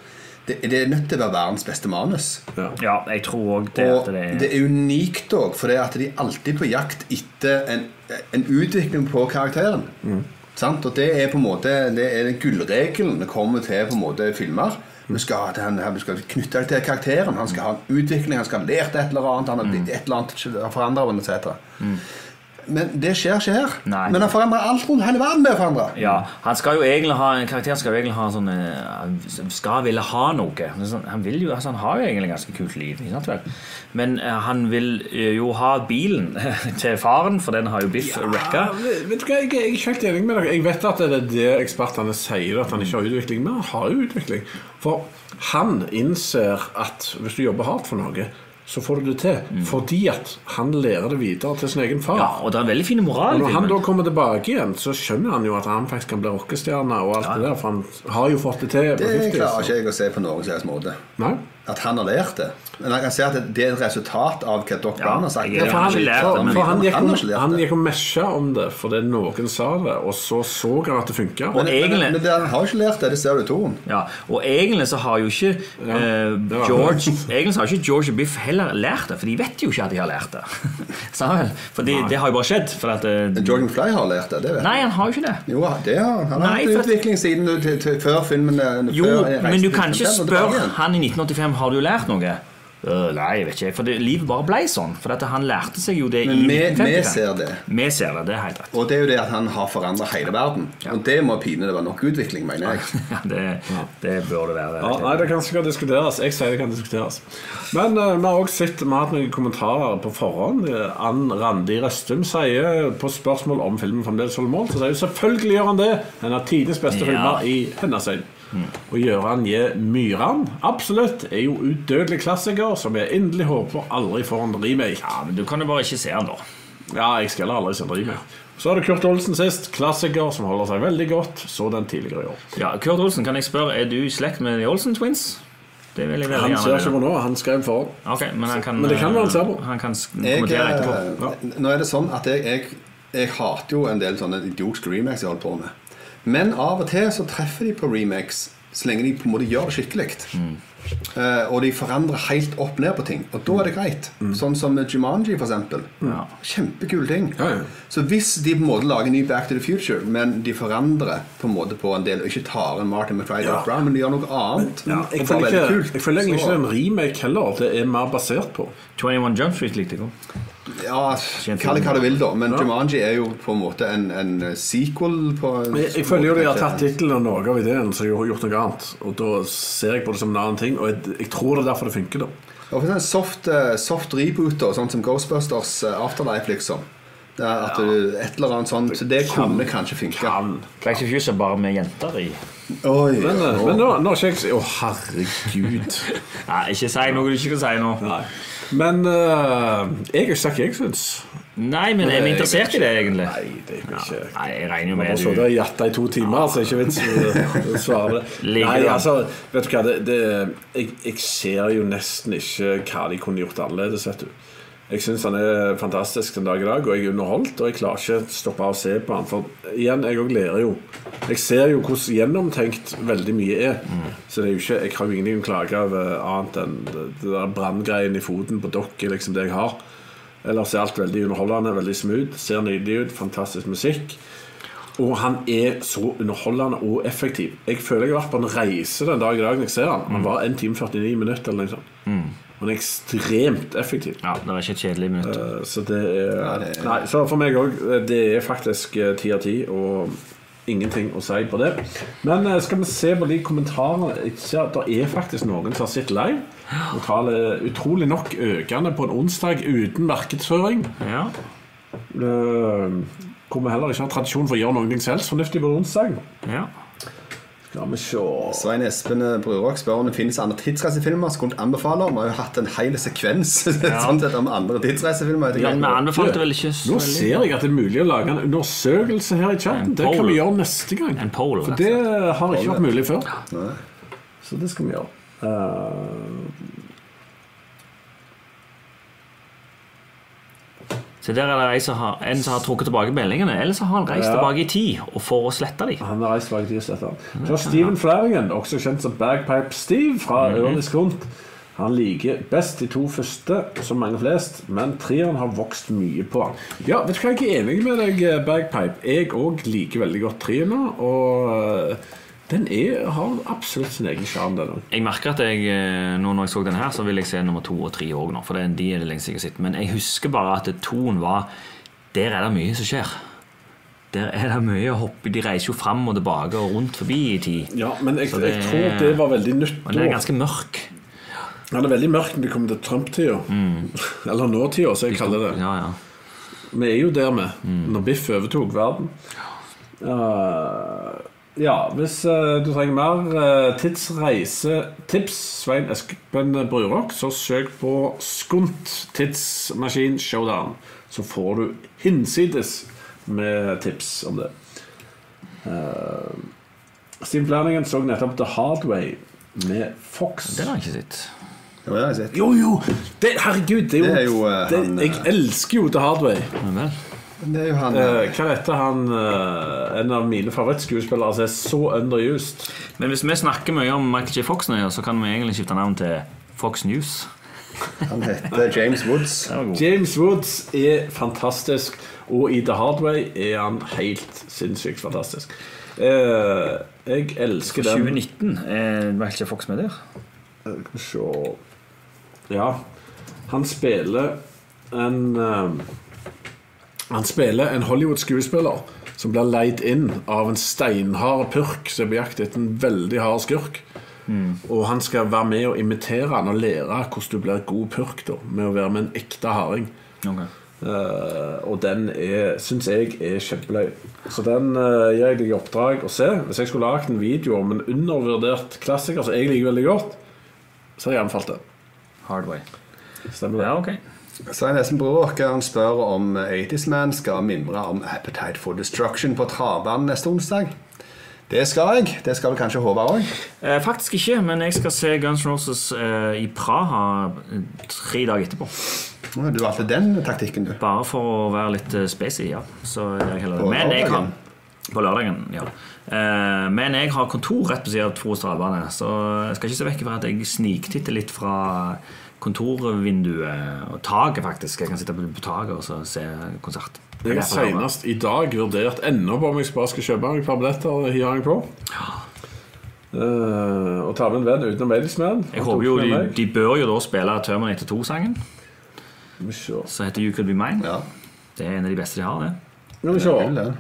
G: Det, det er nødt til å være verdens beste manus.
E: Ja.
F: Ja, jeg tror òg det.
G: Og
F: at det er-
G: det er unikt òg, for det at de alltid er på jakt etter en, en utvikling på karakteren. Sant? Og det er på en måte Det er den gullregelen når det kommer til på en måte filmer. Du skal, den, her- du skal knytte deg til karakteren. Han skal ha en utvikling, han skal ha lært et eller annet. Han har blitt et eller annet forandret, etc. Men det skjer ikke her.
F: Mm. Nei.
G: Men han forandrer alt rundt hele verden. blir forandret.
F: Ja, han skal jo egentlig ha Karakteren skal jo egentlig ha sånn eh, Han skal ville ha noe. Men sånn, Han, vil jo, altså, han har jo egentlig ganske kult liv. Ikke sant vel? Men eh, han vil eh, jo ha bilen til faren, for den har jo Biff wrecka.
E: Ja, vet vet du hva, jeg, jeg er ikke helt enig med dere. Jeg vet at det er det ekspertene sier, at han ikke har utvikling, men han har jo utvikling. For han innser at hvis du jobber hardt for noe, så får du det til. Fordi at han lærer det videre til sin egen far.
F: Mm. Ja, og det er en veldig fin moral. i
E: Og når han
F: filmen.
E: da kommer tilbake igjen, så skjønner han jo at han faktisk kan bli rockestjerne og alt det der, for han har jo fått det til. på
G: Det
E: 50,
G: klarer
F: altså.
E: så-
G: ikke jeg å se på noen som helst måte.
E: Nei?
G: at han har lært det. Men han kan si at det er et resultat av hva Doc Brown har sagt.
F: jeg er-
E: for han,
F: har ikke lært det,
E: for,
F: men-
E: for han gikk
G: Han
E: og,
G: har ikke lært
E: han
G: det.
E: gikk og mesja om det fordi noen sa det, og så så han at det funka.
G: Men, men,
F: egentlig-
G: men, det- han har jo ikke lært det. Det ser du i toen.
F: Ja, og egentlig så har jo ikke eh,
E: det var-
F: George Egentlig så har ikke George og Biff heller lært det, for de vet jo ikke at de har lært det. Sa vel? For det, det har jo bare skjedd. For at, eh,
G: Jordan Fly har lært det. det vet jeg.
F: nei, han har jo ikke det.
G: Jo, det har han. Han har
F: Nei,
G: hatt
F: for at-
G: utvikling siden til, til, før filmen eh,
F: Jo,
G: før jeg reiste
F: men du
G: til
F: kan ikke
G: Kristiansand og tilbake
F: spørre
G: igjen.
F: han i 1985 har du lært noe. Øh, nei, jeg vet ikke. For det, livet bare ble sånn. For at han lærte seg jo det i
G: Men vi, vi
F: 1955.
G: ser det.
F: Vi ser det, det er helt rett.
G: Og det er jo det at han har forandra hele verden.
F: Ja.
G: Og det må pine det var nok utvikling, mener jeg.
F: Ja, det, det bør det være.
E: Ja, nei, Det kan sikkert diskuteres. Jeg sier det kan diskuteres. Men eh, vi har også sett vi har hatt noen kommentarer på forhånd. Eh, Ann Randi Røstum sier på spørsmål om filmen fremdeles holder mål, så sier hun selvfølgelig gjør han det. En av tidenes beste
F: Ja.
E: filmer i hennes øyne. Og Gøran J. Myran absolutt, er jo udødelig klassiker som jeg inderlig håper aldri får en remake.
F: Ja, men Du kan jo bare ikke se han da.
E: Ja, jeg skal heller aldri se en remake. Så er det Kurt Olsen sist. Klassiker som holder seg veldig godt. Så den tidligere i år.
F: Ja, Kurt Olsen, kan jeg spørre, er du i slekt med de Olsen Twins? Det vil jeg veldig
E: Han ser
F: gjerne vite.
E: ikke på nå. Han skrev forhånd.
F: Ok, men, han kan, øh,
E: Men det kan være han ser på.
F: Han kan s-
G: Jeg,
F: kommentere etterpå.
E: Ja.
G: eh, nå er det sånn at jeg, jeg, jeg hater jo en del sånne idiotiske remakes jeg holder på med. Men av og til så treffer de på remakes så lenge de på en måte gjør det skikkelig.
E: Mm.
G: Eh, og de forandrer helt opp ned på ting. Og da er det greit.
E: Mm.
G: Sånn som Jumanji, for eksempel.
F: Ja.
G: Kjempekule ting.
E: Ja, ja.
G: Så hvis de på en måte lager en ny Back to the Future, men de forandrer på en måte på en del, og ikke tar en Martin McFry
E: Ja.
G: Doc Brown, men de gjør noe annet som
E: Ja, jeg,
G: var
E: føler
G: veldig
E: ikke,
G: kult,
E: jeg føler egentlig
G: så-
E: ikke det er en remake heller. Det er mer basert på.
F: 21 Jump Street likte jeg også.
G: Ja,
F: Kjent
G: kall det hva du
F: film.
G: vil, da. Men Jumanji er jo på en måte en, en eh, sequel på
E: Jeg, jeg føler jo de har tatt tittelen og noe av ideen, så de har gjort noe annet. Og da ser jeg på det som en annen ting, og jeg, jeg tror det er derfor det funker, da.
G: Og for en soft, eh, soft reboot, da, sånn som Ghostbusters eh, Afterlife, liksom. Det er At du, et eller annet sånt, så det kunne kanskje funke.
E: Kan.
F: Back to the Future bare med jenter i.
G: Oi,
E: Men,
G: ja.
E: eh, men nå, nå har ikke jeg Å, herregud.
F: Nei, ikke si noe du ikke kan si nå.
E: Nei. Men eh, jeg har ikke sagt hva jeg syns.
F: Nei, men er vi interessert i det, egentlig?
E: Nei, det er jeg ikke.
F: Nei, jeg regner jo
E: Man har
F: med
E: sittet
F: du
E: og jatta i to timer, så det er ikke vits i å svare det.
F: Ligger
E: Nei,
F: det an?
E: altså, vet du hva, det, det, jeg, jeg ser jo nesten ikke hva de kunne gjort annerledes, vet du. Jeg syns han er fantastisk den dag i dag, og jeg er underholdt. Og jeg klarer ikke å stoppe å se på han. For igjen, jeg òg lærer jo. Jeg ser jo hvordan gjennomtenkt veldig mye er.
F: Mm.
E: Så det er jo ikke, jeg har jo ingenting å klage over annet enn det, det der branngreien i foten på dokket, liksom det jeg har. Ellers er alt veldig underholdende, veldig smooth. Ser nydelig ut, fantastisk musikk. Og han er så underholdende og effektiv. Jeg føler jeg har vært på en reise den dag i dag når jeg ser han. Han var 1 time 49 minutter eller noe sånt. Han er ekstremt effektiv.
F: Ja, det var ikke et kjedelig minutt.
E: Eh, Så det er Nei, så for meg òg. Det er faktisk eh, ti av ti, og ingenting å si på det. Men eh, skal vi se på de kommentarene Jeg ser at Det er faktisk noen som har sett live. Og tallet er utrolig nok økende på en onsdag uten markedsføring.
F: Ja.
E: Eh, Hvor vi heller ikke har tradisjon for å gjøre noe som helst fornuftig på en onsdag.
F: ja.
E: Skal vi se
G: Svein Espen Brurok spør om det finnes andre tidsreisefilmer som kunne anbefale. Vi har jo hatt en hel sekvens sånn sett om andre tidsreisefilmer. Jeg tenker-
F: Men vi anbefalte vel ikke så
E: Nå
F: veldig
E: ser jeg at det er mulig å lage en undersøkelse her i chatten.
F: En
E: Det kan
F: poll.
E: vi gjøre neste gang.
F: En poll,
E: For
F: rett og
E: det har ikke vært mulig før.
G: Nei.
E: Så det skal vi gjøre. Eh,
F: Så der er det en som har, en som har trukket tilbake meldingene, eller så har han reist
E: Ja.
F: tilbake i tid og får å slette de.
E: han har reist tilbake til Island.
F: Mm,
E: Så Steven Flæringen, også kjent som Bagpipe Steve fra
F: Mhm.
E: Ørnis Grunt, han liker best de to første, som mange flest, men treeren har vokst mye på han. Ja, vet du hva, jeg er enig med deg, eh, Bagpipe. Jeg òg liker veldig godt treeren, nå, og eh, den er, har absolutt sin egen sjarm, den òg.
F: Jeg merker at jeg, eh, nå når jeg så den her, så vil jeg se nummer to og tre òg nå. For det er de er det lengst jeg har sett. Men jeg husker bare at toen var Der er det mye som skjer. Der er det mye å hoppe i. De reiser jo fram og tilbake og rundt forbi i tid.
E: Ja, men jeg,
F: Så det-
E: jeg tror det var veldig nytt.
F: Men den
E: da.
F: er ganske mørk.
E: Han er veldig mørk når vi kommer til Trump-tida. Eller nåtida, som jeg kaller det.
F: Mm. Ja, ja.
E: Vi er jo der med, når Biff overtok verden. Eh, ja, hvis eh, du trenger mer eh, tidsreisetips, Svein Espen Brurok, så søk på Skunt tidsmaskin showdown. Så får du hinsides med tips om det. Eh, Steve Flanagan så nettopp The Hard Way med Fox.
F: Den har jeg ikke sett.
G: Ja, det har jeg sett.
E: Jo, jo! Det, herregud, det er jo,
G: Det er jo, eh,
E: det,
G: han, eh,
E: Jeg elsker jo The Hardway.
G: Det er jo han
E: Eh, hva heter han eh, En av mine favorittskuespillere som er så underused?
F: Men hvis vi snakker mye om Michael J. Fox nå, ja, så kan vi egentlig skifte navn til Fox News.
G: Han heter James Woods.
E: James Woods er fantastisk, og i The Hardway er han helt sinnssykt fantastisk. Eh, jeg elsker den.
F: 2019 er Michael J. Fox med der.
E: Skal vi se Ja. Han spiller en eh, Han spiller en Hollywood-skuespiller som blir leid inn av en steinhard purk som er på jakt etter en veldig hard skurk. Og han skal være med og imitere han og lære hvordan du blir god purk da, med å være med en ekte harding.
F: Ok.
E: Eh, og den er, syns jeg er kjempeløy. Så den eh, gir jeg deg i oppdrag å se. Hvis jeg skulle lagd en video om en undervurdert klassiker som jeg liker veldig godt, så hadde jeg anbefalt det.
F: Hard way.
E: Stemmer det?
F: Ja, ok.
G: Svein Esen Bråk han spør om 80's Man skal mimre om Appetite for Destruction på travbanen neste onsdag. Det skal jeg. Det skal vel kanskje Håvard òg.
F: Eh, faktisk ikke, men jeg skal se Guns N' Roses eh, i Praha eh, tre dager etterpå.
G: Du valgte den taktikken, du.
F: Bare for å være litt eh, spacey, ja. Så gjør jeg heller
G: På
F: det. Men jeg har
G: lørdagen?
F: På lørdagen, ja. Eh, men jeg har kontor rett på siden av Tros Dalbane, så jeg skal ikke se vekk fra at jeg sniktitter litt fra kontorvinduet og taket, faktisk. Jeg kan sitte på på taket og så se konsert.
E: Jeg har senest i dag vurdert ennå på om jeg bare skal kjøpe meg et par billetter og hive meg på. Eh, og ta med en venn utenom Ladiesman.
F: Jeg håper jo de, de bør jo da spille Terminator 2-sangen,
E: Skal
F: som heter You Could Be Mine.
G: Ja,
F: Det er en av de beste de har, det.
E: vi
G: det er vel
E: se.
G: det.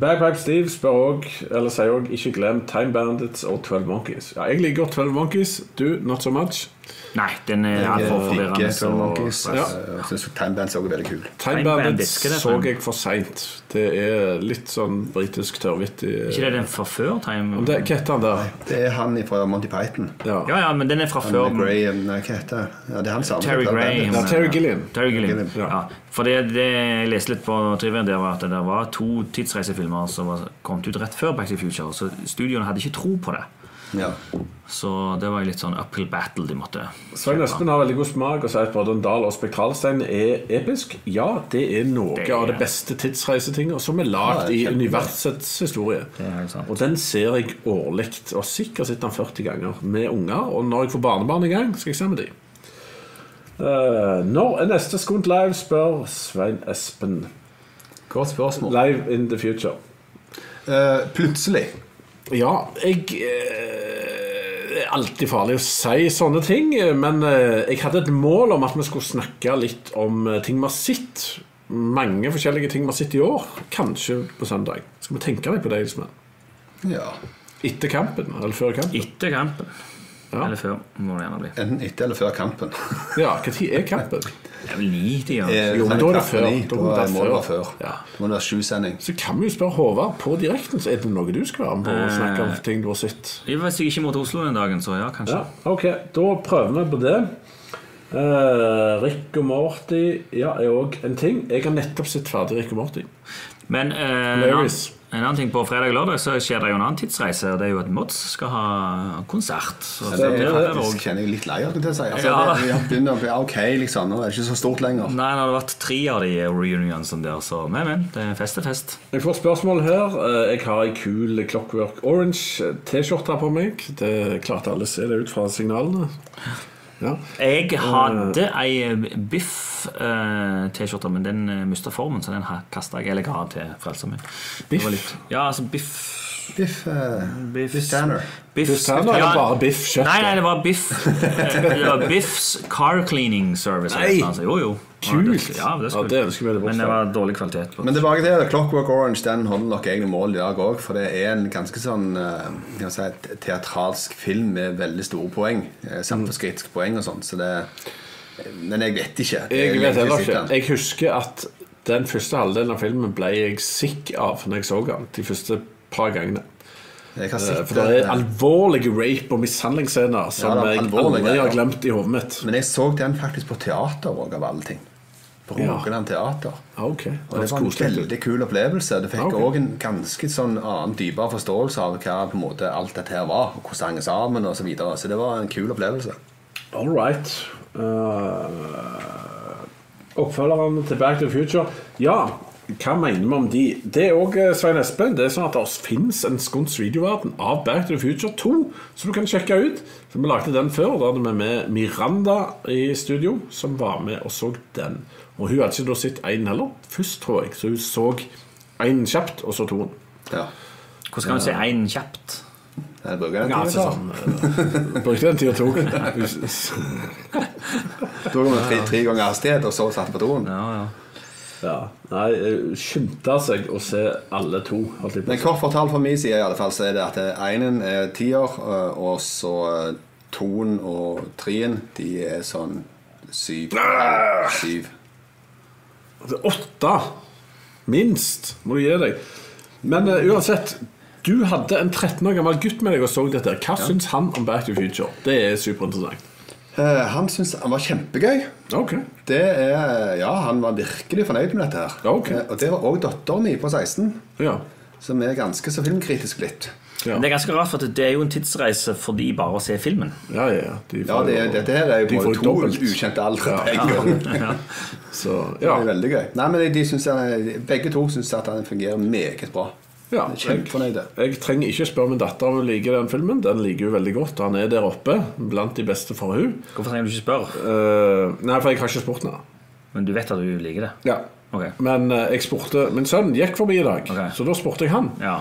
E: Bagpipe Steve spør også, eller sier òg 'ikke glem Time Bandits og 12 Monkeys'. Ja, Jeg liker godt 12 Monkeys. Du, not so much.
F: Nei, den er
G: Jeg
F: altfor
G: fikk
F: forvirrende.
G: Twelve Monkeys.
F: så-
E: Ja.
G: Jeg syns Time Bands også er veldig kul.
F: Time
E: Time Bandits
F: Bandits, hva er det for
E: så
F: en?
E: jeg for seint. Det er litt sånn britisk tørrvittig
F: Ikke det den fra før Time?
E: Om det- Hva heter han der?
G: Det er han fra Monty Python.
E: Ja.
F: Ja, ja, men den er fra
G: Han er
F: før
G: Graham, nei, hva heter han? ja, det? er han samme.
F: Terry Graham.
E: Ja, Terry Gilliam.
F: Terry Gilliam.
E: Ja.
F: Ja. For det, det jeg leste litt på Trivian, der var at det var to tidsreisefilmer som var kommet ut rett før Back to the Future, så studioene hadde ikke tro på det.
G: Ja.
F: Så det var jo litt sånn uphill battle de måtte
E: Svein Espen har veldig god smak og sier at både Dal og Spektralstein er episk. Ja, det er noe
F: Det er-
E: av det beste tidsreisetinga som er
G: Ja,
E: lagd
G: det
E: i
G: er kjempebra.
E: universets historie.
F: Det er helt sant.
E: Og den ser jeg årlig, og sikkert sett den 40 ganger med unger. Og når jeg får barnebarn i gang, skal jeg se med de. Eh, når er neste Skunt Live, spør Svein Espen.
G: Godt spørsmål.
E: Live in the future.
G: Eh, plutselig.
E: Ja, jeg eh, Det er alltid farlig å si sånne ting, men eh, jeg hadde et mål om at vi skulle snakke litt om eh, ting vi har sett. Mange forskjellige ting vi har sett i år. Kanskje på søndag. Skal vi tenke litt på det? Ismail?
G: Ja.
E: Etter kampen, eller før kampen?
F: Etter kampen. Eller før, må det gjerne bli.
G: Enten etter eller før kampen.
E: Ja, Når er kampen?
F: Det er vel ni tider.
G: Eh,
E: Jo, men da er det før.
G: klokka ni,
E: Da må det være
G: må det være
E: før.
G: før.
E: Ja.
G: Det må det være sjusending.
E: Så kan vi jo spørre Håvard på direkten. Så er det noe du skal være med på og snakke om ting du har sett?
F: Hvis jeg ikke må til Oslo den dagen, så ja, kanskje.
E: Eh. Ja, ok, da prøver vi på det. Eh, Rick og Morty ja, er òg en ting. Jeg har nettopp sett ferdig Rick og Morty.
F: Men eh, en, annen,
E: Hilarious.
F: en annen ting på fredag og lørdag så skjer det jo en annen tidsreise. og Det er jo at Mods skal ha konsert. Så
G: Det
F: det
G: er
F: er
G: faktisk,
F: også-
G: kjenner jeg litt lei av det. til å si. Altså,
F: Ja.
G: det, jeg begynner å bli ok, liksom. Nå er det ikke så stort lenger.
F: Nei, det har vært tre av de reunionsene der, så men, men. Det er fest er fest.
E: Jeg får spørsmål her. Eh, Jeg har ei kul Clockwork Orange-T-skjorte på meg. Det klarte alle å se det ut fra signalene. Ja. Mm.
F: Jeg hadde ei biff-T-skjorte, men den eh, mista formen, så den kasta jeg. Eller ga til frelseren min. Det var
E: Biff?
F: litt- Ja, altså biff
G: Biff, eh,
F: Biff.
G: Biff Tanner.
F: Biff,
E: Biff Tanner, eller bare Biff kjøtt?
F: Nei, nei, det var Biff eh, Det var Biffs Car Cleaning Service.
E: Nei!
F: eller noe sånt. Jo, jo.
E: Kult.
F: Ja, det,
E: Ja, det ønsker vi det bort
F: Men det
E: fra.
F: var dårlig kvalitet. på
G: Men tilbake til det, Clockwork Orange den holder nok egentlig mål i dag òg. For det er en ganske sånn eh, kan man si, et teatralsk film med veldig store poeng. eh, Samfunnskritiske poeng og sånn. Så det Men jeg vet ikke. Det er
E: Jeg
G: lenge
E: vet heller
G: siden
E: ikke.
G: jeg
E: Jeg husker at den første halvdelen av filmen ble jeg sikk av når jeg så den. De første par gangene.
G: Jeg har
E: Eh,
G: sett
E: For det
G: det,
E: er alvorlige rape- og mishandlingsscener som
G: det er
E: jeg
G: alvorlige
E: aldri har
G: greier.
E: glemt i hodet mitt.
G: Men jeg så den faktisk på teater òg, av alle ting. På
E: Ja.
G: Rogaland Teater.
E: Ah,
G: Og det
E: Ok, Høres
G: var en
E: koselig ut.
G: veldig kul opplevelse. Du fikk
E: Ah, Ok.
G: òg en ganske sånn annen, dypere forståelse av hva på en måte alt dette her var, og hvordan det hang sammen osv. Så, videre. så det var en kul opplevelse.
E: All right. Eh, oppfølgerne til Back to the Future. Ja, hva mener vi om de? Det er òg Svein Espen. Det er sånn at det fins en skunds videoverden av Back to the Future 2, som du kan sjekke ut. For Vi lagde den før. Da hadde vi med Miranda i studio, som var med og så den. Og hun hadde ikke da sett én heller, først, tror jeg. Så hun så én kjapt, og så toen.
G: Ja.
F: Hvordan kan vi si én kjapt?
G: Jeg bruker den
E: Ja,
G: tiden,
E: altså
G: da.
E: sånn eh, Brukte den tida tok. Hun-
G: Da går vi tre, tre ganger hastighet, og så satt på doen.
F: Ja, ja.
E: Ja, nei, eh, skyndte seg å se alle to. Holdt jeg på. å
G: Men
E: si.
G: kort fortalt fra min side i alle fall, så er det at enen er tier, eh, og så eh, toen og treen, de er sånn syv.
E: Ah!
G: syv.
E: Det er Åtte! Minst, må du gi deg. Men eh, uansett, du hadde en 13 år gammel gutt med deg og så dette. her. Hva syns han om Back to the Future? Det er superinteressant.
G: Eh, Han syntes han var kjempegøy.
E: Ok.
G: Det er, ja, Han var virkelig fornøyd med dette. her.
E: Ja, ok.
G: Eh, Og det var òg datteren min på 16,
E: Ja.
G: som er ganske så filmkritisk litt.
E: Ja,
F: Men det er ganske rart, for at det er jo en tidsreise for de bare å se filmen.
E: ja. ja. De
G: Ja,
E: får
G: det,
E: jo-
G: Dette her er
E: de
G: jo
E: får
G: bare to
E: dobbelt.
G: ukjente aldre.
E: Ja.
G: begge ganger.
E: Så,
G: Det
E: ja.
G: er veldig gøy. Nei, men de, de synes han- begge to syns at han fungerer meget bra.
E: Ja,
G: De er
E: jeg,
G: Kjempefornøyde.
E: jeg trenger ikke spørre min datter om hun liker den filmen. Den liker hun veldig godt. Han er der oppe, blant de beste for hun
F: Hvorfor trenger du ikke spørre?
E: Eh, Nei, for jeg har ikke spurt henne.
F: Men du vet at du liker det?
E: Ja.
F: Ok.
E: Men eh, jeg spurte Min sønn gikk forbi i dag,
F: Ok.
E: så da spurte jeg han.
F: Ja.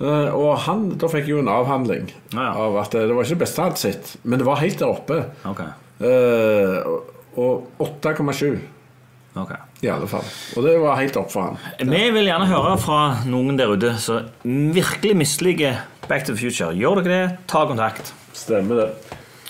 E: Eh, og han, da fikk jeg jo en avhandling
F: Ja, ja.
E: av at eh, det var ikke det beste han hadde sett, men det var helt der oppe.
F: Ok.
E: Eh, og og 8,7
F: ok.
E: i alle fall. Og det var helt opp for han.
F: Eh, Vi vil gjerne høre fra noen der ute som virkelig misliker Back to the Future. Gjør dere det, ta kontakt.
E: Stemmer det.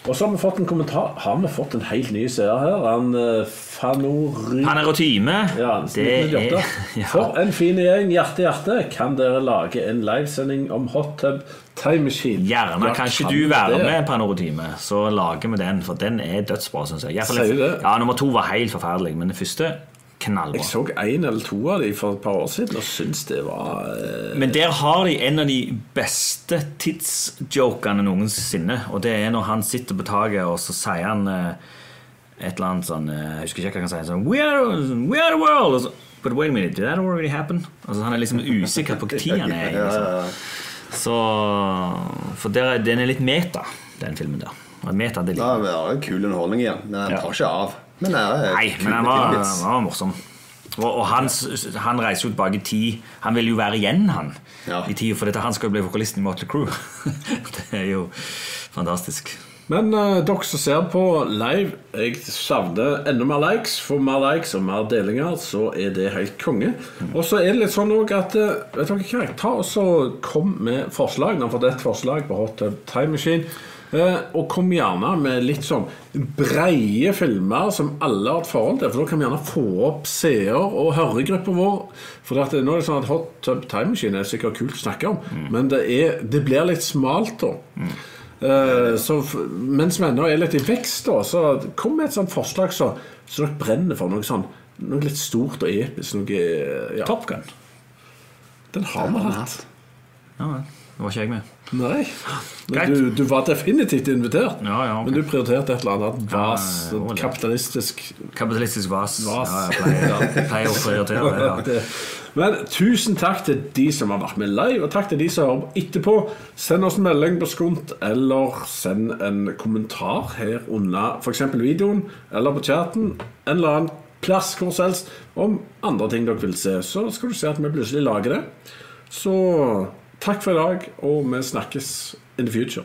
E: Og så har vi fått en kommentar. Har vi fått en helt ny seer her? Han uh, Fanory...
F: Mm. Panerotime.
E: Ja,
F: det
E: 1998.
F: ja.
E: For en fin gjeng, hjerte hjerte. Kan dere lage en livesending om hot tub time machine?
F: Gjerne
E: Ja,
F: kan ikke du være
E: det?
F: med på Panerotime, så lager vi den. For den er dødsbra, syns jeg. I hvert fall-
E: Sier du det?
F: Ja, Nummer to var helt forferdelig, men den første knallbra.
E: Jeg så en eller to av de for et par år siden og syntes det var eh,
F: Men der har de en av de beste tidsjokene noensinne. Og det er når han sitter på taket, og så sier han eh, et eller annet sånn eh, Jeg husker ikke hva han sier. Sånn, we, are, we are the world! Og så, But wait a minute, did that already happen? Altså, han er liksom usikker på hva tid han er i. Liksom. Så, for der, er- den er litt meta, den filmen der. Og meta, det
G: Ja,
F: liker jeg.
G: det var en kul underholdning igjen, men han
F: Ja.
G: tar ikke av. Men det er
F: Nei,
G: kul
F: men han var,
G: kul
F: han
G: vits.
F: var morsom. Og, og han, han reiser jo tilbake i tid. Han vil jo være igjen, han.
G: Ja.
F: I tid, For dette, han skal jo bli vokalisten i Motley Crew. det er jo fantastisk.
E: Men eh, dere som ser på live, jeg savner enda mer likes. Får mer likes og mer delinger, så er det helt konge. Og så er det litt sånn òg at eh, Vet dere hva, ta og så kom med forslag. Nå har fått et forslag på Hot Tub Time Machine. Eh, og kom gjerne med litt sånn breie filmer som alle har et forhold til. For da kan vi gjerne få opp seer- og høregruppa vår. For det at, nå er det sånn at Hot Tub Time Machine er sikkert kult å snakke om, men det, er, det blir litt smalt da. Eh, Så f- mens vi ennå er litt i vekst, da, så kom med et sånt forslag så, så dere brenner for noe sånn Noe litt stort og episk. Noe ja.
F: Top Gun.
E: Den har vi hatt.
F: Ja, ja. det var ikke jeg med.
E: Nei.
F: Greit.
E: Men du, du var definitivt invitert.
F: Ja, ja, ok.
E: Men du prioriterte et eller annet
F: Ja, ja,
E: vas,
F: ja, det var det.
E: kapitalistisk
F: Kapitalistisk vas.
E: Vas.
F: Ja, jeg pleier, jeg pleier å prioritere det. Ja.
E: Det- Men tusen takk til de som har vært med live, og takk til de som hører på etterpå. Send oss en melding på Skunt, eller send en kommentar her under f.eks. videoen, eller på chatten, en eller annen plass hvor som helst, om andre ting dere vil se. Så skal du se at vi plutselig lager det. Så takk for i dag, og vi snakkes in the future.